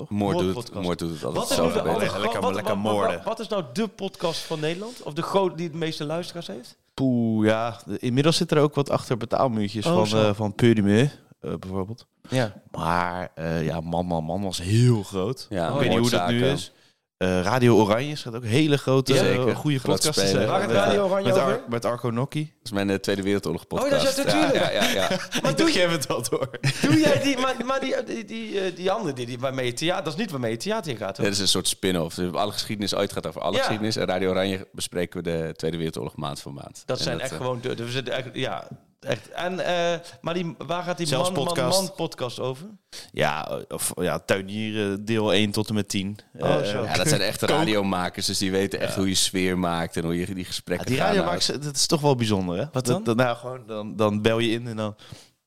H: Moord doet, het-
I: Moordpodcast.
H: Moord doet het altijd
I: Wat is,
H: zo.
I: nou de
H: geweldig.
I: andere,
C: lekker- lekker-
I: wat,
C: lekker
I: wat- wat-
C: moorden.
I: wat is nou de podcast van Nederland? Of de groot die het meeste luisteraars heeft?
C: Poeh, ja. de- Inmiddels zit er ook wat achter betaalmuurtjes
I: Oh,
C: van,
I: zo.
C: eh van Purime, eh, bijvoorbeeld.
I: Ja.
C: Maar eh, ja, Man Man Man was heel groot.
H: Ja,
C: ik weet niet hoe dat nu
H: moordzaken.
C: is. Eh, Radio Oranje gaat ook hele grote,
H: Ja,
C: eh,
H: zeker.
C: goede
H: Groot
C: podcasts.
H: speler.
C: zijn.
H: Waar
I: gaat
C: Met, eh,
I: Radio Oranje
C: met, Ar-
I: over?
C: met
I: <laughs>
C: Arco Nokki.
H: Dat is mijn eh, Tweede Wereldoorlog
I: Oh, dat
H: podcast.
I: is natuurlijk.
H: Ja, ja, ja, ja.
I: Maar doe
C: Doe
I: je,
C: jij het wel door?
I: Doe jij die, maar, maar die, die, die, eh, die andere, die, die waarmee je theater, dat is niet waarmee je theater in gaat. hoor.
H: Dit is een soort spin-off. Dus alle geschiedenis ooit gaat over alle
I: Ja.
H: geschiedenis. En Radio Oranje bespreken we de Tweede Wereldoorlog maand voor maand.
I: Dat
H: En
I: zijn echt
H: eh,
I: gewoon de, dus het- echt- ja, echt. En, eh, maar die, waar gaat die
C: Zelfs
I: man, man,
C: podcast.
I: man podcast over?
C: Ja, of ja, tuinieren deel 1 tot en met 10.
I: Oh,
C: Eh,
I: zo.
H: Ja, dat zijn echte radiomakers, dus die weten echt hoe je sfeer maakt en hoe je die
C: Ja,
H: gesprekken
C: die
H: gaan
C: radio
H: houden.
C: maakt, dat is toch wel bijzonder, hè? Wat dan? nou, gewoon, dan, dan bel je in en dan...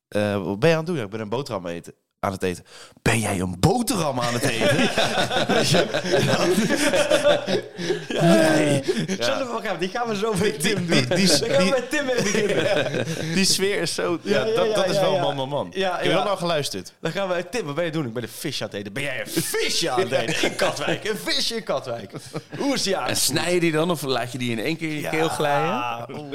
C: eh, wat ben je aan het doen? Ja, ik ben een boterham eten, aan het eten. Ben jij een boterham
I: <laughs>
C: aan het eten? Weet je? Nee.
I: Zullen we wel gaan, die gaan we zo met Tim doen.
C: die- die-
I: Dan gaan we
C: die-
I: met Tim mee beginnen.
C: Die sfeer is zo... Ja,
I: Ja, ja,
C: dat,
I: ja,
C: dat is
I: ja,
C: wel
I: ja.
C: man, man, man.
I: Ja,
C: Heb je
I: ja.
C: dat nou geluisterd?
I: Dan gaan we, Tim, wat ben je doen? Ik ben een visje aan het eten. Ben jij een visje aan het eten in Katwijk? Een visje in Katwijk. Hoe is die aan
H: En
I: het
H: snij je die dan of laat je die in één keer in je keel glijden?
I: Ah, oeh.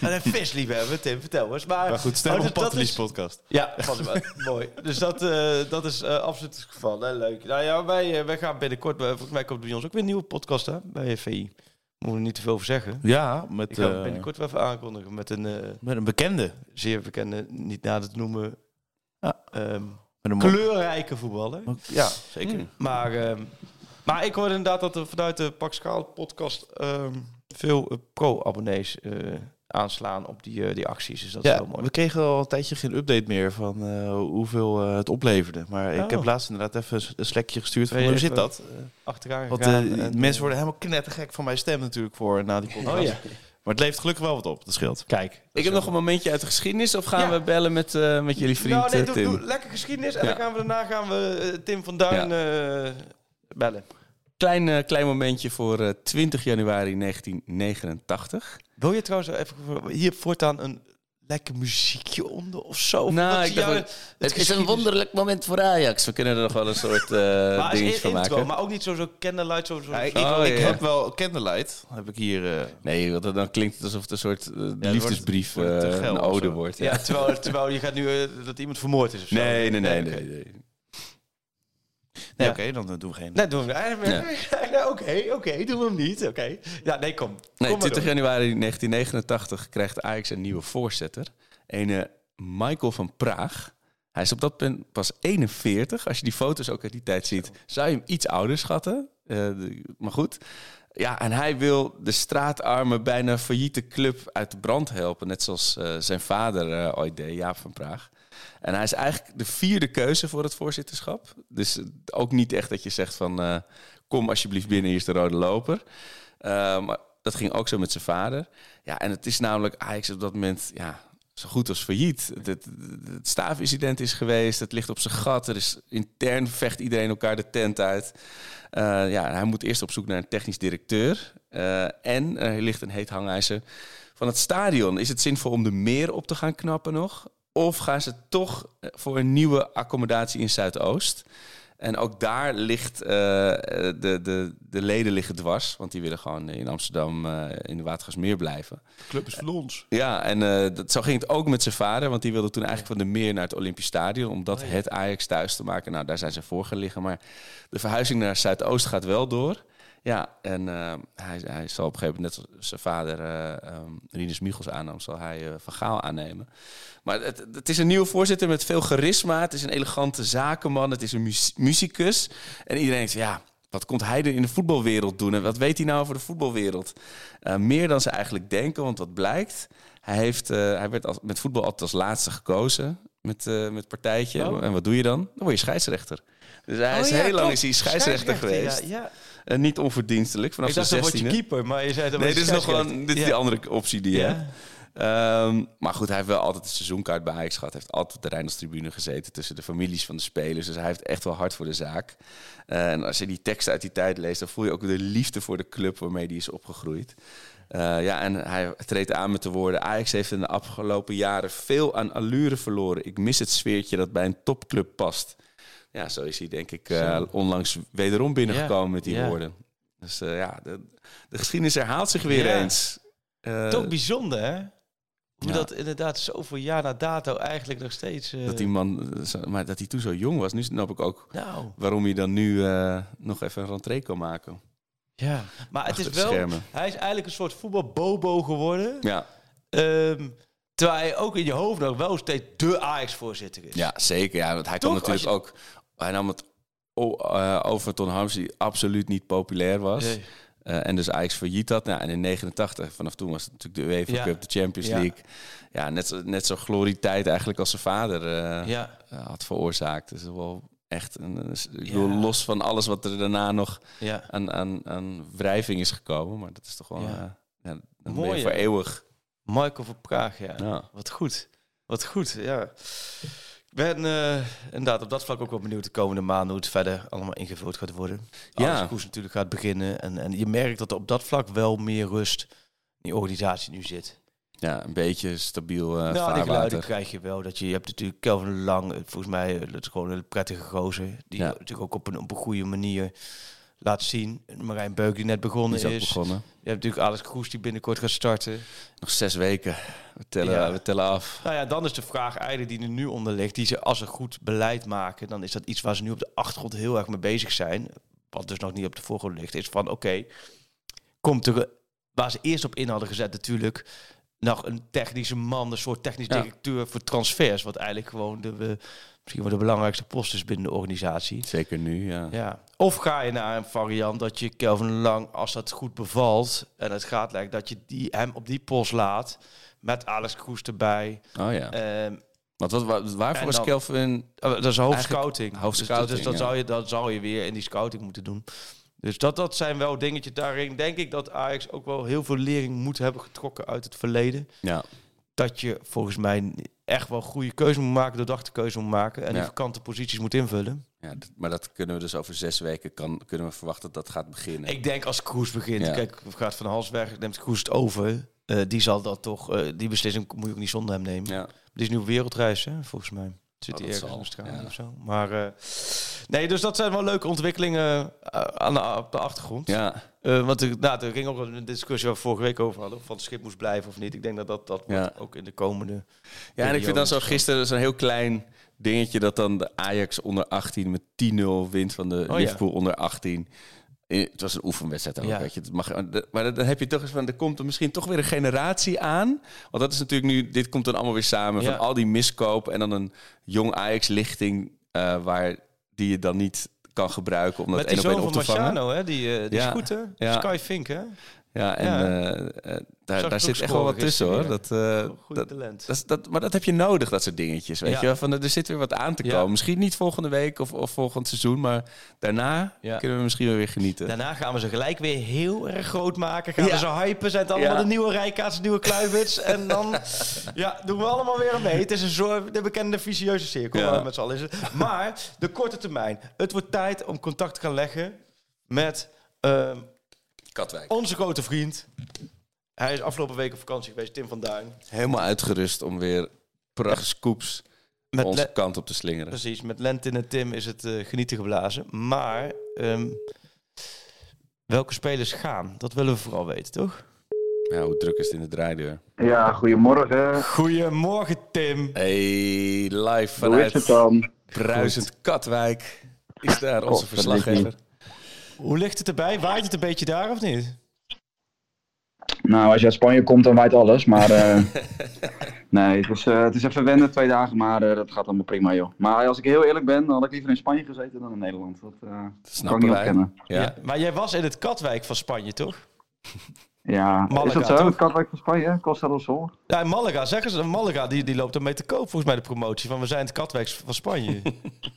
I: En een visliefhebber, Tim, vertel eens. Maar,
C: Maar goed,
I: Oh,
C: stem
I: dat-
C: op
I: dat
C: Patelies
I: is-
C: podcast.
I: Ja, vast wel. <laughs> mooi. Dus dat, eh, dat is eh, absoluut het geval. Hè? Leuk. Nou ja, wij, eh, wij gaan binnenkort, eh, volgens mij komt bij ons ook weer een nieuwe podcast hè? bij VI. Moeten we niet te veel over zeggen.
C: Ja, met,
I: Ik ga
C: eh,
I: binnenkort wel even aankondigen met een eh,
C: met een bekende.
I: zeer bekende, niet nader te noemen,
C: Ja.
I: ehm,
C: Met een Hmm. mo-
I: kleurrijke voetballer.
C: Ja, zeker.
I: Maar, ehm, maar ik hoorde inderdaad dat er vanuit de Pakschaal podcast ehm, veel eh, pro-abonnees eh, aanslaan op die, eh, die acties. Dus dat is
C: Ja,
I: wel mooi.
C: we kregen al een tijdje geen update meer van eh, hoeveel eh, het opleverde. Maar ik
I: Oh.
C: heb laatst inderdaad even een slekje gestuurd van
I: Ben je
C: hoe zit
I: even- eh,
C: dat?
I: Achteraan
C: Want
I: gegaan
C: eh,
I: en,
C: mensen worden helemaal knettergek van mijn stem natuurlijk voor na die podcast.
I: Oh ja.
C: Maar het levert gelukkig wel wat op, dat scheelt.
I: Kijk.
H: Ik heb nog een momentje uit de geschiedenis of gaan
I: Ja.
H: we bellen met, eh, met jullie vriend
I: nou, nee,
H: eh,
I: doe,
H: Tim?
I: doe lekker geschiedenis en
H: Ja.
I: dan gaan we, daarna gaan we eh, Tim van Duin eh, bellen.
H: Klein, eh, klein momentje voor eh, 20 januari 1989.
I: Wil je trouwens even voor- hier voortaan een lekker muziekje onder of zo?
H: Nou,
I: Wat
H: ik
I: is
H: dacht
I: jouw-
H: wel- Het is een
I: geschiedenis-
H: wonderlijk moment voor Ajax. We kunnen er nog wel een soort eh,
I: Maar als
H: dingetje
I: in-
H: van
I: intro,
H: maken.
I: maar ook niet zo zo candlelight, zo zo.
C: ik
H: Oh,
C: ik
H: ja.
C: had wel Candlelight, heb ik hier... eh,
H: Nee, want dan klinkt het alsof het een soort eh,
C: wordt-
H: liefdesbrief
C: wordt het te
H: eh,
C: geil
H: een
C: of
H: ode
C: zo.
H: wordt.
I: ja, terwijl, terwijl je gaat nu eh, dat iemand vermoord is of zo.
H: Nee, nee, nee.
I: oké.
H: nee, nee.
C: nee,
I: Ja.
C: oké, dan eh, doen we geen...
I: Nee, doen we hem. <laughs> Nee, Oké, oké, doen we hem niet. Oké. Ja, nee, kom.
H: Nee,
I: kom maar
H: 20
I: door.
H: januari 1989 krijgt Ajax een nieuwe voorzitter. Een eh, Michael van Praag. Hij is op dat punt pas 41. Als je die foto's ook uit die tijd ziet, zou je hem iets ouder schatten. Eh, de- maar goed, Ja, en hij wil de straatarme, bijna failliete club uit de brand helpen. Net zoals uh, zijn vader uh, ooit deed, Jaap van Praag. En hij is eigenlijk de vierde keuze voor het voorzitterschap. Dus uh, ook niet echt dat je zegt van... eh, kom alsjeblieft binnen, hier is de rode loper. Eh, maar dat ging ook zo met zijn vader. Ja, en het is namelijk Ajax op dat moment... Ja, zo goed als failliet. Het, het, het staafincident is geweest, het ligt op zijn gat. Er is, intern vecht iedereen elkaar de tent uit. Uh, ja, hij moet eerst op zoek naar een technisch directeur. Uh, en er ligt een heet hangijzer van het stadion. Is het zinvol om de meer op te gaan knappen nog? Of gaan ze toch voor een nieuwe accommodatie in Zuidoost? En ook daar ligt uh, de, de, de leden liggen dwars. Want die willen gewoon in Amsterdam uh, in de Watergasmeer blijven.
C: De club is van ons.
H: Ja, en uh, dat, zo ging het ook met zijn vader. Want die wilde toen eigenlijk van de meer naar het Olympisch Stadion. Om dat oh, ja. het Ajax thuis te maken. Nou, daar zijn ze voor gaan liggen. Maar de verhuizing naar Zuidoost gaat wel door. Ja, en eh, hij, hij zal op een gegeven moment, net als zijn vader um, Rinus Michels aannam, zal hij eh, Van Gaal aannemen. Maar het, het, is een nieuwe voorzitter met veel charisma. Het is een elegante zakenman. Het is een muzie muzikus. En iedereen denkt, ja, wat komt hij er in de voetbalwereld doen? En wat weet hij nou over de voetbalwereld? Uh, meer dan ze eigenlijk denken, want wat blijkt? Hij, heeft, uh, hij werd als, met voetbal altijd als laatste gekozen met, uh, met partijtje. Oh. En wat doe je dan? Dan word je scheidsrechter. Dus hij oh, is ja, heel klopt. lang is hij scheidsrechter, scheidsrechter geweest. Ja, ja. En Eh, niet onverdienstelijk, vanaf
I: zijn
H: zestiende.
I: Ik dacht, je keeper, maar je zei dat
H: Nee, dit is nog gewoon dit is die andere optie die je Um, maar goed, hij heeft wel altijd een seizoenkaart bij Ajax gehad. Hij heeft altijd op de Rijnlandstribune gezeten tussen de families van de spelers. Dus hij heeft echt wel hard voor de zaak. Uh, en als je die teksten uit die tijd leest, dan voel je ook de liefde voor de club waarmee die is opgegroeid. Uh, ja, en hij treedt aan met de woorden: Ajax heeft in de afgelopen jaren veel aan allure verloren. Ik mis het sfeertje dat bij een topclub past. Ja, zo is hij denk ik uh, onlangs wederom binnengekomen yeah. met die yeah. woorden. Dus ja, de, de, geschiedenis herhaalt zich weer yeah. eens. Eh,
I: Toch bijzonder, hè? Hoe Eh, ja. dat inderdaad zoveel jaar na dato eigenlijk nog steeds... Uh...
H: Dat die man, maar dat hij toen zo jong was, nu snap ik ook nou. waarom hij dan nu uh, nog even een rentree kan maken.
I: Ja, maar Achter het is wel, schermen. hij is eigenlijk een soort voetbalbobo geworden.
H: Ja.
I: Um, terwijl hij ook in je hoofd nog wel steeds de Ajax-voorzitter is.
H: Ja, zeker. Ja, want hij Toch, kon natuurlijk je... ook, hij nam het uh, over Ton Harms, die absoluut niet populair was. Nee. Uh, en dus Ajax failliet dat. Nou, en in 89, vanaf toen was het natuurlijk de UEFA ja. Cup, de Champions ja. League. Ja, net, zo, net zo'n glorietijd eigenlijk als zijn vader uh, ja. uh, had veroorzaakt. Dus wel echt, een, ik bedoel, los van alles wat er daarna nog aan, aan, aan wrijving is gekomen. Maar dat is toch wel eh, mooi voor eeuwig.
I: Michael van Praag, ja. Wat goed. Wat goed, ja. Ik ben uh, inderdaad op dat vlak ook wel benieuwd de komende maanden hoe het verder allemaal ingevuld gaat worden. Ja. Als de koers natuurlijk gaat beginnen. En, en je merkt dat er op dat vlak wel meer rust in die organisatie nu zit.
H: Ja, een beetje stabiel uh,
I: Nou, die geluiden krijg je wel. Dat je, je hebt natuurlijk Kelvin Lang, eh, volgens mij dat is gewoon een prettige gozer. Die ja. natuurlijk ook op een, op een goede manier laat zien. Marijn Beuk die net begonnen die is. is.
H: Begonnen.
I: Je hebt natuurlijk Alex Kroes die binnenkort gaat starten.
H: Nog zes weken. We tellen, ja. we tellen af.
I: Nou ja, dan is de vraag eigenlijk die er nu onder ligt. Die ze als ze goed beleid maken, dan is dat iets waar ze nu op de achtergrond heel erg mee bezig zijn. Wat dus nog niet op de voorgrond ligt, is van oké, okay, komt er waar ze eerst op in hadden gezet natuurlijk nog een technische man, een soort technisch ja. directeur voor transfers, wat eigenlijk gewoon de, uh, misschien wel de belangrijkste post is binnen de organisatie.
H: Zeker nu, ja.
I: ja. Of ga je naar een variant dat je Kelvin Lang, als dat goed bevalt en het gaat lijkt, dat je die, hem op die post laat met Alex Kroes erbij.
H: Oh ja.
I: Ehm,
H: Um, want wat, wat, waarvoor is
I: dan,
H: Kelvin?
I: Uh, dat is hoofdscouting.
H: Hoofdscouting.
I: Dus, dus dat,
H: ja.
I: zou je, dat zou je weer in die scouting moeten doen. Dus dat, dat zijn wel dingetjes daarin. Denk ik dat Ajax ook wel heel veel lering moet hebben getrokken uit het verleden.
H: Ja.
I: Dat je volgens mij echt wel goede keuze moet maken, doordachte keuze moet maken. En ja. die vakante posities moet invullen.
H: Ja, maar dat kunnen we dus over zes weken kan, kunnen we verwachten dat dat gaat beginnen.
I: Ik denk als Kroes begint, ja. kijk, gaat Van Hals weg, neemt Kroes het over. Uh, die zal dat toch, uh, die beslissing moet je ook niet zonder hem nemen.
H: Ja.
I: Die is nu op wereldreis, hè, volgens mij zit hij oh, ergens in Australië ja. of zo. Maar uh, nee, dus dat zijn wel leuke ontwikkelingen eh, aan de, op de achtergrond.
H: Ja.
I: Uh, want er, nou, er ging ook een discussie waar we vorige week over hadden. Of van het schip moest blijven of niet. Ik denk dat dat, dat ja. wordt ook in de komende.
H: Ja, en ik vind dan zo gisteren zo'n heel klein dingetje dat dan de Ajax onder 18 met 10-0 wint van de oh, Liverpool ja. onder 18. Het was een oefenwedstrijd ook, ja. weet je. Het mag, eh, maar dan heb je toch eens van, er komt er misschien toch weer een generatie aan. Want dat is natuurlijk nu, dit komt dan allemaal weer samen. Ja. Van al eh, die miskoop en dan een jong Ajax-lichting... Uh, waar die je dan niet kan gebruiken om dat
I: Met die
H: één op één op
I: zoon
H: te
I: van
H: vangen.
I: Marciano, hè? Die, eh, die
H: Ja,
I: scooter.
H: ja.
I: Sky Fink, hè?
H: Ja, en
I: Ja.
H: eh, eh,
I: Zag
H: daar, daar
I: ik ook
H: zit echt wel
I: scoren
H: wat tussen hoor.
I: gisteren,
H: Dat, eh,
I: Goed
H: dat,
I: talent.
H: dat, is- dat, maar dat heb je nodig, dat soort dingetjes. Weet
I: Ja.
H: je? wel. Van, eh, er zit weer wat aan te
I: Ja.
H: komen. Misschien niet volgende week of, of volgend seizoen, maar daarna
I: Ja.
H: kunnen we misschien wel weer genieten.
I: Daarna gaan we ze gelijk weer heel erg groot maken. Gaan
H: Ja.
I: we ze hypen. Zijn het allemaal
H: Ja.
I: de nieuwe Rijkaards, de nieuwe Kluivits. en dan
H: <laughs>
I: ja, doen we allemaal weer aan mee. Het is een soort de bekende vicieuze cirkel.
H: Ja.
I: eh, Met z'n allen is het. Maar de korte termijn. Het wordt tijd om contact te gaan leggen met ehm,
H: Katwijk.
I: onze grote vriend. Hij is afgelopen week op vakantie geweest, Tim van Duin.
H: Helemaal uitgerust om weer prachtige scoops
I: Met
H: onze
I: le-
H: kant op te slingeren.
I: Precies, met Lentin en Tim is het eh, genieten geblazen. Maar ehm, welke spelers gaan, dat willen we vooral weten, toch?
H: Ja, hoe druk is het in de draaideur?
L: Ja, goedemorgen.
I: Goedemorgen, Tim.
H: Hey, live
L: Hoe is het eh,
H: vanuit
L: dan?
H: Bruisend Katwijk is daar onze
L: Godverdikke.
H: verslaggever.
I: Hoe ligt het erbij? Waait het een beetje daar of niet?
L: Nou, als je uit Spanje komt, dan waait alles. Maar eh, nee, het is, eh, het is even wennen, twee dagen, maar eh, dat gaat allemaal prima, joh. Maar als ik heel eerlijk ben, dan had ik liever in Spanje gezeten dan in Nederland. Dat eh, kan ik
H: Snappen
L: niet
H: wij.
L: ontkennen.
H: Ja.
I: Maar jij was in het Katwijk van Spanje, toch?
L: Ja, is
I: Malaga,
L: dat zo?
I: toch?
L: Het Katwijk van Spanje, Costa del Sol.
I: Ja, in Malaga, zeggen ze. Malaga, die, die loopt ermee te koop volgens mij de promotie. Van we zijn het Katwijk van
H: <laughs>
I: Spanje.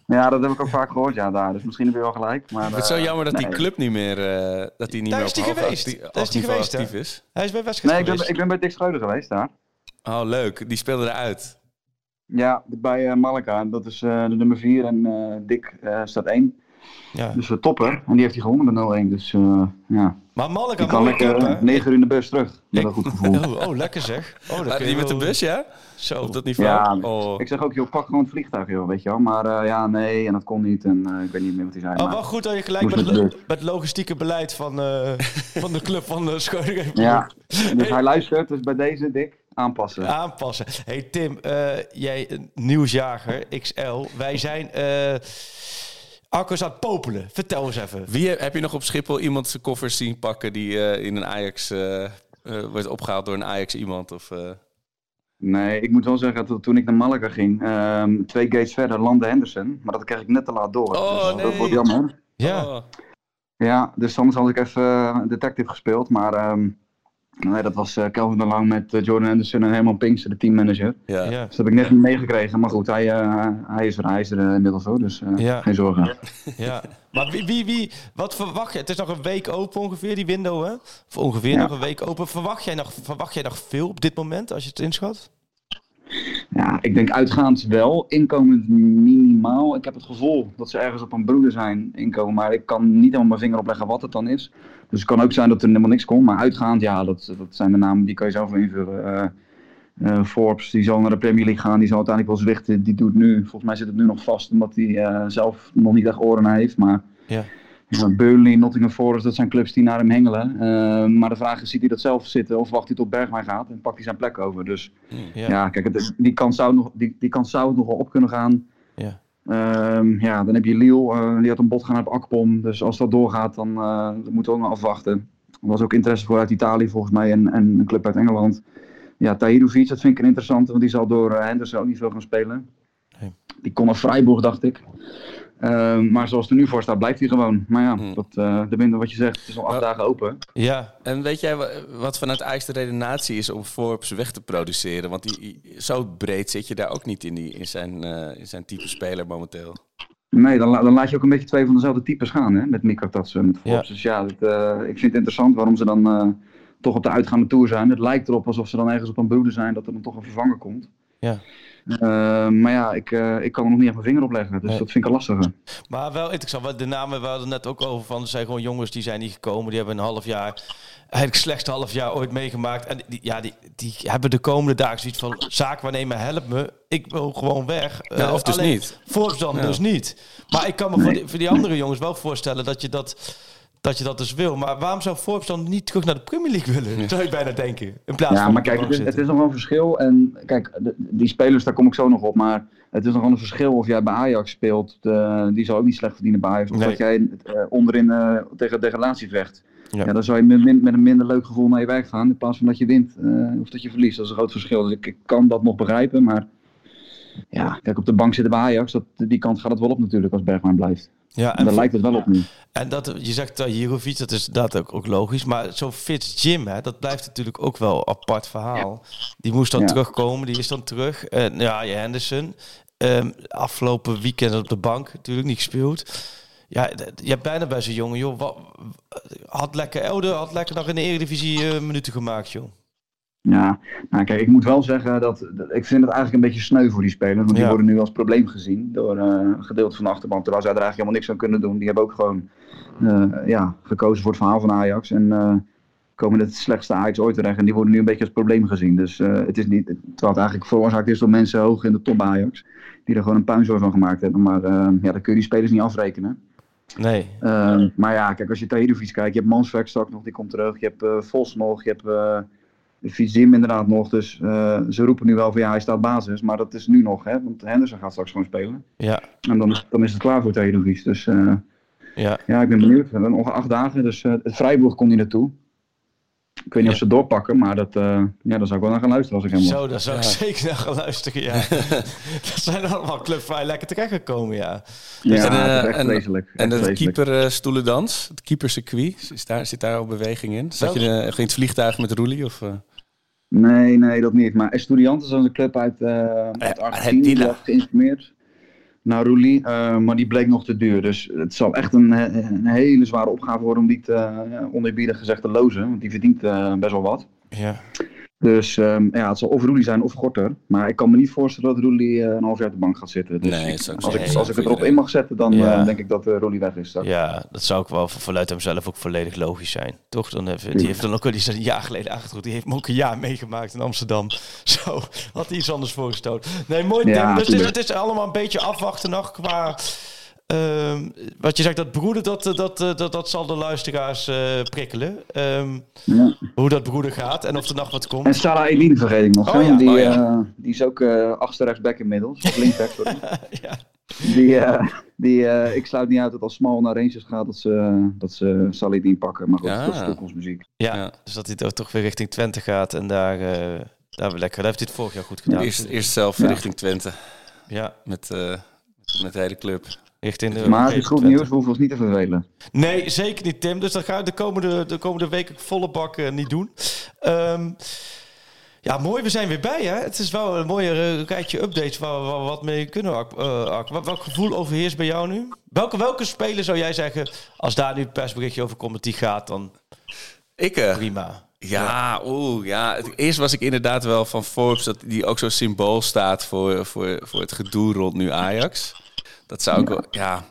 L: Ja, dat heb ik ook vaak gehoord, ja, daar. Dus misschien heb je wel gelijk. Maar,
H: Ik vind het
L: eh,
H: zo jammer dat die
L: nee.
H: club niet meer, eh, dat die niet
I: Daar
H: meer
I: is die
H: op hoog
I: geweest.
H: actie-
I: Daar is die
H: hoog niveau
I: geweest, hè?
H: actief is.
I: Hij is bij wedstrijd
L: Nee, ik ben,
I: geweest.
L: ik ben bij Dick Schreuder geweest daar.
H: Oh, leuk. Die speelde eruit.
L: Ja, bij eh Malaga. Dat is eh, de nummer 4 en eh Dick eh, staat 1.
I: Ja.
L: Dus we topper. En die heeft hij gewonnen met 0-1. Dus eh, ja,
I: Maar Malaga,
L: die kan eh,
I: mooie club,
L: lekker
I: hè?
L: 9 uur in de bus terug. Met een goed
I: <laughs>
L: gevoel.
I: Oh, oh, lekker zeg. Oh, dat
H: Waren
I: kun
H: die
I: je
H: met de
I: wel-
H: bus, ja?
I: Zo.
H: Op dat niveau?
L: Ja,
H: oh.
L: ik zeg ook, joh, pak gewoon het vliegtuig, joh, weet je wel. Maar eh, ja, nee, en dat kon niet. En eh, ik weet niet meer wat hij zei.
I: Oh,
L: maar-
I: wel goed dat je gelijk
L: Moest
I: met,
L: met de
I: lo- met logistieke beleid van, eh, <laughs> van de club van eh, de Schoningen <laughs>
L: Ja, dus hij luistert. Dus bij deze, Dick, aanpassen.
I: aanpassen. hey Tim, eh, jij eh, nieuwsjager XL. Wij zijn eh accu's aan het popelen. Vertel eens even.
H: Wie heb, heb je nog op Schiphol iemand zijn koffers zien pakken die eh, in een Ajax eh, eh, wordt opgehaald door een Ajax iemand? Of, eh,
L: Nee, ik moet wel zeggen dat toen ik naar Malaga ging, ehm, twee gates verder landde Henderson. Maar dat kreeg ik net te laat door.
H: Oh,
L: dus Dat
H: nee.
L: wordt jammer.
I: Ja.
H: Oh.
L: Ja, dus soms had ik even eh, detective gespeeld, maar ehm, nee, dat was eh, Kelvin de Lang met eh, Jordan Anderson en Herman Pinkster, de teammanager.
H: Ja.
I: Ja.
L: Dus dat heb ik net niet meegekregen, maar goed, hij, eh, hij is er, hij is er eh, inmiddels hoor, dus eh,
I: Ja.
L: geen zorgen.
I: Ja, maar wie, wie, wie, wat verwacht je? Het is nog een week open ongeveer, die window, hè? Of ongeveer
L: Ja.
I: nog een week open. Verwacht jij, nog, verwacht jij nog veel op dit moment, als je het inschat?
L: Ja, ik denk uitgaand wel, inkomend minimaal. Ik heb het gevoel dat ze ergens op een broeder zijn inkomen, maar ik kan niet helemaal mijn vinger opleggen wat het dan is. Dus het kan ook zijn dat er helemaal niks komt, maar uitgaand, ja, dat, dat zijn de namen die kan je zelf wel invullen. Eh, eh, Forbes, die zal naar de Premier League gaan, die zal uiteindelijk wel zwichten. Die doet nu, volgens mij zit het nu nog vast, omdat hij eh, zelf nog niet echt oren naar heeft. Maar
I: Ja.
L: ja, Burnley, Nottingham Forest, dat zijn clubs die naar hem hengelen. Eh, maar de vraag is, ziet hij dat zelf zitten of wacht hij tot Bergwijn gaat en pakt hij zijn plek over? Dus
I: Ja.
L: ja, kijk, het- die, kans zou nog, die, die kans zou het nog wel op kunnen gaan.
I: Ja.
L: Ehm, ja, dan heb je Liel, eh, die had een bod gaan op Akpom. Dus als dat doorgaat, dan eh, dat moeten we ook nog afwachten. Er was ook interesse voor uit Italië volgens mij en, en een club uit Engeland. Ja, Tahirovic, dat vind ik een interessante, want die zal door eh, Henderson ook niet veel gaan spelen.
I: Nee.
L: Die kon naar Freiburg, dacht ik. Ehm, maar zoals het er nu voor staat, blijft hij gewoon. Maar ja, dat, eh de minder wat je zegt, het is al acht
H: Maar-
L: dagen open.
I: Ja,
H: En weet jij wa- wat vanuit Ajax de redenatie is om Forbes weg te produceren? Want die, die- zo breed zit je daar ook niet in, die, in, zijn, eh, in zijn type speler momenteel.
L: Nee, dan, la- dan laat je ook een beetje twee van dezelfde types gaan, hè? Met Mikatatsen, met Forbes. Dus ja, dat, eh, ik vind het interessant waarom ze dan eh, toch op de uitgaande tour zijn. Het lijkt erop alsof ze dan ergens op een broeder zijn, dat er dan toch een vervanger komt.
I: Ja.
L: Eh, maar ja, ik, eh, ik kan er nog niet echt mijn vinger op leggen, dus
I: Nee.
L: dat vind ik al lastiger.
I: maar wel interessant. want De namen, we hadden het net ook over van, er zijn gewoon jongens die zijn niet gekomen. Die hebben een half jaar, eigenlijk slechtste half jaar ooit meegemaakt. En die, ja, die, die hebben de komende dagen zoiets van, zaak waarnemen, help me. Ik wil gewoon weg.
H: Ja,
I: Eh,
H: of dus
I: alleen
H: niet.
I: Forbes dan
H: Ja.
I: dus niet. Maar ik kan me voor, die, voor die andere jongens wel voorstellen dat je dat, dat je dat dus wil. Maar waarom zou Forbes dan niet terug naar de Premier League willen? Zou je bijna denken. In plaats
L: Ja, maar
I: van op de
L: kijk,
I: bank
L: het is, het
I: zitten.
L: is nog wel een verschil. En kijk, de- die spelers, daar kom ik zo nog op. Maar het is nog wel een verschil of jij bij Ajax speelt. eh, die zal ook niet slecht verdienen bij Ajax. Of
I: Nee.
L: dat jij eh, onderin eh, tegen degradatie vecht.
I: Ja.
L: Ja. dan zou je met, min- met een minder leuk gevoel naar je weg gaan. In plaats van dat je wint eh, of dat je verliest. Dat is een groot verschil. Dus ik, ik kan dat nog begrijpen. Maar Ja, kijk, op de bank zitten bij Ajax. Dat, die kant gaat het wel op natuurlijk als Bergwijn blijft. Ja, en, en daar lijkt het wel op nu.
I: En dat, je zegt dat Jirovic, dat is dat ook, ook logisch. Maar zo'n Fitz Jim, hè, dat blijft natuurlijk ook wel een apart verhaal. Die moest dan ja. terugkomen, die is dan terug. En ja, je Henderson. Um, afgelopen weekend op de bank natuurlijk niet gespeeld. Ja, je hebt bijna bij zo'n jongen, joh. Wat, had lekker Elde, had lekker nog in de Eredivisie uh, minuten gemaakt, joh.
L: Ja, nou kijk, ik moet wel zeggen dat, dat, ik vind het eigenlijk een beetje sneu voor die spelers. Want die ja. worden nu als probleem gezien door uh, een gedeelte van de achterban. Terwijl zij er eigenlijk helemaal niks aan kunnen doen. Die hebben ook gewoon uh, ja, gekozen voor het verhaal van Ajax. En uh, komen het slechtste Ajax ooit terecht. En die worden nu een beetje als probleem gezien. Dus het is niet, terwijl het eigenlijk veroorzaakt is door mensen hoog in de top Ajax. Die er gewoon een puinzooi van gemaakt hebben. Maar eh, ja, dan kun je die spelers niet afrekenen.
I: Nee.
L: nee. Ehm, Maar ja, kijk, als je Tahirovic kijkt. Je hebt Manswerk straks nog, die komt terug. Je hebt eh, Vos nog, je hebt... Fizim inderdaad nog. Dus uh, ze roepen nu wel van ja, hij staat basis. Maar dat is nu nog, hè? Want Henderson gaat straks gewoon spelen.
I: Ja.
L: En dan, dan is het klaar voor Theodovies. Dus uh, ja. ja, ik ben benieuwd. We hebben nog acht dagen. Dus uh, het Vrijburg komt hij naartoe. Ik weet niet ja. of ze doorpakken, maar dat, eh, ja, daar zou ik wel naar gaan luisteren als ik hem
I: Zo, daar zou ik ja. <laughs> zeker naar gaan luisteren, ja. <laughs> dat zijn allemaal clubs waar je lekker terechtgekomen, ja.
L: Dus ja, en, dat is echt vreselijk.
H: En, de keeperstoelendans, het keepercircuit, is daar, zit daar al beweging in? Zat je in het vliegtuig met Roelie of... eh?
L: Nee, nee, dat niet. Maar Estudiantes is een club uit, uh, uit Argentinië. Die had geïnformeerd naar Rouli. Uh, maar die bleek nog te duur. Dus het zal echt een, een hele zware opgave worden om die te, uh, oneerbiedig gezegd te lozen. Want die verdient uh, best wel wat.
I: Ja.
L: Dus um, ja, het zal of Roelie zijn of Gorter. Maar ik kan me niet voorstellen dat Roelie eh, een half jaar op de bank gaat zitten. Dus
H: nee,
L: ik, als, ik, als, als ik het erop in mag zetten, dan ja. denk ik dat uh, Roelie weg is. Straks.
I: Ja, dat zou ook wel vanuit hemzelf ook volledig logisch zijn. Toch? Dan heeft, die ja. heeft dan ook die is een jaar geleden achterhoed. Die heeft me ook een jaar meegemaakt in Amsterdam. <laughs> Zo, had hij iets anders voorgestoten. Nee, mooi. Ja, dus het is, het is allemaal een beetje afwachten nog qua... Um, wat je zegt, dat broeden, dat, eh, dat, dat, dat zal de luisteraars uh, prikkelen. Um, ja. Hoe dat broeden gaat en of er nog wat komt. <laughs>
L: En Salah Eline vergeet ik nog. Oh, ja. die, oh, ja. uh, die is ook uh, achter rechtsback inmiddels. Linkback, sorry. Die, eh, die, ik sluit niet uit dat als Smal naar Rangers gaat, dat ze, dat ze Salah Eline pakken. Maar goed, dat is toekomstmuziek.
I: Ja, dus dat hij toch weer richting Twente gaat en daar, eh, daar lekker. Daar heeft hij het vorig jaar goed gedaan.
H: Eerst, eerst zelf richting Twente.
I: Ja.
H: Met, eh, met de hele club.
I: De
L: maar het is goed nieuws, we hoeven ons niet te vervelen.
I: Nee, zeker niet, Tim. Dus dat ga ik de komende, de komende week volle bak uh, niet doen. Um, ja, mooi, we zijn weer bij, hè? Het is wel een mooie uh, rijtje updates waar we wat mee kunnen, Ak. Uh, wat, welk gevoel overheerst bij jou nu? Welke, welke speler zou jij zeggen, als daar nu een persberichtje over komt dat die gaat, dan
H: ik, uh,
I: prima.
H: Ja, oeh, ja. Eerst was ik inderdaad wel van Forbes dat die ook zo symbool staat voor, voor, voor het gedoe rond nu Ajax. Dat zou ik ja. wel, ja,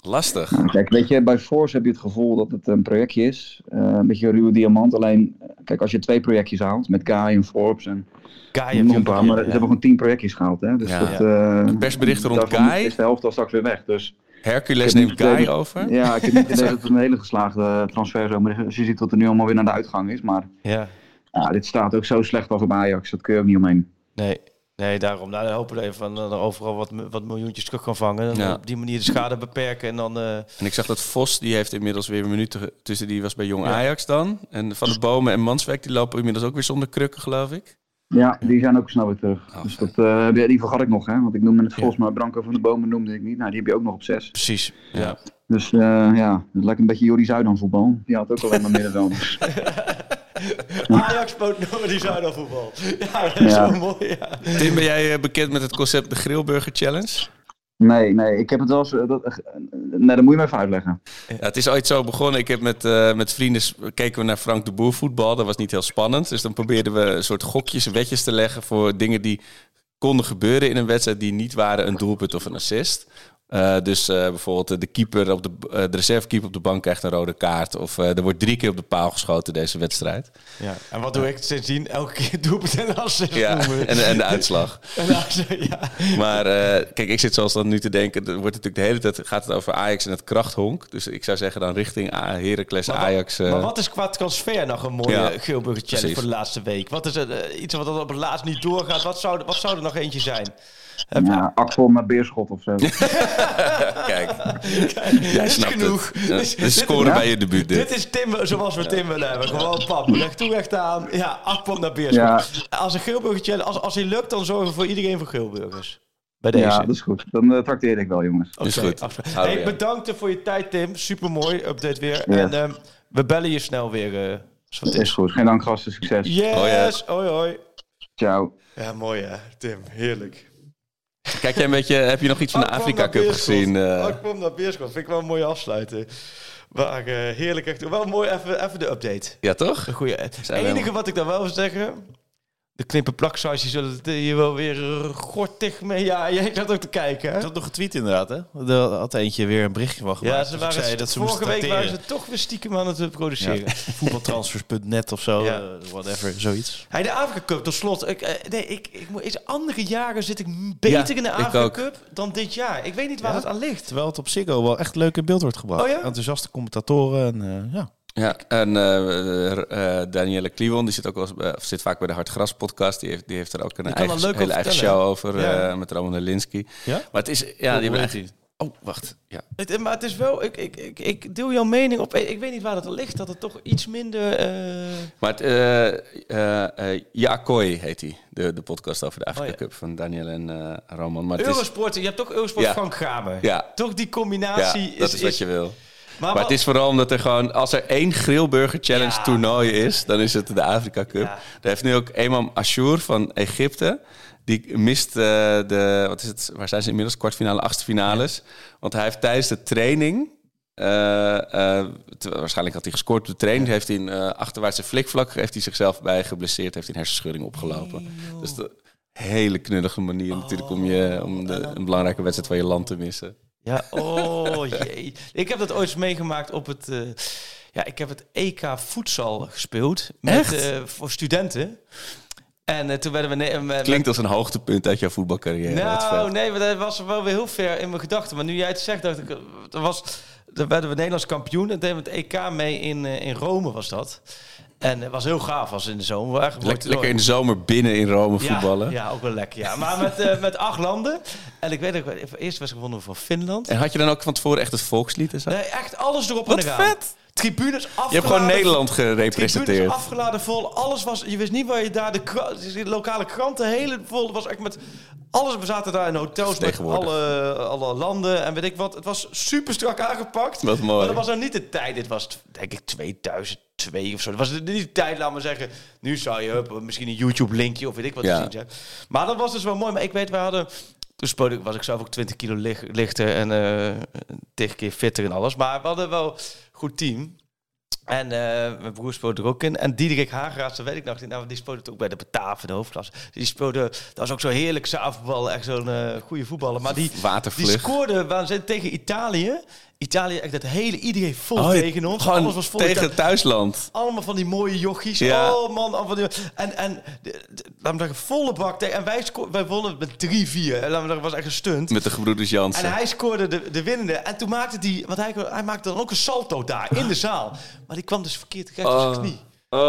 H: lastig.
L: Nou, kijk, weet je, bij Force heb je het gevoel dat het een projectje is. Uh, een beetje een ruwe diamant. Alleen, kijk, als je twee projectjes haalt, met Kai en Forbes en...
H: Ah,
I: Kai en
L: paar, maar ze hebben gewoon tien projectjes gehaald, hè. Dus ja, dat, ja.
H: Uh, persbericht rond Kai...
L: is de helft al straks weer weg, dus...
H: Hercules neemt Kai over.
L: Ja, ik heb niet
H: <laughs>
L: idee dat het een hele geslaagde transfer zo is. Dus je ziet dat er nu allemaal weer naar de uitgang is, maar...
I: Ja.
L: ja dit staat ook zo slecht over bij Ajax. Dat kun je ook niet omheen.
I: Nee, Nee, daarom. Nou, dan hopen we even dat er overal wat, wat miljoentjes terug kan vangen. En ja. op die manier de schade beperken. En, dan, uh... en
H: ik zag dat Vos, die heeft inmiddels weer een minuut tussen. Die was bij Jong ja. Ajax dan. En Van de Bomen en Manswijk, die lopen inmiddels ook weer zonder krukken, geloof ik.
L: Ja, die zijn ook snel weer terug. Oh, dus dat, uh, die vergat ik nog, hè. Want ik noemde het Vos, ja. maar Branko van de Bomen noemde ik niet. Nou, die heb je ook nog op zes.
I: Precies, ja.
L: Dus uh, ja, het lijkt een beetje Jordi Zuidan voetbal. Die had ook alleen maar middenvelders.
I: Ajax bood <laughs> die zuid voetbal. Ja, dat is ja. wel mooi. Ja.
H: Tim, ben jij eh, bekend met het concept de Grillburger Challenge?
L: Nee, nee, ik heb het wel eens. eh, Dat, nee, dat moet je me even uitleggen.
H: Ja, het is ooit zo begonnen. Ik heb met, uh, met vrienden keken we naar Frank de Boer voetbal. Dat was niet heel spannend. Dus dan probeerden we een soort gokjes en wetjes te leggen voor dingen die konden gebeuren in een wedstrijd die niet waren een doelpunt of een assist. Uh, dus uh, bijvoorbeeld de, keeper op de, uh, de reservekeeper op de bank krijgt een rode kaart. Of eh, er wordt drie keer op de paal geschoten deze
I: <laughs>
H: wedstrijd.
I: Ja. En wat doe ik sindsdien? Elke keer <laughs> doe ik het en assist
H: ja, en, en de uitslag.
I: <laughs> en de, ja.
H: Maar eh, kijk, ik zit zoals dan nu te denken. Er wordt natuurlijk de hele tijd gaat het over Ajax en het krachthonk. Dus ik zou zeggen dan richting A Heracles,
I: maar,
H: Ajax. eh,
I: Maar wat is qua transfer nog een mooie ja, Gilburger challenge voor de laatste week? Wat is het, eh, iets wat op het laatst niet doorgaat? Wat zou, wat zou er nog eentje <laughs> zijn?
L: Heb ja, Axel met Beerschot <laughs> of zo.
H: <laughs> Kijk, jij snapt genoeg. het. Ja, scoren bij je debuut.
I: Dit, dit is Tim, zoals we Tim willen hebben. Gewoon pap, leg toe echt aan. Ja, Akpom naar Beerschot. Ja. Als, een Gilburger, als, als hij lukt, dan zorgen we voor iedereen voor Gilburgers. dus. Bij deze.
L: Ja, dat is goed. Dan uh, trakteer ik wel, jongens.
I: Okay, is goed. Hey, bedankt eh, voor je tijd, Tim. Supermooi update weer. Ja. En um, we bellen je snel weer. Uh,
L: dat is goed. Geen dank, gasten. Succes.
I: Yes. Hoi, yes. hoi, hoi.
L: Ciao.
I: Ja, mooi hè, Tim. Heerlijk.
H: Kijk jij een beetje, heb je nog iets van de Afrika Cup gezien? Uh...
I: Oh, Ik kwam naar Beerschot. Vind ik wel een mooie afsluiter. Maar uh, heerlijk. Echt, wel mooi even, even de update.
H: Ja, toch?
I: Een goede. Het enige wat ik dan wel wil zeggen... De knippen plaksausjes zullen het hier wel weer gortig mee. Ja, jij zat ook te kijken. Hè?
C: Ik had nog getweet inderdaad, hè? Er had eentje weer een berichtje van gemaakt.
I: Ja, ze waren zei, dat ze vorige week waren ze toch weer stiekem aan het eh, produceren. Ja,
C: voetbaltransfers.net of zo, ja. uh, whatever, zoiets.
I: Hey, de Afrika Cup, tot slot. Ik, uh, nee, ik, ik, ik, andere jaren zit ik beter ja, in de Afrika Cup dan dit jaar. Ik weet niet waar het aan ligt.
C: Terwijl het op Ziggo wel echt leuk in beeld wordt gebracht.
I: Oh,
C: Enthousiaste commentatoren en uh, ja.
H: Ja, en uh, uh, Danielle Kliwon, die zit ook wel, uh, zit vaak bij de Hartgras podcast. Die heeft, die heeft er ook een eigen, hele eigen vertellen. show over ja. met Ramon Linsky.
I: Ja?
H: Maar het is, ja, oh, die hebben Oh, wacht. Ja.
I: Het, eh, maar het is wel, ik, ik, ik, ik deel jouw mening op. Ik weet niet waar dat aan ligt, dat het toch iets minder. eh,
H: Maar eh, het, Ja Kooi eh, heet hij, de, de podcast over de Afrika oh, ja. Cup van Daniel en eh, Ramon. Maar
I: Eurosport, is... je hebt toch Eurosport Frank Gaber.
H: Ja.
I: Toch die combinatie.
H: Is, dat is, wat is... je wil. Maar, maar, het is vooral omdat er gewoon, als er één Grillburger Challenge ja. toernooi is, dan is het de Afrika Cup. Ja. Daar heeft nu ook Imam Ashour van Egypte. Die mist uh, de, wat is het, waar zijn ze inmiddels? Kwartfinale, achtste finales. Ja. Want hij heeft tijdens de training, uh, uh, waarschijnlijk had hij gescoord op de training, heeft hij een eh, achterwaartse flikvlak, heeft hij zichzelf bij geblesseerd, heeft hij een hersenschudding opgelopen. Nee, dus de hele knullige manier oh. natuurlijk om, je, om de, een belangrijke wedstrijd van je land te missen.
I: Ja, oh jee. Ik heb dat ooit meegemaakt op het. Uh, ja, ik heb het EK voedsel gespeeld. Met, uh, voor studenten. En uh, toen werden we. Nee,
H: met, Klinkt als een hoogtepunt uit jouw voetbalcarrière.
I: Nou, nee, maar dat was wel weer heel ver in mijn gedachten. Maar nu jij het zegt, dacht ik. Er was, daar werden we Nederlands kampioen. En deden we het EK mee in, eh, in Rome, was dat. En het was heel gaaf als in de zomer.
H: Echt lekker, lekker in de zomer binnen in Rome voetballen.
I: Ja, ja ook wel lekker. Ja. Maar met, uh, met acht landen. En ik weet dat ik eerst was gewonnen van Finland.
H: En had je dan ook van tevoren echt het volkslied? En zo?
I: Nee, echt alles erop en eraan.
H: Wat vet!
I: Tribunes afgeladen.
H: Je hebt gewoon Nederland gerepresenteerd.
I: Tribunes afgeladen vol. Alles was... Je wist niet waar je daar... De, de lokale kranten, hele vol. was echt met... Alles, we zaten daar in hotels met alle, alle landen en weet ik wat. Het was super strak aangepakt.
H: Wat mooi.
I: Maar dat was nou niet de tijd. Dit was denk ik 2002 of zo. Dat was niet de tijd, laat maar zeggen. Nu zou je hup, misschien een YouTube-linkje of weet ik wat. Ja. Zien, maar dat was dus wel mooi. Maar ik weet, we hadden... Toen spoorde, was ik zelf ook 20 kilo lig, lichter en uh, 10 keer fitter en alles. Maar we hadden wel goed team. En uh, mijn broer speelde er ook in. En Diederik Hageraas, dat weet ik nog. Nou, die speelde het ook bij de Bataven, de hoofdklasse. Die speelde, dat was ook zo'n heerlijkse afbal. Echt zo'n uh, goede voetballer. Maar die, die scoorde waanzinnig tegen Italië. Italië, echt dat hele, iedereen vol oh, tegen ons.
H: Gewoon Alles was vol tegen het thuisland.
I: Allemaal van die mooie jochies. Ja. Oh man, van die, en, en laten we zeggen, volle bak tegen. En wij, sco- wij wonnen met 3-4. Laten we zeggen, was echt een stunt.
H: Met de gebroeders Jansen.
I: En hij scoorde de, de winnende. En toen maakte hij, want hij, hij maakte dan ook een salto daar in de zaal. Maar die kwam dus verkeerd recht op zijn knie.
H: Uh,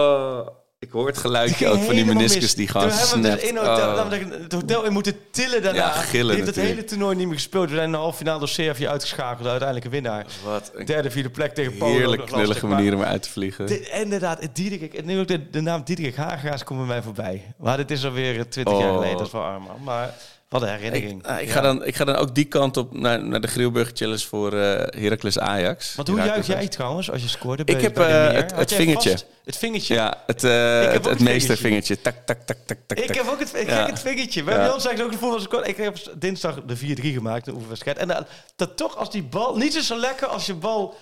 H: Oh, ik hoor het geluidje ook van die meniscus die gaan
I: snapt. We dus in hotel, oh. zeggen, het hotel in moeten tillen daarna.
H: Ja, gillen
I: Die heeft
H: natuurlijk.
I: het hele toernooi niet meer gespeeld. We zijn in de halve finale door Servië uitgeschakeld. Uiteindelijk een winnaar.
H: Wat een
I: Derde, vierde plek tegen
H: Polen. Heerlijk knullige manier om uit te vliegen.
I: De, inderdaad, Diederik. En nu ook de, de naam Diederik Hageraas komt bij mij voorbij. Maar dit is alweer twintig oh. jaar geleden. Dat is wel arm man. Maar... Wat een herinnering.
H: Ik, ik ga ja. dan, ik ga dan ook die kant op naar, naar de Grilburg Challenge voor uh, Heracles Ajax.
I: Want hoe juich jij trouwens als je scoorde? Bij,
H: ik heb bij
I: de
H: meer? het, het vingertje.
I: Vast, het vingertje?
H: Ja, het, uh, het, het, het meestervingertje. Tak, tak, tak, tak, tak.
I: Ik tak. heb ook het, ik ja. het vingertje. We ja. hebben ons eigenlijk ook gevoel als ik, ik heb dinsdag de 4-3 gemaakt in oefenwedstrijd. En dat, dat toch als die bal niet zo lekker als je bal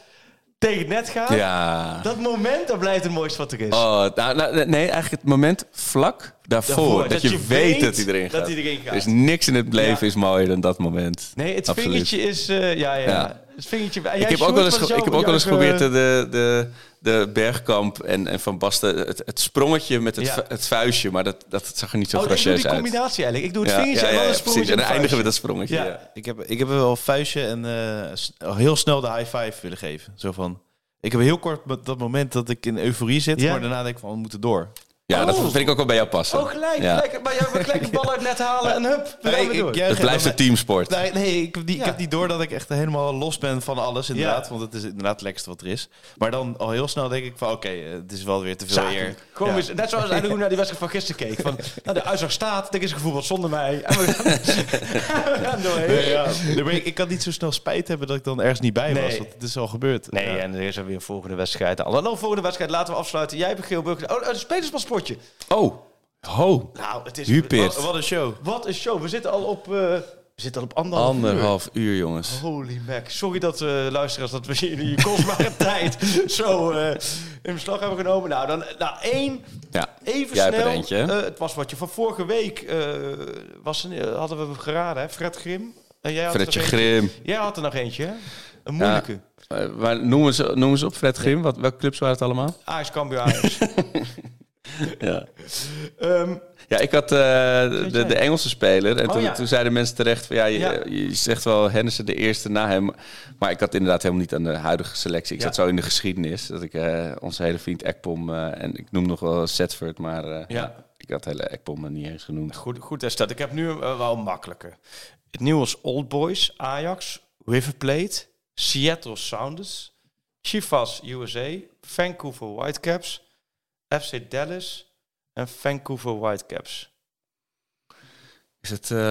I: tegen het net gaat.
H: Ja.
I: Dat moment, dat blijft het mooiste wat er is.
H: Oh, nou, nou, nee, eigenlijk het moment vlak daarvoor. daarvoor dat, dat, je, weet dat iedereen gaat.
I: Dat iedereen gaat.
H: Dus niks in het leven ja. is mooier dan dat moment.
I: Nee, het Absoluut. vingertje is... Uh, ja, ja, ja, Het vingertje... Jij
H: ik heb ook wel eens, ge- ik heb ook wel eens geprobeerd
I: eh, oh,
H: de, de, de, de Bergkamp en, en Van Basten... Het, het sprongetje met het, het vuistje, maar dat, dat zag er niet zo
I: oh,
H: gracieus uit.
I: ik doe die combinatie eigenlijk. Ik doe het vingertje en dan het sprongetje.
H: En dan eindigen we dat sprongetje.
C: Ik, heb, ik heb wel vuistje en uh, heel snel de high five willen geven. Zo van... Ik heb heel kort dat moment dat ik in euforie zit, maar daarna denk ik van we moeten door.
H: Ja, dat vind ik ook wel bij jou passen.
I: Oh, gelijk.
H: Ja.
I: gelijk maar jij gelijk de bal uit net
H: <laughs>
I: halen en hup. we
C: Nee,
I: gaan weer
C: ik-
I: door.
C: jij-
H: Het blijft een teamsport.
I: Nou.
C: Nee, nee ik, heb die,
I: Ja.
C: ik heb niet door dat ik echt helemaal los ben van alles, inderdaad. Want het is inderdaad het lekkerste wat er is. Maar dan al heel snel denk ik van, oké, eh, het is wel weer te veel eer.
I: Zakelijk. Gewoon
C: Ja.
I: weer- net zoals eigenlijk hoe naar die wedstrijd van gisteren keek.
C: <laughs>
I: Van, nou, de uitslag staat, denk is gevoetbald zonder mij. En we gaan, we gaan <laughs> doorheen.
C: Nee, ja. Nee, maar ik, ik kan niet zo snel spijt hebben dat ik dan ergens niet bij was.
I: Nee.
C: Want het is al gebeurd.
I: Nee,
C: Ja.
I: en er is er weer een volgende wedstrijd. Al een volgende wedstrijd, laten we afsluiten. Jij hebt een geel burger. Oh, een spelerspaspoortje.
H: Oh, ho.
I: Nou, het is...
H: Hupeert.
I: Wat, wat een show. Wat een show. We zitten al op, eh, we zitten al op anderhalf,
H: Anderhalf uur, jongens.
I: uur. Holy mac. Sorry dat, eh luisteraars, dat we in die kostbare <laughs> tijd zo eh, in beslag hebben genomen. Nou, dan nou, één...
H: Ja,
I: Even
H: jij hebt
I: snel.
H: er eentje. hè?
I: eh, het was wat je van vorige week eh, was, een- eh, hadden we hem geraden, hè? Fred Grim. En jij had er
H: Fredje
I: nog eentje.
H: Grim.
I: Jij had er nog eentje, hè? Een moeilijke.
H: Ja, eh, maar noem, eens, noem eens op, Fred Grim. Wat, welke clubs waren het allemaal?
I: Ajax Cambuur Ajax.
H: Ja,
I: Ehm,
H: ja ik had eh, de, de Engelse speler. En
I: Oh,
H: toen,
I: ja.
H: toen zeiden mensen terecht van... Ja, je,
I: Ja.
H: je zegt wel Henderson de eerste na hem. Maar ik had inderdaad helemaal niet aan de huidige selectie. Ik
I: Ja.
H: zat zo in de geschiedenis. Dat ik eh, onze hele vriend Ekpom... eh, en ik noem nog wel Setford, maar... eh,
I: <laughs> Ja.
H: Ik had hele Ekpom er niet eens genoemd.
I: goed, goed hersteld. Ik heb nu eh, wel makkelijker. Het nieuws Old Boys, Ajax, River Plate, Seattle Sounders, Chivas USA, Vancouver Whitecaps, FC Dallas en Vancouver Whitecaps.
H: Is het eh,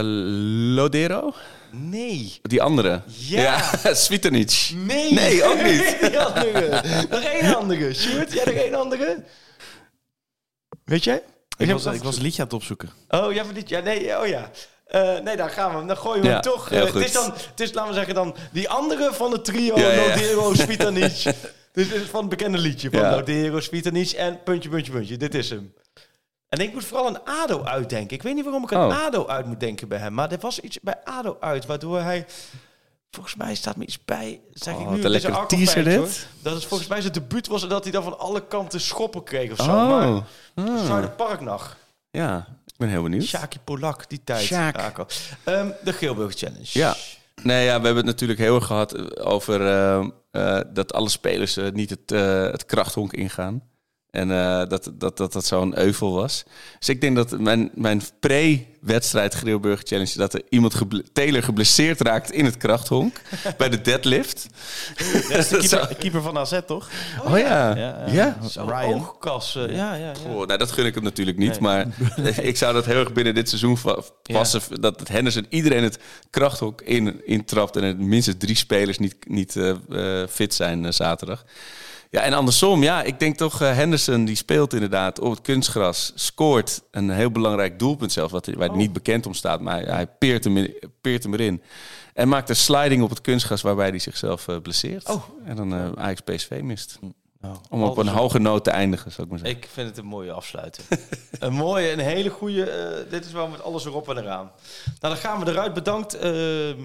H: Lodero?
I: Nee.
H: Die andere?
I: Ja.
H: ja <laughs> Svitanic.
I: Nee.
H: Nee, ook
I: <laughs>
H: niet.
I: Die andere. Nog één andere. Sjoerd, jij nog één andere? Weet jij?
C: Ik, was, ik was het liedje aan het opzoeken.
I: Oh, jij verdient... Ja, nee, oh ja. Eh, nee, daar gaan we. hem. Dan gooien we
H: Ja,
I: hem toch.
H: heel
I: eh,
H: goed.
I: het is dan, het is, laten we zeggen dan, die andere van het trio
H: Ja, ja, ja.
I: Nodero,
C: <laughs>
I: Svitanic. Dit is van het bekende liedje van
H: Ja.
I: Nodero, Svitanic en puntje, puntje, puntje. Dit is hem. En ik moet vooral een ADO uitdenken. Ik weet niet waarom ik een
H: Oh.
I: ADO uit moet denken bij hem. Maar er was iets bij ADO uit, waardoor hij... Volgens mij staat me iets bij. Zeg
H: Oh,
I: ik
H: wat
I: nu
H: een
I: deze
H: lekkere
I: arkelpijt,
H: teaser dit.
I: hoor. Dat is volgens mij zijn debuut was en dat hij dan van alle kanten schoppen kreeg of zo.
H: Oh.
I: Maar Zuiderparknacht.
H: Ja, ik ben heel benieuwd.
I: Sjaki Polak, die tijd.
H: Sjaak.
I: Rakel. Ehm, de Geelburg Challenge.
H: Ja. Nee, ja, we hebben het natuurlijk heel erg gehad eh, over eh, eh, dat alle spelers eh, niet het, eh, het krachthonk ingaan. En eh, dat dat, dat, dat zo'n euvel was. Dus ik denk dat mijn, mijn pre-wedstrijd Greelburg Challenge... dat er iemand geble Taylor geblesseerd raakt in het krachthonk <laughs> bij de deadlift. <laughs>
C: Dat is de
H: zou-
C: keeper, keeper van AZ, toch?
H: Oh ja,
C: Ja,
H: ja.
C: ja.
I: Zo'n
C: Ryan.
I: oogkas. eh, ja, ja, ja.
H: Goh, nou, dat gun ik hem natuurlijk niet.
I: <laughs>
H: Maar <laughs> ik zou dat heel erg binnen dit seizoen va- passen. Dat het Henderson iedereen het krachthok in, intrapt. En er minstens drie spelers niet, niet eh, eh, fit zijn eh, zaterdag. Ja, en andersom, ja, ik denk toch eh, Henderson die speelt inderdaad op het kunstgras. Scoort een heel belangrijk doelpunt zelfs, wat, waar
I: Oh.
H: hij niet bekend om staat. Maar hij, hij peert, hem in, peert hem erin. En maakt een sliding op het kunstgras waarbij hij zichzelf eh, blesseert.
I: Oh.
H: En dan eh Ajax PSV mist. Om op een
I: Alderson.
H: hoge noot te eindigen, zou ik maar zeggen.
I: Ik vind het een mooie afsluiting. <laughs> een mooie, een hele goede. eh, dit is wel met alles erop en eraan. Nou, dan gaan we eruit. Bedankt. ehm,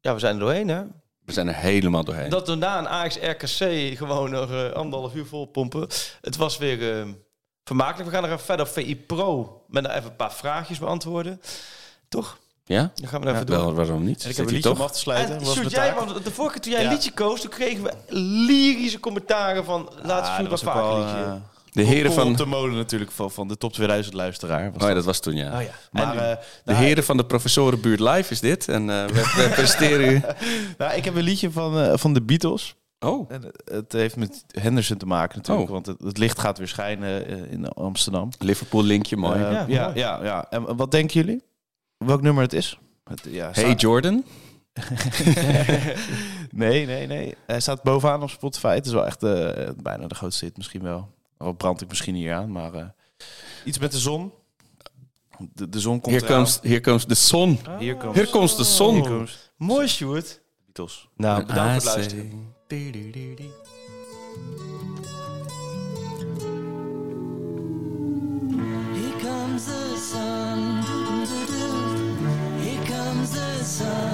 I: ja, we zijn er doorheen, hè?
H: We zijn er helemaal doorheen.
I: Dat we na een AX-RKC gewoon nog eh, anderhalf uur vol pompen. Het was weer eh, vermakelijk. We gaan er even verder op VI Pro met nog even een paar vraagjes beantwoorden. Toch?
H: ja?
I: Dan gaan we er even door.
H: Wel, waarom niet?
C: En ik
H: Zit
C: heb een
H: hij
C: liedje om
H: toch?
C: af te sluiten.
I: En
C: was
I: Sjoerd,
C: mijn
I: jij,
C: taak.
I: want de vorige keer toen jij
C: Ja.
I: een liedje koos, toen kregen we lyrische commentaren van laat
C: Ah,
I: het Sjoerd
C: dat
I: wat
C: was ook
I: vaker
C: wel,
I: liedje.
C: eh,
H: De heren
C: Kool
H: van...
C: op de molen natuurlijk van, van de top 2000 luisteraar. Was
H: Oh ja, dat was toen, ja.
I: Oh ja.
C: Maar eh,
H: De heren van de professorenbuurt live is dit. En eh, we,
C: <laughs>
H: we presteren u.
C: nou, ik heb een liedje van, eh, van de Beatles.
H: Oh,
C: En eh, het heeft met Henderson te maken natuurlijk,
H: Oh.
C: want het, het licht gaat weer schijnen eh, in Amsterdam.
H: Liverpool linkje, mooi.
C: Eh,
I: Oh, Ja,
C: ja, ja,
I: mooi.
C: ja, En wat denken jullie? Welk nummer het is? Het, ja,
H: hey Jordan.
C: <laughs> nee, nee, nee. Hij staat bovenaan op Spotify. Het is wel echt eh, bijna de grootste hit misschien wel. Al brand ik misschien hier aan, maar eh, iets met de zon. De, de zon komt
H: Here
C: eraan.
H: comes, here comes the sun.
C: Ah. Hier komt
H: Here comes the
C: Hier
H: sun.
C: komt
I: Mooi Sjoerd.
C: Beatles.
I: Nou, bedankt voor
H: Ah,
I: het
H: I
I: luisteren.
H: say- du-du-du-du.
M: Here comes the sun. Here comes the sun.